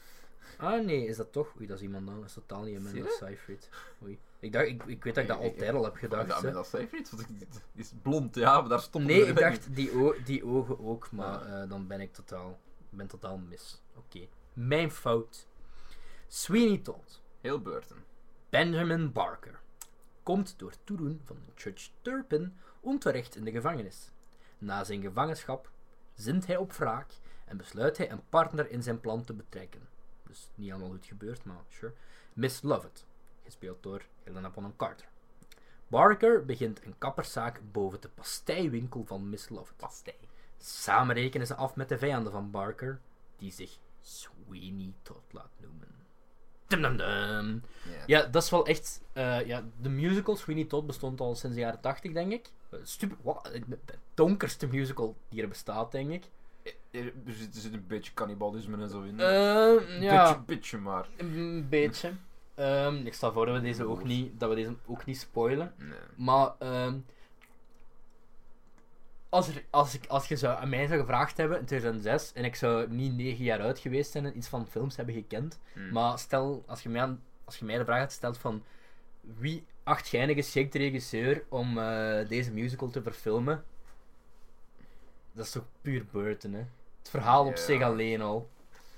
S1: Ah nee, is dat toch? Oei, dat is iemand anders. Dat is totaal niet Amanda
S2: Zie je?
S1: Seyfried. Oei. Ik, dacht, ik, ik weet dat ik dat
S2: Ik- ik-
S1: altijd al heb
S2: Dat
S1: gedacht.
S2: is
S1: hè.
S2: dat Seyfried? Want ik- Die is blond, ja, maar daar stond
S1: Nee,
S2: *laughs*
S1: ik dacht die, o- die ogen ook, maar
S2: Ah.
S1: eh, dan ben ik totaal, ben totaal mis. Oké, mijn fout. Sweeney Todd,
S2: Heel Burton.
S1: Benjamin Barker, komt door toedoen van Judge Turpin onterecht in de gevangenis. Na zijn gevangenschap zint hij op wraak en besluit hij een partner in zijn plan te betrekken. Dus niet allemaal goed gebeurd, maar sure. Miss Lovett, gespeeld door Helena Bonham Carter. Barker begint een kapperszaak boven de pasteiwinkel van Miss Lovett.
S2: Pastij.
S1: Samen rekenen ze af met de vijanden van Barker, die zich Sweeney Todd laat noemen. Dum dum dum. Ja, dat is wel echt. eh, ja, de musical Sweeney Todd bestond al sinds de jaren 80, denk ik. Eh, Super, wat, eh, de de donkerste musical die er bestaat, denk ik.
S2: Er, er zit, er zit een beetje cannibalisme en zo in.
S1: Eh,
S2: Beetje,
S1: ja,
S2: beetje maar.
S1: een beetje. Ehm, ik stel voor dat we deze ook niet, dat we deze ook niet spoilen.
S2: Nee.
S1: Maar ehm, als, er, als, ik, als je zou aan mij zou gevraagd hebben in 2006 en ik zou niet 9 jaar oud geweest zijn en iets van films hebben gekend,
S2: Hmm.
S1: maar stel, als je, mij aan- als je mij de vraag had gesteld van wie acht jij een geschikte regisseur om eh, deze musical te verfilmen, dat is toch puur Burton, hè? Het verhaal op
S2: Ja.
S1: zich alleen al.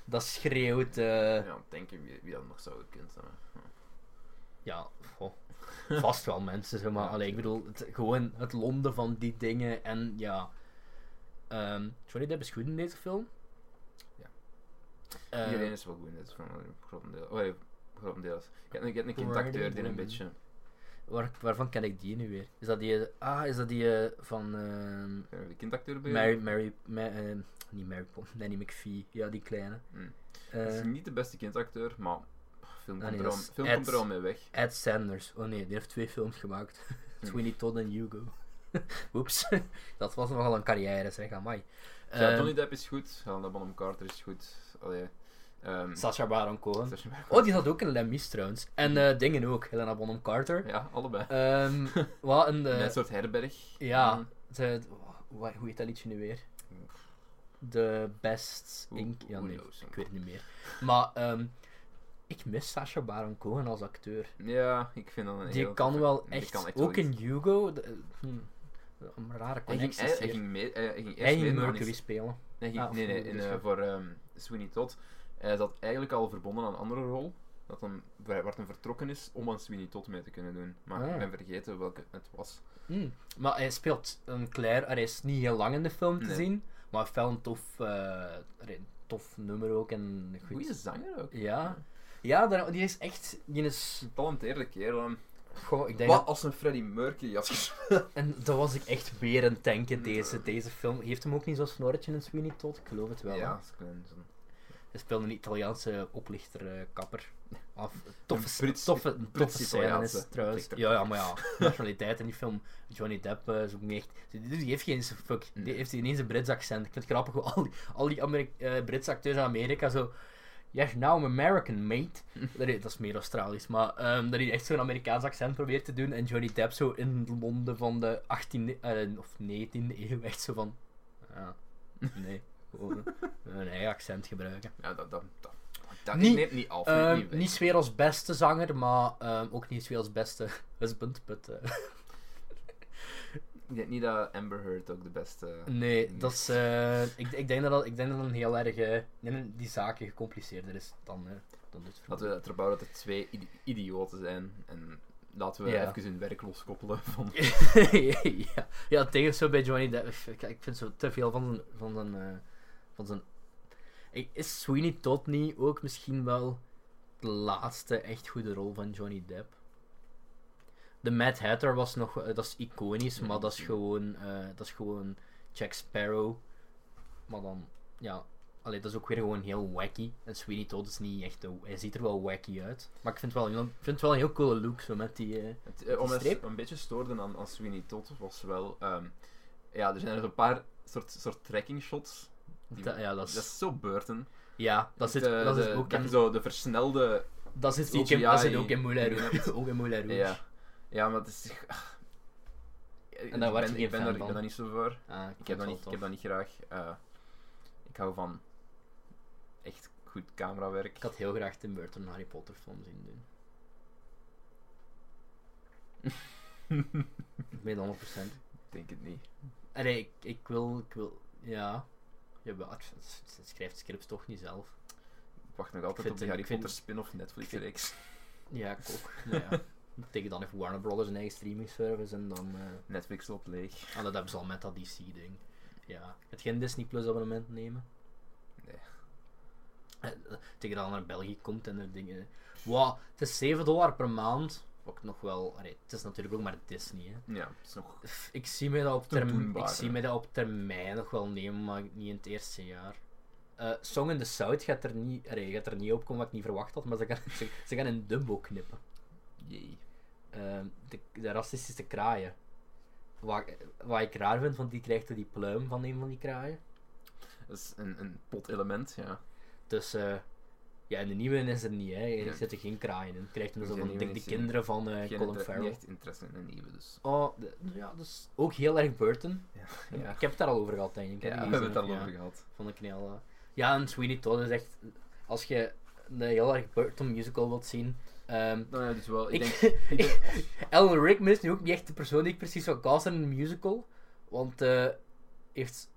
S1: Dat schreeuwt. eh,
S2: Ja, denk je wie, wie dat nog zou kunnen zijn.
S1: ja, goh, vast wel mensen, zeg maar.
S2: Ja,
S1: Allee, ik bedoel, het, gewoon het londen van die dingen en ja. Ehm Johnny Depp is goed in deze film.
S2: Ja.
S1: Eh,
S2: Iedereen is wel goed in dit film, grotendeel- Oh, ja, grotendeels. Ik heb, ik heb een kind
S1: Word
S2: acteur die
S1: woman.
S2: een beetje...
S1: waar, waarvan ken ik die nu weer? Is dat die, eh, ah, is dat die eh, van ehm,
S2: Kunnen we de kindacteur bij?
S1: Mary, Mary, Ma- ehm, niet Mary *laughs* Pond, Nanny McPhee, ja die kleine.
S2: Hmm. Dat
S1: Eh,
S2: is niet de beste kindacteur, maar film
S1: Ah,
S2: komt,
S1: nee,
S2: er,
S1: dat
S2: al,
S1: is
S2: film
S1: Ed.
S2: komt er al mee weg.
S1: Ed Sanders, oh nee, die heeft twee films gemaakt. *laughs*
S2: Hmm.
S1: Sweeney Todd en Hugo. *laughs* Oeps, *laughs* dat was nogal een carrière zeg, amai.
S2: ja,
S1: Ehm,
S2: Johnny Depp is goed, Helena Bonham Carter is goed. Allee, ehm,
S1: Sacha Baron Cohen.
S2: Sacha Baron
S1: Oh, die zat ook in Lemmies trouwens. En eh, dingen ook, Helena Bonham Carter.
S2: Ja, allebei.
S1: Ehm,
S2: *laughs*
S1: wat een. eh,
S2: Met een soort herberg.
S1: ja,
S2: Mm.
S1: de, wa- hoe heet dat liedje nu weer? De Best
S2: Who-
S1: Ink. Ja,
S2: who
S1: nee,
S2: knows?
S1: ik weet het niet meer. Maar ehm, ik mis Sacha Baron Cohen als acteur.
S2: Ja, ik vind dat een
S1: Die
S2: heel
S1: kan
S2: toffe-
S1: wel
S2: die
S1: echt.
S2: kan echt wel
S1: ook in Hugo. de- eh, hm. Een rare
S2: Hij ging,
S1: connecties
S2: hij, hij
S1: hier.
S2: ging, mee, hij, hij ging eerst
S1: Hij ging
S2: mee, maar
S1: Mercury
S2: is-
S1: spelen.
S2: Nee, ging-
S1: Ah, of
S2: nee, nee,
S1: Mercury
S2: in, eh,
S1: Sphere.
S2: voor ehm Sweeney Todd. Hij zat eigenlijk al verbonden aan een andere rol. Dat hem, waar waar hem vertrokken is om aan Sweeney Todd mee te kunnen doen. Maar
S1: Ah.
S2: ik ben vergeten welke het was.
S1: Hmm. Maar hij speelt een Claire. Er is niet heel lang in de film te
S2: Nee.
S1: zien. Maar hij heeft wel een tof, eh, een tof nummer ook. En goed.
S2: Goeie zanger ook.
S1: Ja. Ja, daar- die is echt... Die is...
S2: Getalenteerde kerel. hè.
S1: Goh, ik denk
S2: Wat als een Freddie Mercury had gespeeld?
S1: En dat was ik echt weer een
S2: Mm.
S1: tanken, deze, deze film. Heeft hem ook niet zo'n snorretje in Sweeney Todd? Ik geloof het wel.
S2: Ja,
S1: hè.
S2: dat is klein. Zo'n
S1: Hij speelde een Italiaanse oplichter, eh, kapper. Of, eh, toffe,
S2: Een Brits-
S1: toffe, een toffe scène
S2: Brits-Italiaanse
S1: is trouwens.
S2: oplichter.
S1: Ja, ja, maar ja, nationaliteit in die film. Johnny Depp eh, is ook niet echt... Die, die heeft geen eens- fuck. Die
S2: Nee.
S1: heeft ineens een Brits accent. Ik vind het grappig hoe al die, al die Ameri- eh, Britse acteurs in Amerika zo... Yes, now I'm American,
S2: *laughs*
S1: mate. Dat is, dat is meer Australisch, maar ehm, dat hij echt zo'n Amerikaans accent probeert te doen. En Johnny Depp zo in Londen van de 18e eh, of 19e eeuw echt zo van... ah, nee, gewoon een eigen accent gebruiken.
S2: Ja, dat, dat, dat, dat
S1: Niet-
S2: neemt niet af.
S1: Ehm,
S2: neemt weg.
S1: niet sfeer als beste zanger, maar ehm, ook niet sfeer als beste *laughs* husband. But, eh,
S2: Ik denk niet dat Amber Heard ook de beste...
S1: nee, dat is, eh, ik, ik, denk dat dat, ik denk dat dat een heel erg... eh, ik denk dat die zaken gecompliceerder is dan, eh, dan dit verhaal.
S2: Laten we het erbouwen dat er twee idi- idioten zijn. En laten we
S1: Ja.
S2: even hun werk loskoppelen van...
S1: *laughs* ja, ja, het ding is zo bij Johnny Depp. Ik, ik vind zo te veel van zijn. Van zijn, eh, van zijn Ik- is Sweeney Todd niet ook misschien wel de laatste echt goede rol van Johnny Depp? De Mad Hatter was nog. eh, dat is iconisch, maar dat is gewoon. eh, dat is gewoon Jack Sparrow. Maar dan. Ja. Allee, dat is ook weer gewoon heel wacky. En Sweeney Todd is niet echt... de- Hij ziet er wel wacky uit. Maar ik vind het wel, een- ik vind het wel een heel coole look, zo met die... eh,
S2: Het, eh, om
S1: Die
S2: het
S1: streep?
S2: een beetje stoorde aan, aan Sweeney Todd was wel... ehm, ja, er zijn er een paar soort, soort tracking shots. Die-
S1: dat- ja, dat is...
S2: Dat is zo Burton.
S1: Ja, dat zit,
S2: de,
S1: dat
S2: eh, de-
S1: zit ook
S2: dat
S1: in,
S2: zo de versnelde...
S1: dat zit ook in,
S2: CGI.
S1: dat zit ook in Moulin Rouge. *laughs* Dat zit ook in Moulin Rouge.
S2: Ja. ja, maar het is... ach.
S1: En daar werd
S2: ik ben,
S1: je geen
S2: ik ben,
S1: fan
S2: daar, ik
S1: van.
S2: ben daar niet zo voor.
S1: Ah,
S2: Ik heb, dat niet,
S1: vond
S2: ik
S1: het wel
S2: heb dat
S1: tof.
S2: niet graag. eh, ik hou van echt goed camerawerk.
S1: Ik had heel graag Tim Burton een Harry Potter film zien
S2: *laughs*
S1: doen. ik weet het 100%.
S2: Ik denk het niet.
S1: Allee, ik, ik wil, ik wil, ja. Jawel, het- het- het schrijft scripts toch niet zelf.
S2: Ik wacht nog
S1: Ik
S2: altijd
S1: vind-
S2: op die
S1: ik
S2: Harry
S1: vind-
S2: Potter spin-off Netflix
S1: ik vind-
S2: reeks.
S1: Ja, ik ook. Maar ja. *laughs* Tegen dan heeft Warner Brothers een eigen streaming service en dan... eh
S2: Netflix loopt leeg.
S1: ah, dat hebben ze al met dat DC-ding. Ja. Het geen Disney Plus abonnement nemen.
S2: Nee.
S1: Eh, tegen dat naar België komt en er dingen. Wauw, het is 7 dollar per maand. Wat ik nog wel. Allee, het is natuurlijk ook maar Disney. Hè.
S2: Ja, het is nog.
S1: Pff, Ik zie mij dat op,
S2: Te
S1: term-
S2: doenbaar,
S1: ik zie
S2: hè.
S1: mij dat op termijn nog wel nemen, maar niet in het eerste jaar. Eh, Song in the South gaat er, niet, allee, gaat er niet op komen wat ik niet verwacht had, maar ze gaan, *laughs* ze, ze gaan een Dumbo knippen.
S2: Jee.
S1: Eh, de, de racistische kraaien. Wat, wat ik raar vind, want die krijgt die pluim van een van die kraaien.
S2: Dat is een, een plot-element, ja.
S1: Dus eh, ja, in de nieuwe is er niet, hè. Er
S2: Ja.
S1: zitten geen kraaien in. Krijgt hem
S2: Er
S1: zo
S2: zijn
S1: van ik denk de
S2: nieuwe
S1: kinderen van eh,
S2: Geen
S1: Colin
S2: inter-
S1: Farrell.
S2: niet echt interesse in een nieuwe, dus.
S1: Oh, de- ja, dat is ook heel erg Burton.
S2: Ja,
S1: *laughs* Ik
S2: ja.
S1: heb het daar al over gehad, denk ik. hè,
S2: Ja,
S1: die
S2: we
S1: zin,
S2: hebben het daar al
S1: ja,
S2: over gehad.
S1: Vond ik een heel... eh, Ja, en Sweeney Todd is echt... Als je een heel erg Burton musical wilt zien... ehm
S2: Nou ja, dus wel.
S1: *laughs*
S2: Ik,
S1: ik,
S2: denk. ik denk-
S1: Alan Rickman is nu ook niet echt de persoon die ik precies zou casten in een musical. Want eh heeft...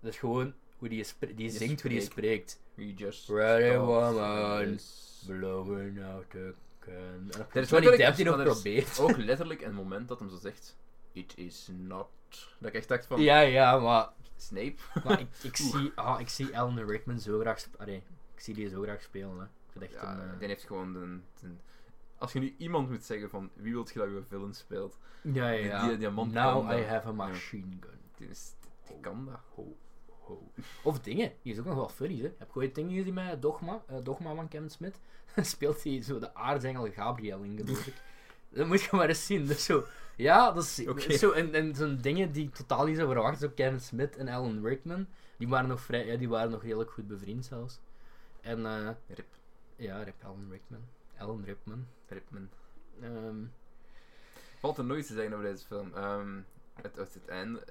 S1: Dat is gewoon hoe die, spre- die
S2: Je
S1: zingt, hoe die
S2: spreekt.
S1: spreekt.
S2: We just.
S1: Ready,
S2: start
S1: woman.
S2: this.
S1: Blowing out a can.
S2: Er is
S1: Johnny
S2: letterlijk-
S1: Depp die
S2: maar
S1: nog
S2: er is
S1: probeert.
S2: Ook letterlijk een moment dat hem zo zegt: It is not. Dat ik echt dacht van:
S1: Ja, ja, maar,
S2: Snape.
S1: maar ik, ik, zie, ah, ik zie Alan Rickman zo graag spelen. Allee, ik zie die zo graag spelen. Hè. Ik vind echt
S2: Ja,
S1: een, eh,
S2: die heeft gewoon een, een- Als je nu iemand moet zeggen van wie wilt je dat je villain speelt,
S1: eh, ja, ja,
S2: die-
S1: ja.
S2: die- die man
S1: Now
S2: kan dat.
S1: I have a machine gun.
S2: die, is, die kan dat.
S1: Ho, ho. Of dingen. Die is ook nog wel funny, hè. Heb je ooit dingen gezien met Dogma? eh, Dogma van Kevin Smith? *laughs* Speelt hij zo de aartsengel Gabriel in, geloof ik. Dat moet je maar eens zien. Dus zo, ja, dat is
S2: Oké.
S1: zo. En, en zo'n dingen die ik totaal niet zou verwachten. Zo Kevin Smith en Alan Rickman. Die waren nog, vrij, ja, die waren nog redelijk goed bevriend zelfs. En eh,
S2: Rip,
S1: ja, Rip Alan Rickman. Alan Rickman.
S2: Ripman.
S1: Ehm,
S2: Valt er nooit te zeggen over deze film. Ehm, het, het, het einde.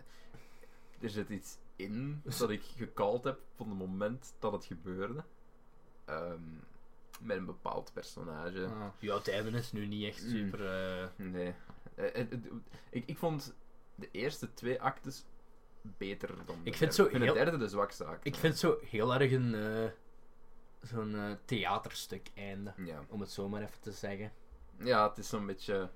S2: Er zit iets in dat ik gecalled heb van het moment dat het gebeurde. Ehm, met een bepaald personage.
S1: ah. Ja, het einde is nu niet echt
S2: Mm.
S1: super... eh,
S2: Nee. Eh, het- het- ik, ik vond de eerste twee actes beter dan de
S1: vind
S2: derde.
S1: zo
S2: ik vind de
S1: heel-
S2: derde de zwakste act.
S1: Ik vind het zo heel erg een. eh, Zo'n eh, theaterstuk einde.
S2: Ja.
S1: Om het zo maar even te zeggen.
S2: ja, het is zo'n beetje...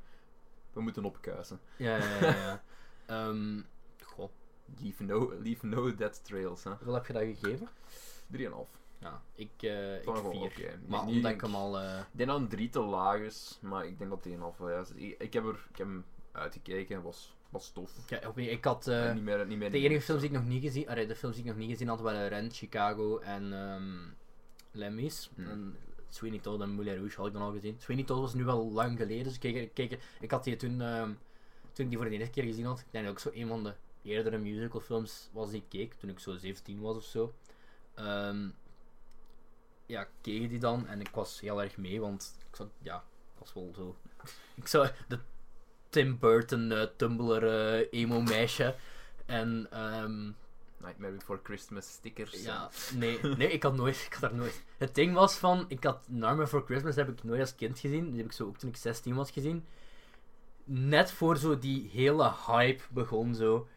S2: We moeten opkuisen.
S1: Ja, ja, ja. ja. *laughs* Ehm, goh,
S2: Leave no, leave no dead trails, hè. 3,5.
S1: hoeveel heb je dat gegeven?
S2: Ik
S1: Ja, ik, eh ik
S2: Toch wel
S1: vier.
S2: oké.
S1: Maar
S2: Niet-
S1: omdat ik
S2: niet-
S1: hem al... eh,
S2: denk dat een 3 te laag is, maar ik denk dat 3,5 wel juist is. Ik, ik heb er, ik heb hem uitgekeken, was, was tof.
S1: ja, oké, ik had... eh,
S2: En niet meer, niet meer
S1: de enige films die ik nog niet gezien... Allee, de films die ik nog niet gezien had waren Rent, Chicago en ehm Lemmy's.
S2: Hmm.
S1: En Sweeney Todd en Moulin Rouge had ik dan al gezien. Sweeney Todd was nu wel lang geleden, dus ik, keek, er- keek, er- ik had die toen... ehm, toen ik die voor de eerste keer gezien had, ik denk dat ook zo een van de eerdere musicalfilms was die ik keek, toen ik zo 17 was of zo. Ehm, ja, ik keek die dan en ik was heel erg mee, want ik zat, ja, ik was wel zo. *laughs* Ik zou de Tim Burton eh Tumblr eh, emo meisje. En ehm,
S2: Nightmare Before Christmas stickers.
S1: ja, nee, nee, ik had nooit, ik had daar nooit. Het ding was van, ik had Nightmare for Christmas heb ik nooit als kind gezien, die heb ik zo ook toen ik 16 was gezien. Net voor zo die hele hype begon zo,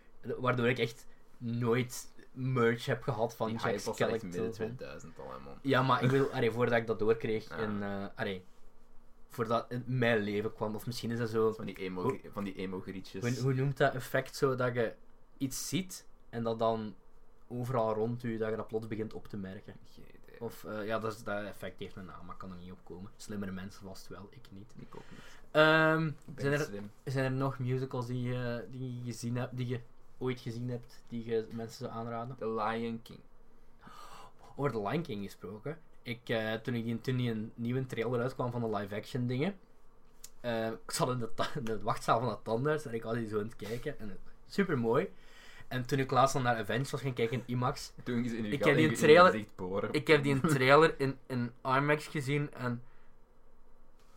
S1: waardoor ik echt nooit merch heb gehad van
S2: Die
S1: Jack
S2: hype was al echt midden
S1: Skellington.
S2: 2000 al, hè, man.
S1: Ja, maar ik wil, allee, voordat ik dat doorkreeg
S2: *laughs* Ah.
S1: en eh allee, voordat het in mijn leven kwam, of misschien is dat zo,
S2: Van die emo,
S1: Hoe-
S2: van die emo grietjes.
S1: hoe, hoe noemt dat effect zo dat je iets ziet en dat dan overal rond je dat je dat plots begint op te merken.
S2: Geen idee.
S1: Of eh, ja, dat, is, dat effect heeft een naam, maar ik kan er niet op komen. Slimmere mensen vast wel, ik niet.
S2: Ik ook niet.
S1: Ehm,
S2: Ik ben
S1: zijn,
S2: niet
S1: er,
S2: slim.
S1: zijn er nog musicals die, je- die je gezien hebt, die je ooit gezien hebt, die je mensen zou aanraden?
S2: The Lion King.
S1: Over The Lion King gesproken. Ik, eh, toen, ik die, toen die een nieuwe trailer uitkwam van de live-action dingen. eh, ik zat in de, ta- in de wachtzaal van de tandarts en ik had die zo aan het kijken. En, super mooi. En toen ik laatst dan naar Avengers was gaan kijken in IMAX.
S2: Toen is in uw
S1: Ik
S2: gat-
S1: heb die
S2: in uw
S1: trailer-
S2: gezicht boren.
S1: Ik heb die een trailer in, in IMAX gezien en.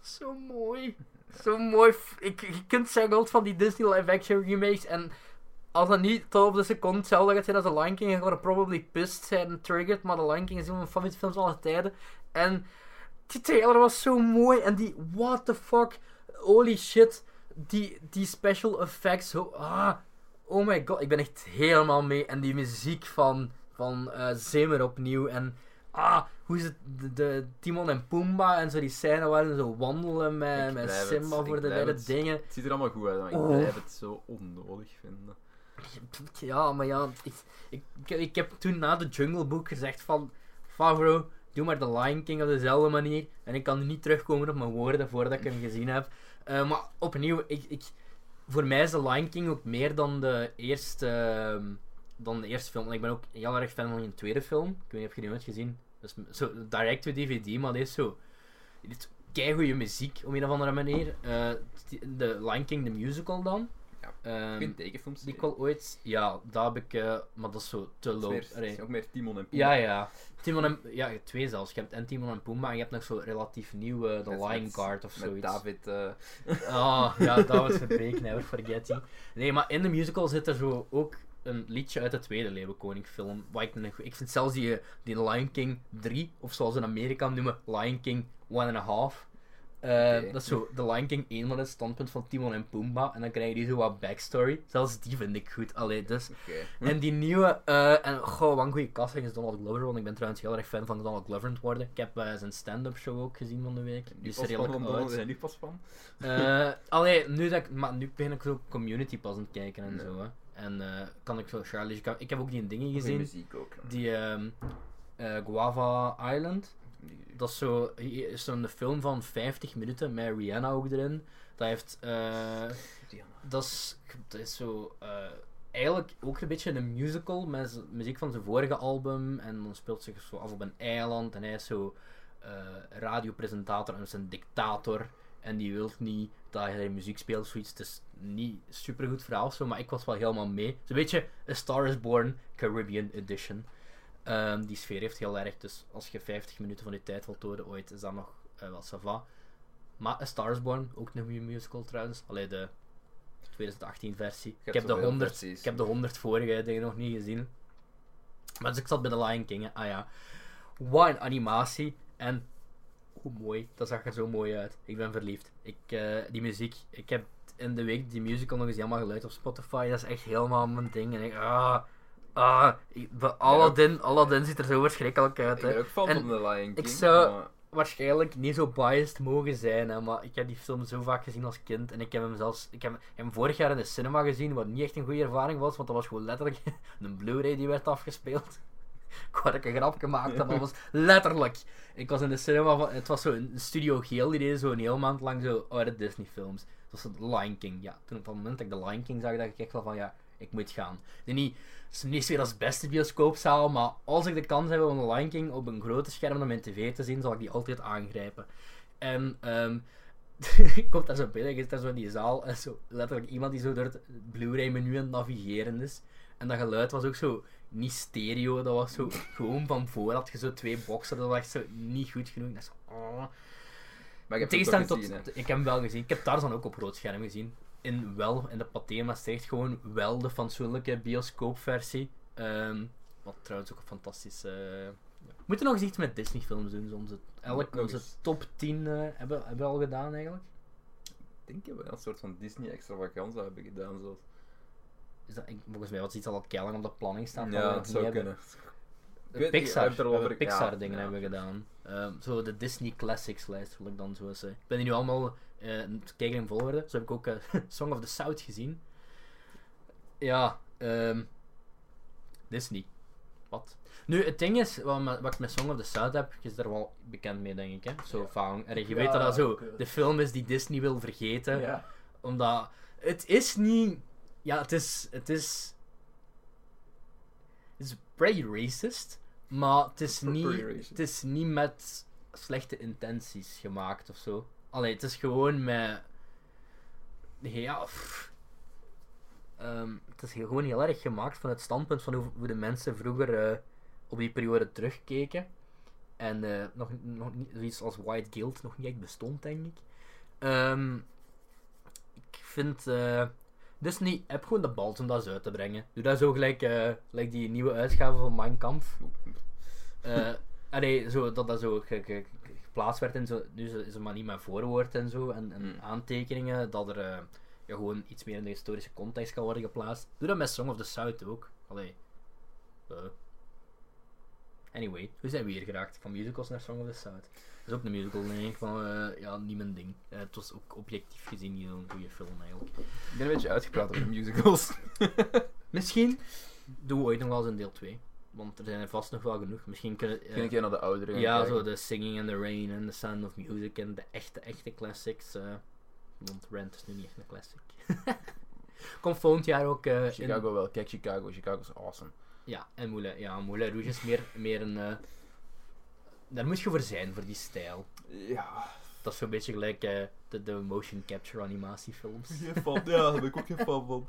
S1: Zo mooi. Zo mooi. F- Ik, je kunt zeggen wat van die Disney live action remakes en. Als dat niet tot op de seconde hetzelfde gaat zijn als The Lion King, dan gaan we probably pissed zijn en triggered. Maar The Lion King is een van mijn favoriete films alle tijden. En die trailer was zo mooi. En die what the fuck, holy shit. Die, die special effects, zo, ah, oh my god, ik ben echt helemaal mee. En die muziek van, van eh Zimmer opnieuw. En ah, hoe is het, de, de Timon en Pumbaa en zo die scène waarin ze wandelen met,
S2: Ik
S1: met
S2: blijf het,
S1: Simba
S2: ik
S1: voor de
S2: blijf
S1: derde
S2: het.
S1: dingen.
S2: Het ziet er allemaal goed uit, maar ik
S1: Oh. Ehm,
S2: blijf het zo onnodig vinden.
S1: Ja, maar ja, ik, ik, ik heb toen na de Jungle Book gezegd van, Favro, doe maar The Lion King op dezelfde manier. En ik kan nu niet terugkomen op mijn woorden voordat ik hem gezien heb. Eh, maar opnieuw, ik, ik, voor mij is The Lion King ook meer dan de eerste, ehm, dan de eerste film. En ik ben ook heel erg fan van een tweede film. Ik weet niet of je die ooit gezien hebt. Dus, zo, direct to DVD, maar dit is zo... Dit is keigoeie muziek, op een of andere manier. Eh, de Lion King, de musical dan.
S2: Ja.
S1: Ehm,
S2: Ik vind tekenfilms
S1: die ik
S2: leuk.
S1: wel ooit... Ja, dat heb ik... eh, maar dat is zo te
S2: Het is
S1: low.
S2: meer- het
S1: Allee.
S2: is ook meer Timon en
S1: Ja,
S2: Pumbaa.
S1: ja. Timon en... Ja, je hebt twee zelfs. Je hebt en Timon en Pumbaa en je hebt nog zo relatief nieuw eh,
S2: Met-
S1: The Lion
S2: met-
S1: Guard of
S2: Met
S1: zoiets.
S2: David... eh,
S1: *laughs* Ah, ja, dat was verbeek, never forget you. Nee, maar in de musical zit er zo ook een liedje uit de Tweede Leeuwenkoning film. Wat ik, nog- ik vind zelfs die, eh, die Lion King 3, of zoals ze in Amerika hem noemen, Lion King 1,5. Eh
S2: Oké.
S1: Dat is zo, de Lion King 1 van het standpunt van Timon en Pumbaa. En dan krijg je die zo wat backstory. Zelfs die vind ik goed. Allee, dus
S2: Oké.
S1: en die nieuwe, eh, en goh, wat een goede casting is Donald Glover, want ik ben trouwens heel erg fan van Donald Glover aan het worden. Ik heb eh, zijn stand-up show ook gezien van de week.
S2: Nu
S1: Die is
S2: pas
S1: redelijk
S2: van,
S1: oud.
S2: Donald- eh, Nu pas van.
S1: Eh, allee, nu, dat ik, maar nu ben ik zo community pas aan het kijken en
S2: Ja.
S1: zo. Hè. En eh, kan ik zo Charlie. Ik, ik heb ook die dingen
S2: Goeie
S1: gezien.
S2: muziek ook. hè.
S1: Die ehm, eh, Guava Island.
S2: Die-
S1: Dat is zo- hier is zo'n film van 50 minuten met Rihanna ook erin. Dat heeft. eh,
S2: Rihanna.
S1: dat, is, dat is zo. eh, eigenlijk ook een beetje een musical met z- muziek van zijn vorige album. En dan speelt zich zo af op een eiland. En hij is zo eh, radiopresentator en is een dictator. En die wil niet dat hij muziek speelt of zoiets. Het is niet super goed verhaal of zo, maar ik was wel helemaal mee. Het is een beetje A Star is Born Caribbean Edition. Ehm, die sfeer heeft heel erg, dus als je 50 minuten van je tijd wilt doden ooit, is dat nog eh, wel sava. Maar A Star is Born, ook een goede musical trouwens. Alleen de 2018 versie. Ik heb, de
S2: zoveel
S1: 100,
S2: versies.
S1: ik heb de 100 vorige dingen nog niet gezien. Maar dus ik zat bij The Lion King. hè. Ah ja. Wat een animatie. En hoe mooi. Dat zag er zo mooi uit. Ik ben verliefd. Ik, eh, die muziek, ik heb in de week die musical nog eens helemaal geluid op Spotify. Dat is echt helemaal mijn ding. En ik, ah, ah. ik- de Aladdin, Aladdin ziet er zo verschrikkelijk uit.
S2: Ik
S1: Hè.
S2: ben ook fan
S1: En
S2: van eh, The Lion King.
S1: ik zou-
S2: maar-
S1: waarschijnlijk niet zo biased mogen zijn, hè, maar ik heb die film zo vaak gezien als kind en ik heb hem zelfs, ik heb, ik heb hem vorig jaar in de cinema gezien, wat niet echt een goede ervaring was, want dat was gewoon letterlijk *laughs* een Blu-ray die werd afgespeeld. Ik had ook een grap gemaakt, maar dat was letterlijk. Ik was in de cinema, van, het was zo een studio geel, die deed zo een hele maand lang zo oude Disney films. Dat was The Lion King, ja. Toen op dat moment dat ik The Lion King zag, dacht ik echt wel van, ja, ik moet gaan. En niet, het is niet zozeer als beste bioscoopzaal, maar als ik de kans heb om The Lion King op een grote scherm naar mijn tv te zien, zal ik die altijd aangrijpen. En ehm ik *laughs* kom daar zo binnen, je zit daar zo in die zaal, en zo letterlijk iemand die zo door het Blu-ray menu aan het navigeren is. En dat geluid was ook zo niet stereo, dat was zo gewoon van voor had je zo twee boxen, dat was echt zo niet goed genoeg. Dat is zo, oh.
S2: Maar ik
S1: In
S2: heb het ook
S1: tegenstelling
S2: gezien, hè.
S1: tot. Ik heb hem wel gezien. Ik heb Tarzan ook op rood scherm gezien. In wel, in de Pathé Maastricht, gewoon wel de fatsoenlijke bioscoopversie. Ehm, wat trouwens ook een fantastische. eh, ja. We moeten nog eens iets met Disney-films doen. zo Onze, elk,
S2: Nog
S1: onze
S2: eens.
S1: top 10 eh, hebben, hebben we al gedaan eigenlijk.
S2: Ik denk dat we een soort van Disney extravaganza hebben gedaan. Zoals...
S1: Is dat, ik- volgens mij was iets al wat keilang op de planning staan.
S2: Ja, dat zou kunnen. Ik weet niet,
S1: Pixar,
S2: hij heeft er
S1: we
S2: wel
S1: hebben
S2: over- ja,
S1: Pixar dingen
S2: ja.
S1: hebben we gedaan. Ehm, zo de Disney Classics lijst wil ik dan zo zeggen. Ik ben die nu allemaal eh, aan het kijken in volgorde. Zo heb ik ook eh, *laughs* Song of the South gezien. Ja, ehm, Disney. Wat? Nu, het ding is, wat, me- wat ik met Song of the South heb, je is daar wel bekend mee, denk ik. Hè? Zo,
S2: Ja.
S1: van, en je
S2: Ja,
S1: weet dat dat zo
S2: ik, eh,
S1: de film is die Disney wil vergeten.
S2: Ja.
S1: Omdat het is niet. Ja, het is. Het is. Het is pretty racist. Maar het is,
S2: Pre-
S1: niet,
S2: pretty racist.
S1: het is niet met slechte intenties gemaakt of zo. Allee, het is gewoon met. Ja. pff. Ehm, het is gewoon heel erg gemaakt van het standpunt van hoe, hoe de mensen vroeger eh, op die periode terugkeken. En eh, nog, nog niet, zoiets als White Guild nog niet echt bestond, denk ik. Ehm, ik vind eh, Disney heb gewoon de bal om dat eens uit te brengen. Doe dat zo gelijk, eh, gelijk die nieuwe uitgave van Mein Kampf. Eh, allee, zo, dat dat zo ge- ge- ge- geplaatst werd en zo. Nu is het maar niet met voorwoord en zo. En, en
S2: Mm.
S1: aantekeningen. Dat er eh, ja, gewoon iets meer in de historische context kan worden geplaatst. Doe dat met Song of the South ook. Allee. Eh. Anyway, hoe zijn we hier geraakt? Van musicals naar Song of the South. Dat is ook een musical, denk ik. Van, eh, ja, niet mijn ding. Eh, het was ook objectief gezien niet zo'n goede film, eigenlijk.
S2: Ik ben een beetje uitgepraat over musicals. *laughs*
S1: Misschien doen we ooit nog wel eens een deel 2. Want er zijn er vast nog wel genoeg. Misschien kunnen... eh,
S2: Kun ik je naar de ouderen gaan
S1: ja,
S2: kijken.
S1: zo de Singing in the Rain en The Sound of Music en de echte, echte classics. eh, want Rent is nu niet echt een classic. *laughs* Komt volgend jaar ook... eh, in-
S2: Chicago wel. Kijk Chicago. Chicago is awesome.
S1: ja, en Moulin, ja, Moulin Rouge is meer, meer een... eh, daar moet je voor zijn, voor die stijl.
S2: Ja.
S1: Dat is zo'n beetje gelijk eh, de, de motion capture animatiefilms.
S2: fan. Ja, daar ben ik ook geen fan van.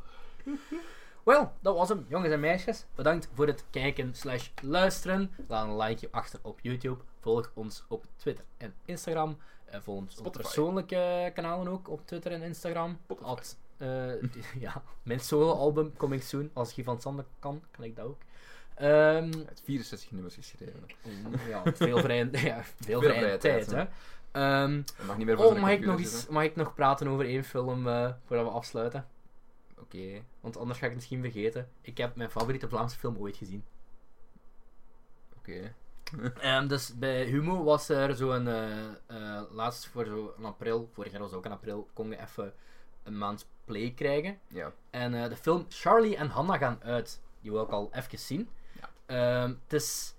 S1: Wel, dat was hem, jongens en meisjes. Bedankt voor het kijken slash luisteren. Laat een likeje achter op YouTube. Volg ons op Twitter en Instagram. Eh, volg ons op
S2: Spotify.
S1: persoonlijke kanalen ook op Twitter en Instagram.
S2: Spotify.
S1: At, eh, *laughs* ja, mijn solo-album coming soon. Als Guy van Sander kan, kan ik dat ook.
S2: *laughs*
S1: Ehm,
S2: Hij heeft 64 nummers geschreven.
S1: ja, veel vrije, *laughs* ja, veel vrije
S2: vrije tijd,
S1: tijd, hè. Ehm,
S2: Hij mag niet meer voor
S1: oh,
S2: zijn
S1: mag ik, nog
S2: computer
S1: iets,
S2: zitten.
S1: mag ik nog praten over één film eh, voordat we afsluiten?
S2: Oké.
S1: Want anders ga ik het misschien vergeten. Ik heb mijn favoriete Vlaamse film ooit gezien.
S2: Oké.
S1: Ehm, dus bij Humo was er zo'n. eh eh, laatst voor zo'n april, vorig jaar was het ook in april, kon je even een maand play krijgen.
S2: Ja.
S1: En eh, de film Charlie en Hannah gaan uit. Die wil ik al even zien.
S2: Ja.
S1: Ehm, het is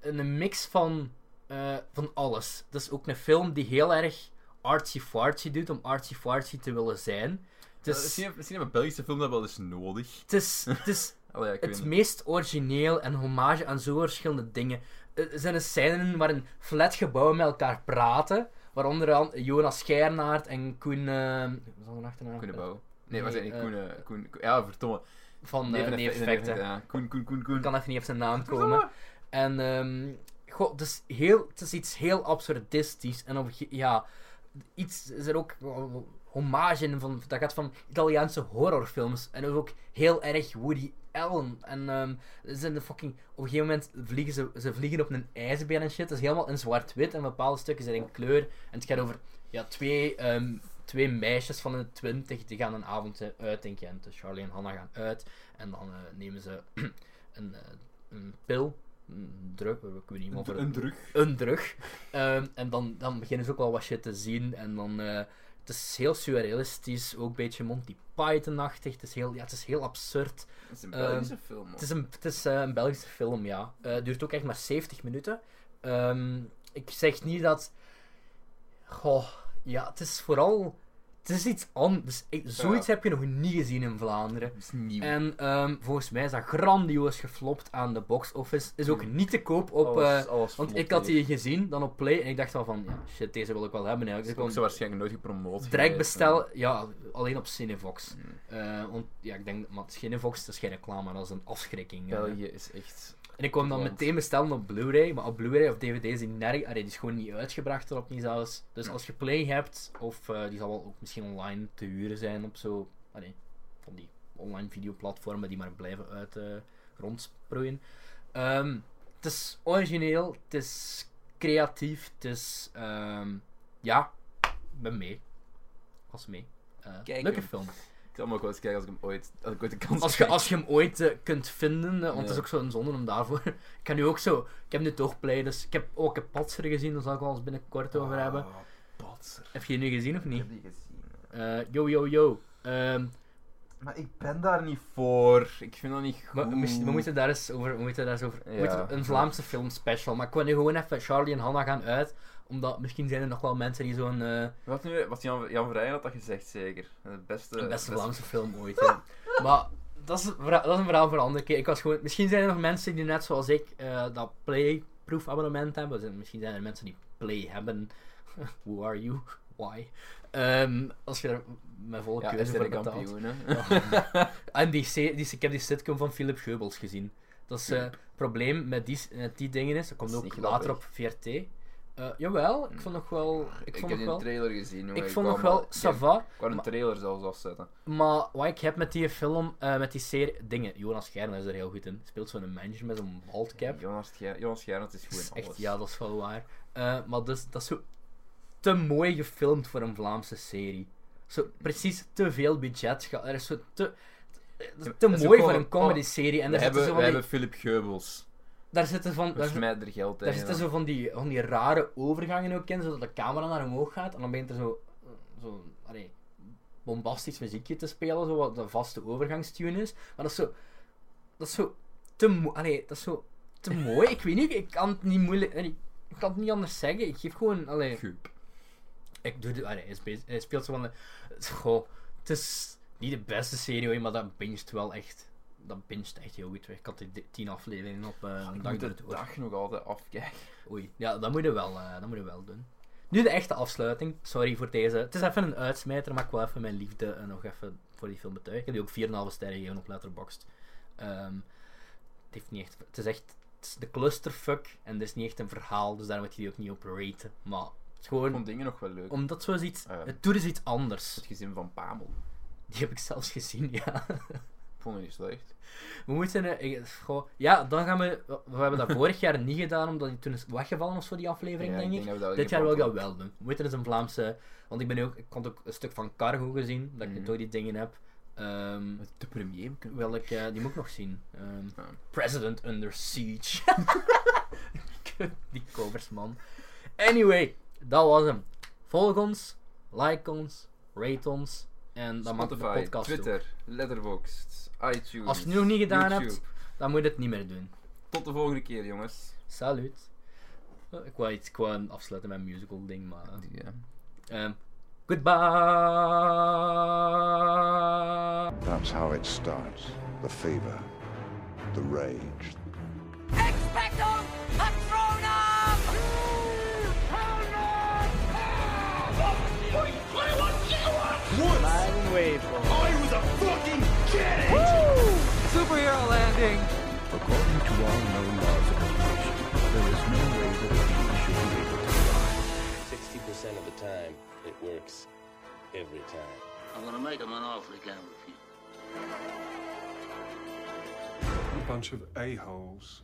S1: een mix van, eh, van alles. Het is ook een film die heel erg artsy-fartsy doet om artsy-fartsy te willen zijn. Het
S2: Dus...
S1: is,
S2: Misschien, misschien hebben Belgische film dat wel eens nodig.
S1: het is, het is
S2: Allee, ja, ik weet
S1: het
S2: niet.
S1: meest origineel en hommage aan zo verschillende dingen. Eh, Er zijn een scène in waarin flat gebouwen met elkaar praten. Waaronder al Jonas Scheirnaert en Koen... eh, wat is dat een achternaam?
S2: Koen de Bouw. Nee, wat
S1: Nee,
S2: zijn die?
S1: eh,
S2: Koen, eh, Koen, Koen- Ja, verdomme.
S1: Van
S2: Nee,
S1: eh
S2: van
S1: Neef
S2: Effecten,
S1: Effecten.
S2: ja. Koen, Koen, Koen, Koen.
S1: Ik kan even niet op zijn naam komen. En ehm, goh, het is, heel, het is iets heel absurdistisch. En op, een ge- ja, iets is er ook wel hommage in van dat gaat van Italiaanse horrorfilms en dat is ook heel erg Woody Allen en ehm ze zijn de fucking op een gegeven moment vliegen ze, ze vliegen op een ijsbeer en shit dat is helemaal in zwart-wit en bepaalde stukken zijn in kleur en het gaat over ja twee ehm, twee meisjes van de twintig die gaan een avond eh, uit in Gent dus Charlie en Hannah gaan uit en dan eh, nemen ze *clears throat* een, eh, een pil een drug ik weet niet meer of er-
S2: Een druk.
S1: een drug. Ehm, en dan, dan beginnen ze ook wel wat shit te zien. En dan, eh, het is heel surrealistisch, ook een beetje Monty Python-achtig. Het, is heel- ja, het is heel absurd.
S2: Dat is een
S1: Ehm,
S2: Belgische film. hoor.
S1: Het is een, het is, eh, een Belgische film, ja. Eh, Het duurt ook echt maar 70 minuten. Ehm, ik zeg niet dat... Goh, ja, het is vooral... Het is iets anders. Ik- Zoiets heb je nog niet gezien in Vlaanderen.
S2: Dat is nieuw.
S1: En ehm, volgens mij is dat grandioos geflopt aan de box office. Is
S2: Hmm.
S1: ook niet te koop op... eh,
S2: Alles- alles
S1: want
S2: Oh, vlot
S1: ik had
S2: hier.
S1: die gezien, dan op Play, en ik dacht wel van, ja, shit, deze wil ik wel hebben.
S2: Dat
S1: Eigenlijk.
S2: is
S1: Ik kon
S2: ook zo waarschijnlijk nooit gepromoot.
S1: direct
S2: geweest,
S1: bestellen, ja, alleen op Cinevox.
S2: hè. Mm.
S1: Eh, want ja, ik denk, maar Cinevox, dat is geen reclame, dat is een afschrikking. eh.
S2: België is echt...
S1: En ik kon dan
S2: Want-
S1: meteen bestellen op Blu-ray, maar op Blu-ray of DVD is die nerg, allee, die is gewoon niet uitgebracht erop niet zelfs. Dus
S2: Hm.
S1: als je Play hebt, of eh, die zal wel ook misschien online te huren zijn op zo, allee, van die online videoplatformen die maar blijven uit eh rondsproeien. Ehm, het is origineel, het is creatief, het is, ehm, ja, ik ben mee. Als mee. Eh,
S2: Kijk
S1: leuke
S2: hem.
S1: film.
S2: Ik zal hem ook wel eens kijken als ik hem ooit, als ik ooit de kans
S1: Als je,
S2: krijg.
S1: als je hem ooit eh, kunt vinden, eh, want het is
S2: Ja.
S1: ook zo'n zonde om daarvoor. *laughs* Ik kan nu ook zo. Ik heb nu toch play, dus ik heb ook een patser gezien, daar zal ik wel eens binnenkort over hebben.
S2: Ah, patser.
S1: Heb je die nu gezien of
S2: Ik
S1: niet?
S2: heb die gezien. hè.
S1: Eh, yo, yo, yo. Ehm,
S2: Maar ik ben daar niet voor. Ik vind dat niet
S1: we,
S2: goed.
S1: we moesten- we moeten daar eens over. We moeten daar eens over we
S2: Ja.
S1: moeten een Vlaamse film special. Maar ik wil nu gewoon even Charlie en Hannah gaan uit. Omdat misschien zijn er nog wel mensen die zo'n eh,
S2: Wat nu, wat Jan, Jan Vrijen had dat gezegd zeker. De beste...
S1: de beste Vlaamse film ooit hebben. *laughs* maar dat is, een verhaal- dat is een verhaal voor een andere keer. Ik was gewoon, misschien zijn er nog mensen die net zoals ik eh, dat Play-proof abonnement hebben. Dus misschien zijn er mensen die Play hebben. *laughs* Who are you? Why? Ehm, als je er met volle
S2: Ja, is
S1: keuze
S2: de
S1: voor betaalt.
S2: kampioen, hè. *laughs*
S1: En die, se- die, ik heb die sitcom van Philip Geubels gezien. Dat is eh,
S2: Philip.
S1: het probleem met die, met die dingen is. Dat komt
S2: Dat is
S1: ook
S2: niet
S1: later op
S2: grappig. Mm.
S1: VRT. Eh, jawel, ik vond nog wel. Ik
S2: Ik
S1: vond
S2: heb
S1: nog
S2: die
S1: wel.
S2: trailer gezien. maar
S1: Ik vond
S2: wou
S1: nog wel.
S2: maar-
S1: Sava.
S2: Ik wou een trailer zelfs afzetten.
S1: Maar wat ik heb met die film, eh, met die serie, dingen, Jonas Geiren is er heel goed in. Speelt zo'n manager met zo'n bald cap.
S2: Jonas Ger- Jonas Gerrand is
S1: Dat
S2: gewoon
S1: is echt,
S2: alles.
S1: ja, dat is wel waar. Eh, maar dus, dat is zo te mooi gefilmd voor een Vlaamse serie. Zo precies te veel budget. ge- Er is zo te, te,
S2: dat is ook
S1: mooi voor
S2: wel- oh,
S1: een comedy serie. En
S2: we
S1: daar zitten,
S2: hebben,
S1: zo
S2: we
S1: van die,
S2: hebben Philip Geubels.
S1: daar zitten van. Daar,
S2: Dus
S1: zit-
S2: mij er geld
S1: daar zitten zo van die, van die rare overgangen ook in, zodat de camera naar omhoog gaat en dan begint er zo. zo allee, bombastisch muziekje te spelen, zo wat de vaste overgangstune is. Maar dat is zo. Dat is zo. Te mooi. Allee, dat is zo.
S2: *laughs*
S1: Te mooi. Ik weet niet, ik kan het niet moeilijk. allee, ik kan het niet anders zeggen. Ik geef gewoon. Allee,
S2: Geub.
S1: ik doe dit. Allee, hij, speelt, hij speelt zo van. De, goh, het is niet de beste serie, hoor, maar dat binget wel echt. Dat binget echt heel goed weg. Ik had die tien afleveringen op eh, een
S2: Ik
S1: dag
S2: moet
S1: door
S2: de
S1: het oor.
S2: dag nog altijd afkijken. *laughs*
S1: Oei, ja, dat moet je wel, eh, dat moet je wel doen. Nu de echte afsluiting. Sorry voor deze. Het is even een uitsmijter, maar ik wil even mijn liefde eh, nog even voor die film betuigen. Ik heb die ook 4,5 sterren gegeven op Letterboxd. Ehm, het, heeft niet echt, het is echt het is de clusterfuck en het is niet echt een verhaal, dus daar moet je die ook niet op raten. Maar het is
S2: Ik
S1: gewoon
S2: vond dingen nog wel leuk.
S1: omdat zoiets iets,
S2: Ah, ja.
S1: het doet is iets anders. *laughs*
S2: Het gezin van Pamel.
S1: Die heb ik zelfs gezien, ja. *laughs*
S2: Ik vond het niet slecht.
S1: We moeten. eh, ik- goh, ja, dan gaan we. We hebben
S2: *laughs*
S1: dat vorig jaar niet gedaan, omdat die toen is weggevallen of zo, die aflevering,
S2: Ja,
S1: denk ik.
S2: dat we dat
S1: Dit jaar wil ik
S2: ingepakt
S1: dat wel doen. We moeten eens een Vlaamse. Want ik ben ook. Ik had ook een stuk van Cargo gezien, dat ik nu
S2: Mhm.
S1: toch die dingen heb. Ehm
S2: hebben. De premier kunnen
S1: wil ik, eh, die moet ik nog zien. Ehm,
S2: Ja.
S1: President Under Siege. *laughs* die covers, man. Anyway, dat was hem. Volg ons, like ons, rate ons. En dan maakt de
S2: Spotify,
S1: podcast ook.
S2: Twitter, Letterboxd, iTunes.
S1: Als je het nog niet gedaan
S2: YouTube.
S1: hebt, dan moet je het niet meer doen.
S2: Tot de volgende keer, jongens.
S1: Salut. Eh, Ik wou iets ik wou afsluiten met een musical ding, maar. eh.
S2: Ja.
S1: Um, goodbye.
S4: That's how it starts. The fever, the rage,
S5: Expecto Patronum!
S4: According to all known laws of evolution, there is no way that a bee should be able to fly.
S6: 60% of the time, it works every time.
S7: I'm gonna make him an offer he can't refuse.
S8: A bunch of a-holes.